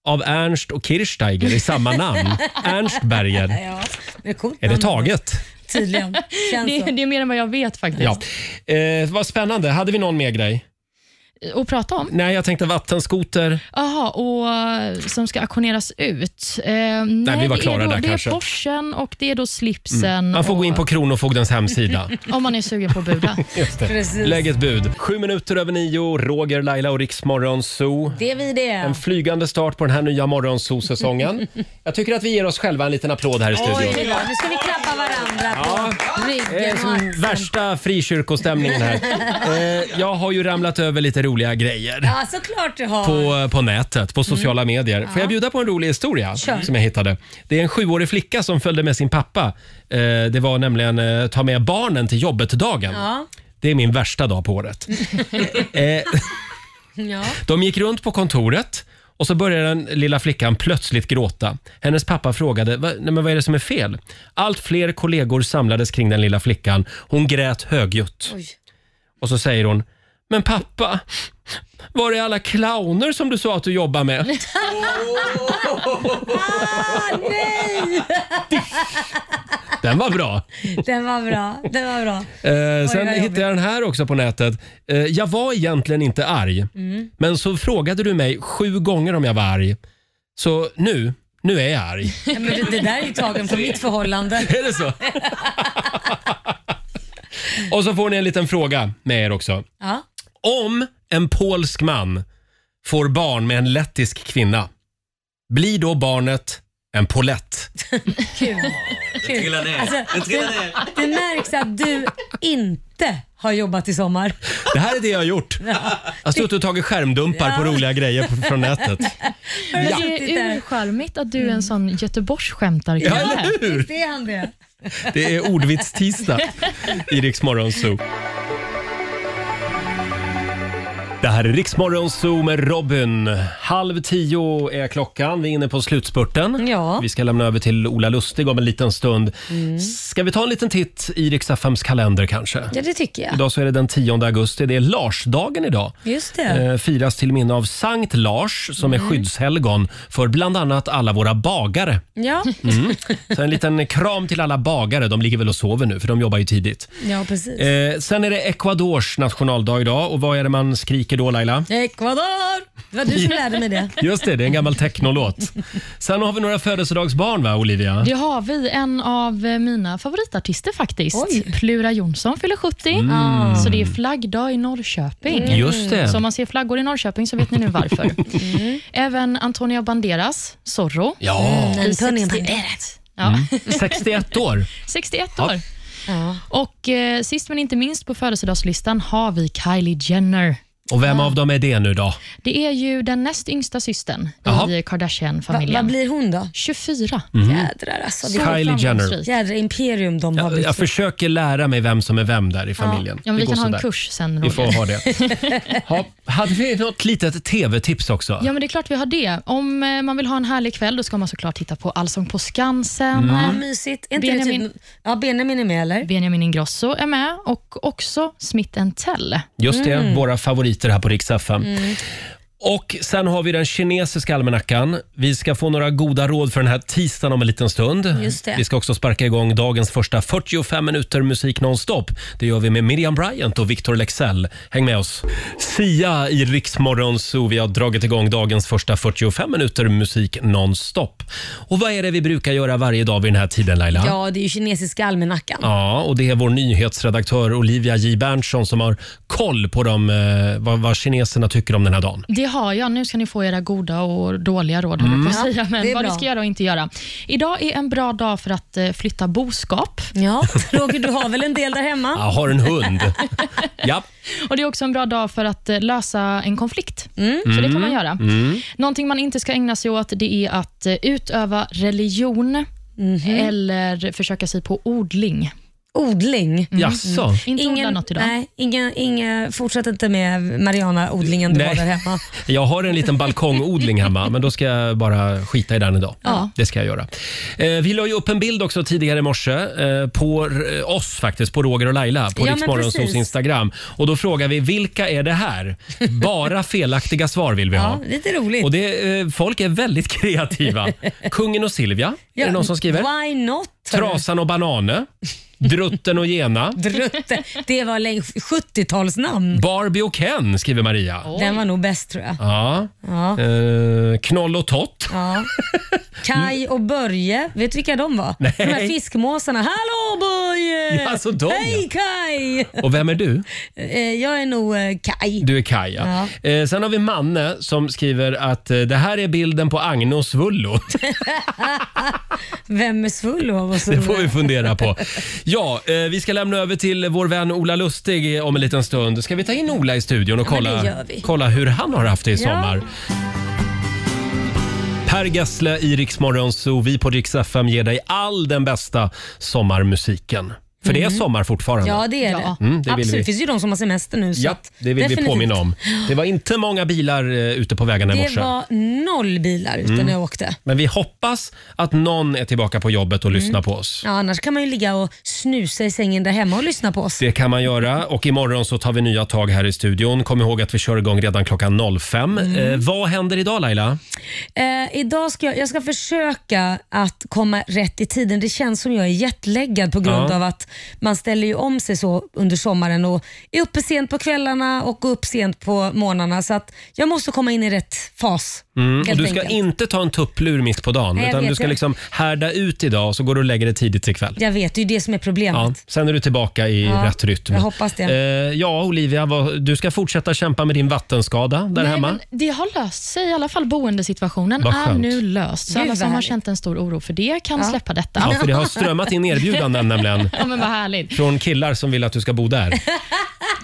[SPEAKER 1] av Ernst och Kirchsteiger i samma namn. Ernst Berger.
[SPEAKER 3] Ja, det är coolt.
[SPEAKER 1] Är det taget?
[SPEAKER 3] Tydligen.
[SPEAKER 4] det, det är mer än vad jag vet faktiskt.
[SPEAKER 1] alltså. Ja. Eh, vad spännande. Hade vi någon mer grej?
[SPEAKER 4] Att prata om?
[SPEAKER 1] Nej, jag tänkte vattenskoter.
[SPEAKER 4] Jaha, och eh, som ska auktioneras ut. Eh, nej,
[SPEAKER 1] vi var
[SPEAKER 4] det är
[SPEAKER 1] klara
[SPEAKER 4] då,
[SPEAKER 1] där
[SPEAKER 4] Det
[SPEAKER 1] kanske.
[SPEAKER 4] är Porschen och det är då slipsen.
[SPEAKER 1] Mm. Man får
[SPEAKER 4] och,
[SPEAKER 1] gå in på Kronofogdens hemsida.
[SPEAKER 4] Om man är sugen på att buda.
[SPEAKER 1] Just det.
[SPEAKER 4] Precis.
[SPEAKER 1] Lägg ett bud. Sju minuter över nio, Roger, Laila och Riksmorgon Zoo.
[SPEAKER 3] Det är vi det.
[SPEAKER 1] En flygande start på den här nya morgonzoo-säsongen. Jag tycker att vi ger oss själva en liten applåd här i studion.
[SPEAKER 3] Oj, då. nu ska vi klappa varandra på
[SPEAKER 1] Det är
[SPEAKER 3] ryggen. och
[SPEAKER 1] som
[SPEAKER 3] axeln.
[SPEAKER 1] värsta frikyrkostämningen här. Eh, jag har ju ramlat över lite roliga grejer.
[SPEAKER 3] Ja, såklart du har.
[SPEAKER 1] På, på nätet, på sociala medier. Får
[SPEAKER 3] Ja.
[SPEAKER 1] jag bjuda på en rolig historia
[SPEAKER 3] Kör.
[SPEAKER 1] som jag hittade? Det är en sjuårig flicka som följde med sin pappa. Eh, det var nämligen eh, ta med barnen till jobbet-dagen.
[SPEAKER 3] Ja.
[SPEAKER 1] Det är min värsta dag på året. eh,
[SPEAKER 3] ja.
[SPEAKER 1] de gick runt på kontoret och så började den lilla flickan plötsligt gråta. Hennes pappa frågade "Va- Nej, men vad är det som är fel. Allt fler kollegor samlades kring den lilla flickan. Hon grät högljutt.
[SPEAKER 3] Oj.
[SPEAKER 1] Och så säger hon Men pappa, var är alla clowner som du sa att du jobbar med?
[SPEAKER 3] ah, nej!
[SPEAKER 1] Den var bra.
[SPEAKER 3] Den var bra. Den var bra.
[SPEAKER 1] Eh, sen
[SPEAKER 3] vad jobbigt.
[SPEAKER 1] hittade jag den här också på nätet. Eh, jag var egentligen inte arg,
[SPEAKER 3] Mm.
[SPEAKER 1] men så frågade du mig sju gånger om jag var arg. Så nu, nu är jag arg.
[SPEAKER 3] Ja, men det, det där är ju tagen från mitt förhållande.
[SPEAKER 1] Är det så? Och så får ni en liten fråga med er också.
[SPEAKER 3] Ja.
[SPEAKER 1] Om en polsk man får barn med en lettisk kvinna, blir då barnet en polett?
[SPEAKER 3] Kul. Kul.
[SPEAKER 1] trillar ner. Den trillar ner.
[SPEAKER 3] det, det märks att du inte har jobbat i sommar.
[SPEAKER 1] Det här är det jag har gjort. Jag har suttit och tagit skärmdumpar på
[SPEAKER 4] Ja.
[SPEAKER 1] roliga greger på- från nätet. Ja.
[SPEAKER 4] Det är urcharmigt att du är en sån Göteborgsskämtarkille.
[SPEAKER 1] Ja, eller hur?
[SPEAKER 3] Det är han det.
[SPEAKER 1] Det är ordvits-tisdag i Rix Morgon Zoo. Det här är Rix Morgon Zoo med Robin. Halv tio är klockan. Vi är inne på slutspurten.
[SPEAKER 3] Ja. Mm.
[SPEAKER 1] Vi ska lämna över till Ola Lustig om en liten stund. Ska vi ta en liten titt i Rix FMs kalender kanske?
[SPEAKER 3] Ja, det tycker jag.
[SPEAKER 1] Idag så är det den 10 augusti. Det är Larsdagen idag.
[SPEAKER 3] Just det.
[SPEAKER 1] Eh, firas till minne av Sankt Lars som är
[SPEAKER 3] Mm.
[SPEAKER 1] skyddshelgon för bland annat alla våra bagare.
[SPEAKER 3] Ja.
[SPEAKER 1] Mm. Så en liten kram till alla bagare. De ligger väl och sover nu för de jobbar ju tidigt.
[SPEAKER 3] ja, precis.
[SPEAKER 1] Eh, sen är det Ecuadors nationaldag idag och vad är det man skriker vacker då Laila.
[SPEAKER 3] Ecuador! Det var du som lärde mig det.
[SPEAKER 1] Just det, det är en gammal technolåt. Sen har vi några födelsedagsbarn va, Olivia?
[SPEAKER 4] Det har vi. En av eh, mina favoritartister faktiskt. Plura Jonsson fyller 70,
[SPEAKER 1] Mm.
[SPEAKER 4] så det är flaggdag i Norrköping.
[SPEAKER 1] Mm. Just det.
[SPEAKER 4] Så om man ser flaggor i Norrköping så vet ni nu varför. Även Antonio Banderas, Zorro,
[SPEAKER 1] Ja.
[SPEAKER 4] i 61. Ja.
[SPEAKER 1] Mm. 61 år.
[SPEAKER 4] 61
[SPEAKER 1] Ja.
[SPEAKER 4] år. Och eh, sist men inte minst på födelsedagslistan har vi Kylie Jenner.
[SPEAKER 1] Och vem av dem är det nu då?
[SPEAKER 4] Det är ju den näst yngsta systern
[SPEAKER 1] Jaha.
[SPEAKER 4] i Kardashian-familjen.
[SPEAKER 3] Va- vad
[SPEAKER 4] blir
[SPEAKER 3] hon då?
[SPEAKER 4] 24.
[SPEAKER 1] Mhm.
[SPEAKER 3] Jädrar alltså. det-
[SPEAKER 1] Kylie Jenner.
[SPEAKER 3] Jädra imperium de har byggt
[SPEAKER 1] Jag
[SPEAKER 3] upp.
[SPEAKER 1] försöker lära mig vem som är vem där i familjen.
[SPEAKER 4] Ja, men vi
[SPEAKER 1] Det går
[SPEAKER 4] kan ha en
[SPEAKER 1] sådär.
[SPEAKER 4] kurs sen.
[SPEAKER 1] Vi
[SPEAKER 4] Roger.
[SPEAKER 1] får ha det. Ha, hade vi något litet tv-tips också?
[SPEAKER 4] Ja, men det är klart vi har det. Om eh, man vill ha en härlig kväll då ska man såklart titta på Allsång på Skansen.
[SPEAKER 1] Mm. Ja,
[SPEAKER 3] mysigt. Är inte det typ-
[SPEAKER 4] Benjamin,
[SPEAKER 3] ja, Benjamin är med, eller?
[SPEAKER 4] Benjamin Ingrosso är med och också Smith Tell.
[SPEAKER 1] Just det,
[SPEAKER 3] Mm.
[SPEAKER 1] våra favoriter här på Rix FM.
[SPEAKER 4] Mm.
[SPEAKER 1] Och sen har vi den kinesiska almanackan. Vi ska få några goda råd för den här tisdagen om en liten stund.
[SPEAKER 3] Just det.
[SPEAKER 1] Vi ska också sparka igång dagens första 45 minuter musik nonstop. Det gör vi med Miriam Bryant och Victor Lexell. Häng med oss. Sia i Riksmorgon så vi har dragit igång dagens första 45 minuter musik nonstop. Och vad är det vi brukar göra varje dag vid den här tiden Laila?
[SPEAKER 3] Ja, det är ju kinesiska almanackan.
[SPEAKER 1] Ja, och det är vår nyhetsredaktör Olivia J Berntsson som har koll på dem, eh, vad, vad kineserna tycker om den här dagen.
[SPEAKER 4] Det har jag. Nu ska ni få era goda och dåliga råd.
[SPEAKER 1] Mm.
[SPEAKER 4] höll jag på att
[SPEAKER 1] Ja,
[SPEAKER 4] säga, men
[SPEAKER 1] det är
[SPEAKER 4] vad ni
[SPEAKER 1] bra.
[SPEAKER 4] ska göra och inte göra. Idag är en bra dag för att eh, flytta boskap.
[SPEAKER 3] Ja, Roger, du har väl en del där hemma?
[SPEAKER 1] Jag har en hund. ja.
[SPEAKER 4] Och Det är också en bra dag för att eh, lösa en konflikt. Så det
[SPEAKER 1] Mm.
[SPEAKER 4] kan man göra.
[SPEAKER 1] Mm.
[SPEAKER 4] Någonting man inte ska ägna sig åt det är att eh, utöva religion
[SPEAKER 1] Mhm.
[SPEAKER 4] eller försöka sig på odling.
[SPEAKER 3] Odling?
[SPEAKER 1] Jaså?
[SPEAKER 4] Inte odla något idag.
[SPEAKER 3] Nej, inga, inga, fortsätt inte med Mariana-odlingen du
[SPEAKER 1] Nej.
[SPEAKER 3] har där hemma.
[SPEAKER 1] Jag har en liten balkongodling hemma, men då ska jag bara skita i den idag.
[SPEAKER 3] Ja.
[SPEAKER 1] Det ska jag göra. Eh, vi la ju upp en bild också tidigare i morse eh, på r- oss faktiskt, på Roger och Laila på
[SPEAKER 3] Ja, men
[SPEAKER 1] Rix Morgonzos
[SPEAKER 3] precis.
[SPEAKER 1] Instagram. Och då frågar vi, vilka är det här? Bara felaktiga svar vill vi ha.
[SPEAKER 3] Ja, lite roligt.
[SPEAKER 1] Och det, eh, folk är väldigt kreativa. Kungen och Silvia, är det någon som skriver?
[SPEAKER 3] Why not?
[SPEAKER 1] Trasan och Banane. Drutten och Gena.
[SPEAKER 3] Drutte. Det var länge- 70-talsnamn.
[SPEAKER 1] Barbie och Ken, skriver Maria.
[SPEAKER 3] Den var nog bäst tror jag.
[SPEAKER 1] Ja.
[SPEAKER 3] Ja.
[SPEAKER 1] Eh, knoll och Tott.
[SPEAKER 3] Ja. Kai och Börje, vet du vilka de var?
[SPEAKER 1] Nej.
[SPEAKER 3] De här fiskmåsarna. Hallå Börje!
[SPEAKER 1] Ja, alltså de,
[SPEAKER 3] Hej Kai!
[SPEAKER 1] Och vem är du?
[SPEAKER 3] Eh, Jag är nog eh, Kai.
[SPEAKER 1] Du är Kaja. Eh, sen har vi Manne som skriver att eh, det här är bilden på Agne och Svullo.
[SPEAKER 3] Vem är Svullo av oss?
[SPEAKER 1] Det får vi fundera på. Ja, eh, vi ska lämna över till vår vän Ola Lustig om en liten stund. Ska vi ta in Ola i studion och
[SPEAKER 3] Ja, men det
[SPEAKER 1] kolla,
[SPEAKER 3] gör vi.
[SPEAKER 1] kolla hur han har haft det i
[SPEAKER 3] Ja.
[SPEAKER 1] sommar? Per Gessle i Rix Morgon Zoo. Vi på Rix FM ger dig all den bästa sommarmusiken. För det är
[SPEAKER 3] Mm.
[SPEAKER 1] sommar fortfarande.
[SPEAKER 3] Ja, det är det.
[SPEAKER 1] Mm, det vill
[SPEAKER 3] Absolut,
[SPEAKER 1] vi.
[SPEAKER 3] det finns ju de som har semester nu. Så
[SPEAKER 1] Ja,
[SPEAKER 3] att-
[SPEAKER 1] det vill
[SPEAKER 3] definitivt.
[SPEAKER 1] vi påminna om. Det var inte många bilar eh, ute på vägarna i
[SPEAKER 3] Det
[SPEAKER 1] morse.
[SPEAKER 3] var noll bilar ute
[SPEAKER 1] Mm.
[SPEAKER 3] när jag åkte.
[SPEAKER 1] Men vi hoppas att någon är tillbaka på jobbet och
[SPEAKER 3] Mm.
[SPEAKER 1] lyssnar på oss.
[SPEAKER 3] Ja, annars kan man ju ligga och snusa i sängen där hemma och lyssna på oss.
[SPEAKER 1] Det kan man göra och imorgon så tar vi nya tag här i studion. Kom ihåg att vi kör igång redan klockan 05.
[SPEAKER 3] Mm.
[SPEAKER 1] Eh, vad händer idag Laila?
[SPEAKER 3] Eh, idag ska jag, jag ska försöka att komma rätt i tiden. Det känns som jag är jetlaggad på grund
[SPEAKER 1] Ja.
[SPEAKER 3] av att man ställer ju om sig så under sommaren och är uppe sent på kvällarna och går upp sent på morgnarna. Så att jag måste komma in i rätt fas.
[SPEAKER 1] Mm. Och
[SPEAKER 3] helt
[SPEAKER 1] du ska
[SPEAKER 3] enkelt.
[SPEAKER 1] inte ta en tupplur mitt på dagen
[SPEAKER 3] Nej, jag
[SPEAKER 1] utan
[SPEAKER 3] vet
[SPEAKER 1] du ska
[SPEAKER 3] det.
[SPEAKER 1] liksom härda ut idag och så går du och lägger dig tidigt ikväll.
[SPEAKER 3] Jag vet, det är ju det som är problemet.
[SPEAKER 1] Ja, sen är du tillbaka i
[SPEAKER 3] Ja,
[SPEAKER 1] rätt rytm.
[SPEAKER 3] jag hoppas det.
[SPEAKER 1] Eh, ja, Olivia, vad, du ska fortsätta kämpa med din vattenskada där
[SPEAKER 4] Nej,
[SPEAKER 1] hemma.
[SPEAKER 4] men det har löst sig. I alla fall boendesituationen
[SPEAKER 1] Vad
[SPEAKER 4] är
[SPEAKER 1] skönt.
[SPEAKER 4] nu löst. Så
[SPEAKER 3] Gud,
[SPEAKER 4] alla
[SPEAKER 3] vad
[SPEAKER 4] som har
[SPEAKER 3] härligt.
[SPEAKER 4] känt en stor oro för det kan
[SPEAKER 3] Ja.
[SPEAKER 4] släppa detta.
[SPEAKER 1] Ja, för det har strömmat in erbjudanden nämligen.
[SPEAKER 4] Ja, men vad härligt.
[SPEAKER 1] Från killar som vill att du ska bo där.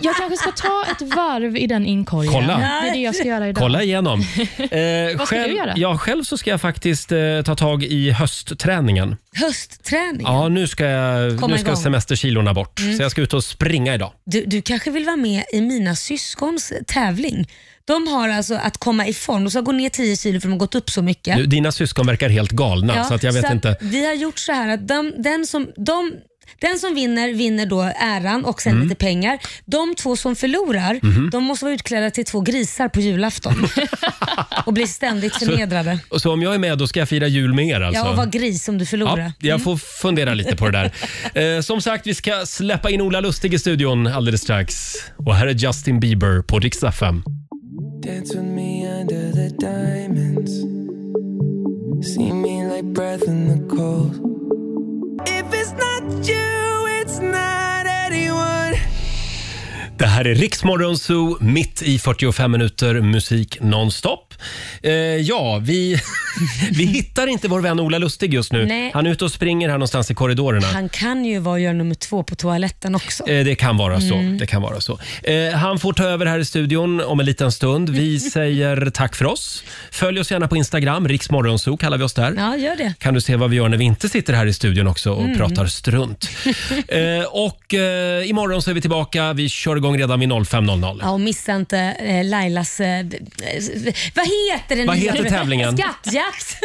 [SPEAKER 4] Jag kanske ska ta ett varv i den inkorgen.
[SPEAKER 1] Kolla.
[SPEAKER 4] Det är det jag ska göra idag.
[SPEAKER 1] Kolla igenom. Eh,
[SPEAKER 4] Vad ska du göra?
[SPEAKER 1] Ja, själv så ska jag faktiskt eh, ta tag i höstträningen.
[SPEAKER 3] Höstträning.
[SPEAKER 1] Ja, nu ska, jag,
[SPEAKER 3] Komma
[SPEAKER 1] nu ska
[SPEAKER 3] igång.
[SPEAKER 1] semesterkilorna bort.
[SPEAKER 3] Mm.
[SPEAKER 1] Så jag ska ut och springa idag.
[SPEAKER 3] Du, du kanske vill vara med i mina syskons tävling. De har alltså att komma i form. De ska gå ner 10 kilo för de har gått upp så mycket.
[SPEAKER 1] Du, dina syskon verkar helt galna,
[SPEAKER 3] Ja,
[SPEAKER 1] så att jag vet
[SPEAKER 3] så att
[SPEAKER 1] inte.
[SPEAKER 3] Vi har gjort så här att de, den, som, de, den som vinner, vinner då äran och sen
[SPEAKER 1] Mm.
[SPEAKER 3] lite pengar. De två som förlorar,
[SPEAKER 1] Mhm.
[SPEAKER 3] de måste vara utklädda till två grisar på julafton och blir ständigt förnedrade.
[SPEAKER 1] Och så om jag är med, då ska jag fira jul med er alltså.
[SPEAKER 3] Ja, och var gris om du Mm. förlorar.
[SPEAKER 1] Ja, jag får fundera lite på det där. Eh, som sagt, vi ska släppa in Ola Lustig i studion alldeles strax. Och här är Justin Bieber på Rix FM.
[SPEAKER 7] Dance with me under the diamonds. See me like breath in the cold. If it's not you, it's not anyone.
[SPEAKER 1] Det här är Riksmorgon Zoo, mitt i 45 minuter musik nonstop. Eh, ja, vi, vi hittar inte vår vän Ola Lustig just nu.
[SPEAKER 3] Nej.
[SPEAKER 1] Han är ute och springer här någonstans i korridorerna.
[SPEAKER 3] Han kan ju vara och göra nummer två på toaletten också.
[SPEAKER 1] Eh, Det kan vara så.
[SPEAKER 3] Mm.
[SPEAKER 1] Det kan vara så. Eh, han får ta över här i studion om en liten stund. Vi säger tack för oss. Följ oss gärna på Instagram, riksmorgonzoo kallar vi oss där.
[SPEAKER 3] Ja, gör det.
[SPEAKER 1] Kan du se vad vi gör när vi inte sitter här i studion också och
[SPEAKER 3] Mm.
[SPEAKER 1] pratar strunt. Eh, och eh, imorgon så är vi tillbaka. Vi kör igång redan vid 05.00.
[SPEAKER 3] Ja, och missa inte eh, Lailas... Eh, b- eh, vad heter den?
[SPEAKER 1] Vad
[SPEAKER 3] nu?
[SPEAKER 1] heter tävlingen?
[SPEAKER 3] Skattjakt!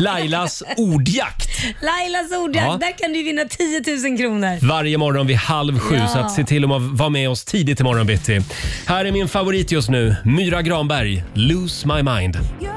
[SPEAKER 1] Lailas ordjakt
[SPEAKER 3] Lailas ordjakt.
[SPEAKER 1] Ja.
[SPEAKER 3] Där kan du vinna 10 000 kronor.
[SPEAKER 1] varje morgon vid halv sju.
[SPEAKER 3] Ja.
[SPEAKER 1] Så att se till att vara med oss tidigt imorgon bitti. Här är min favorit just nu, Myra Granberg, Lose My Mind.
[SPEAKER 7] You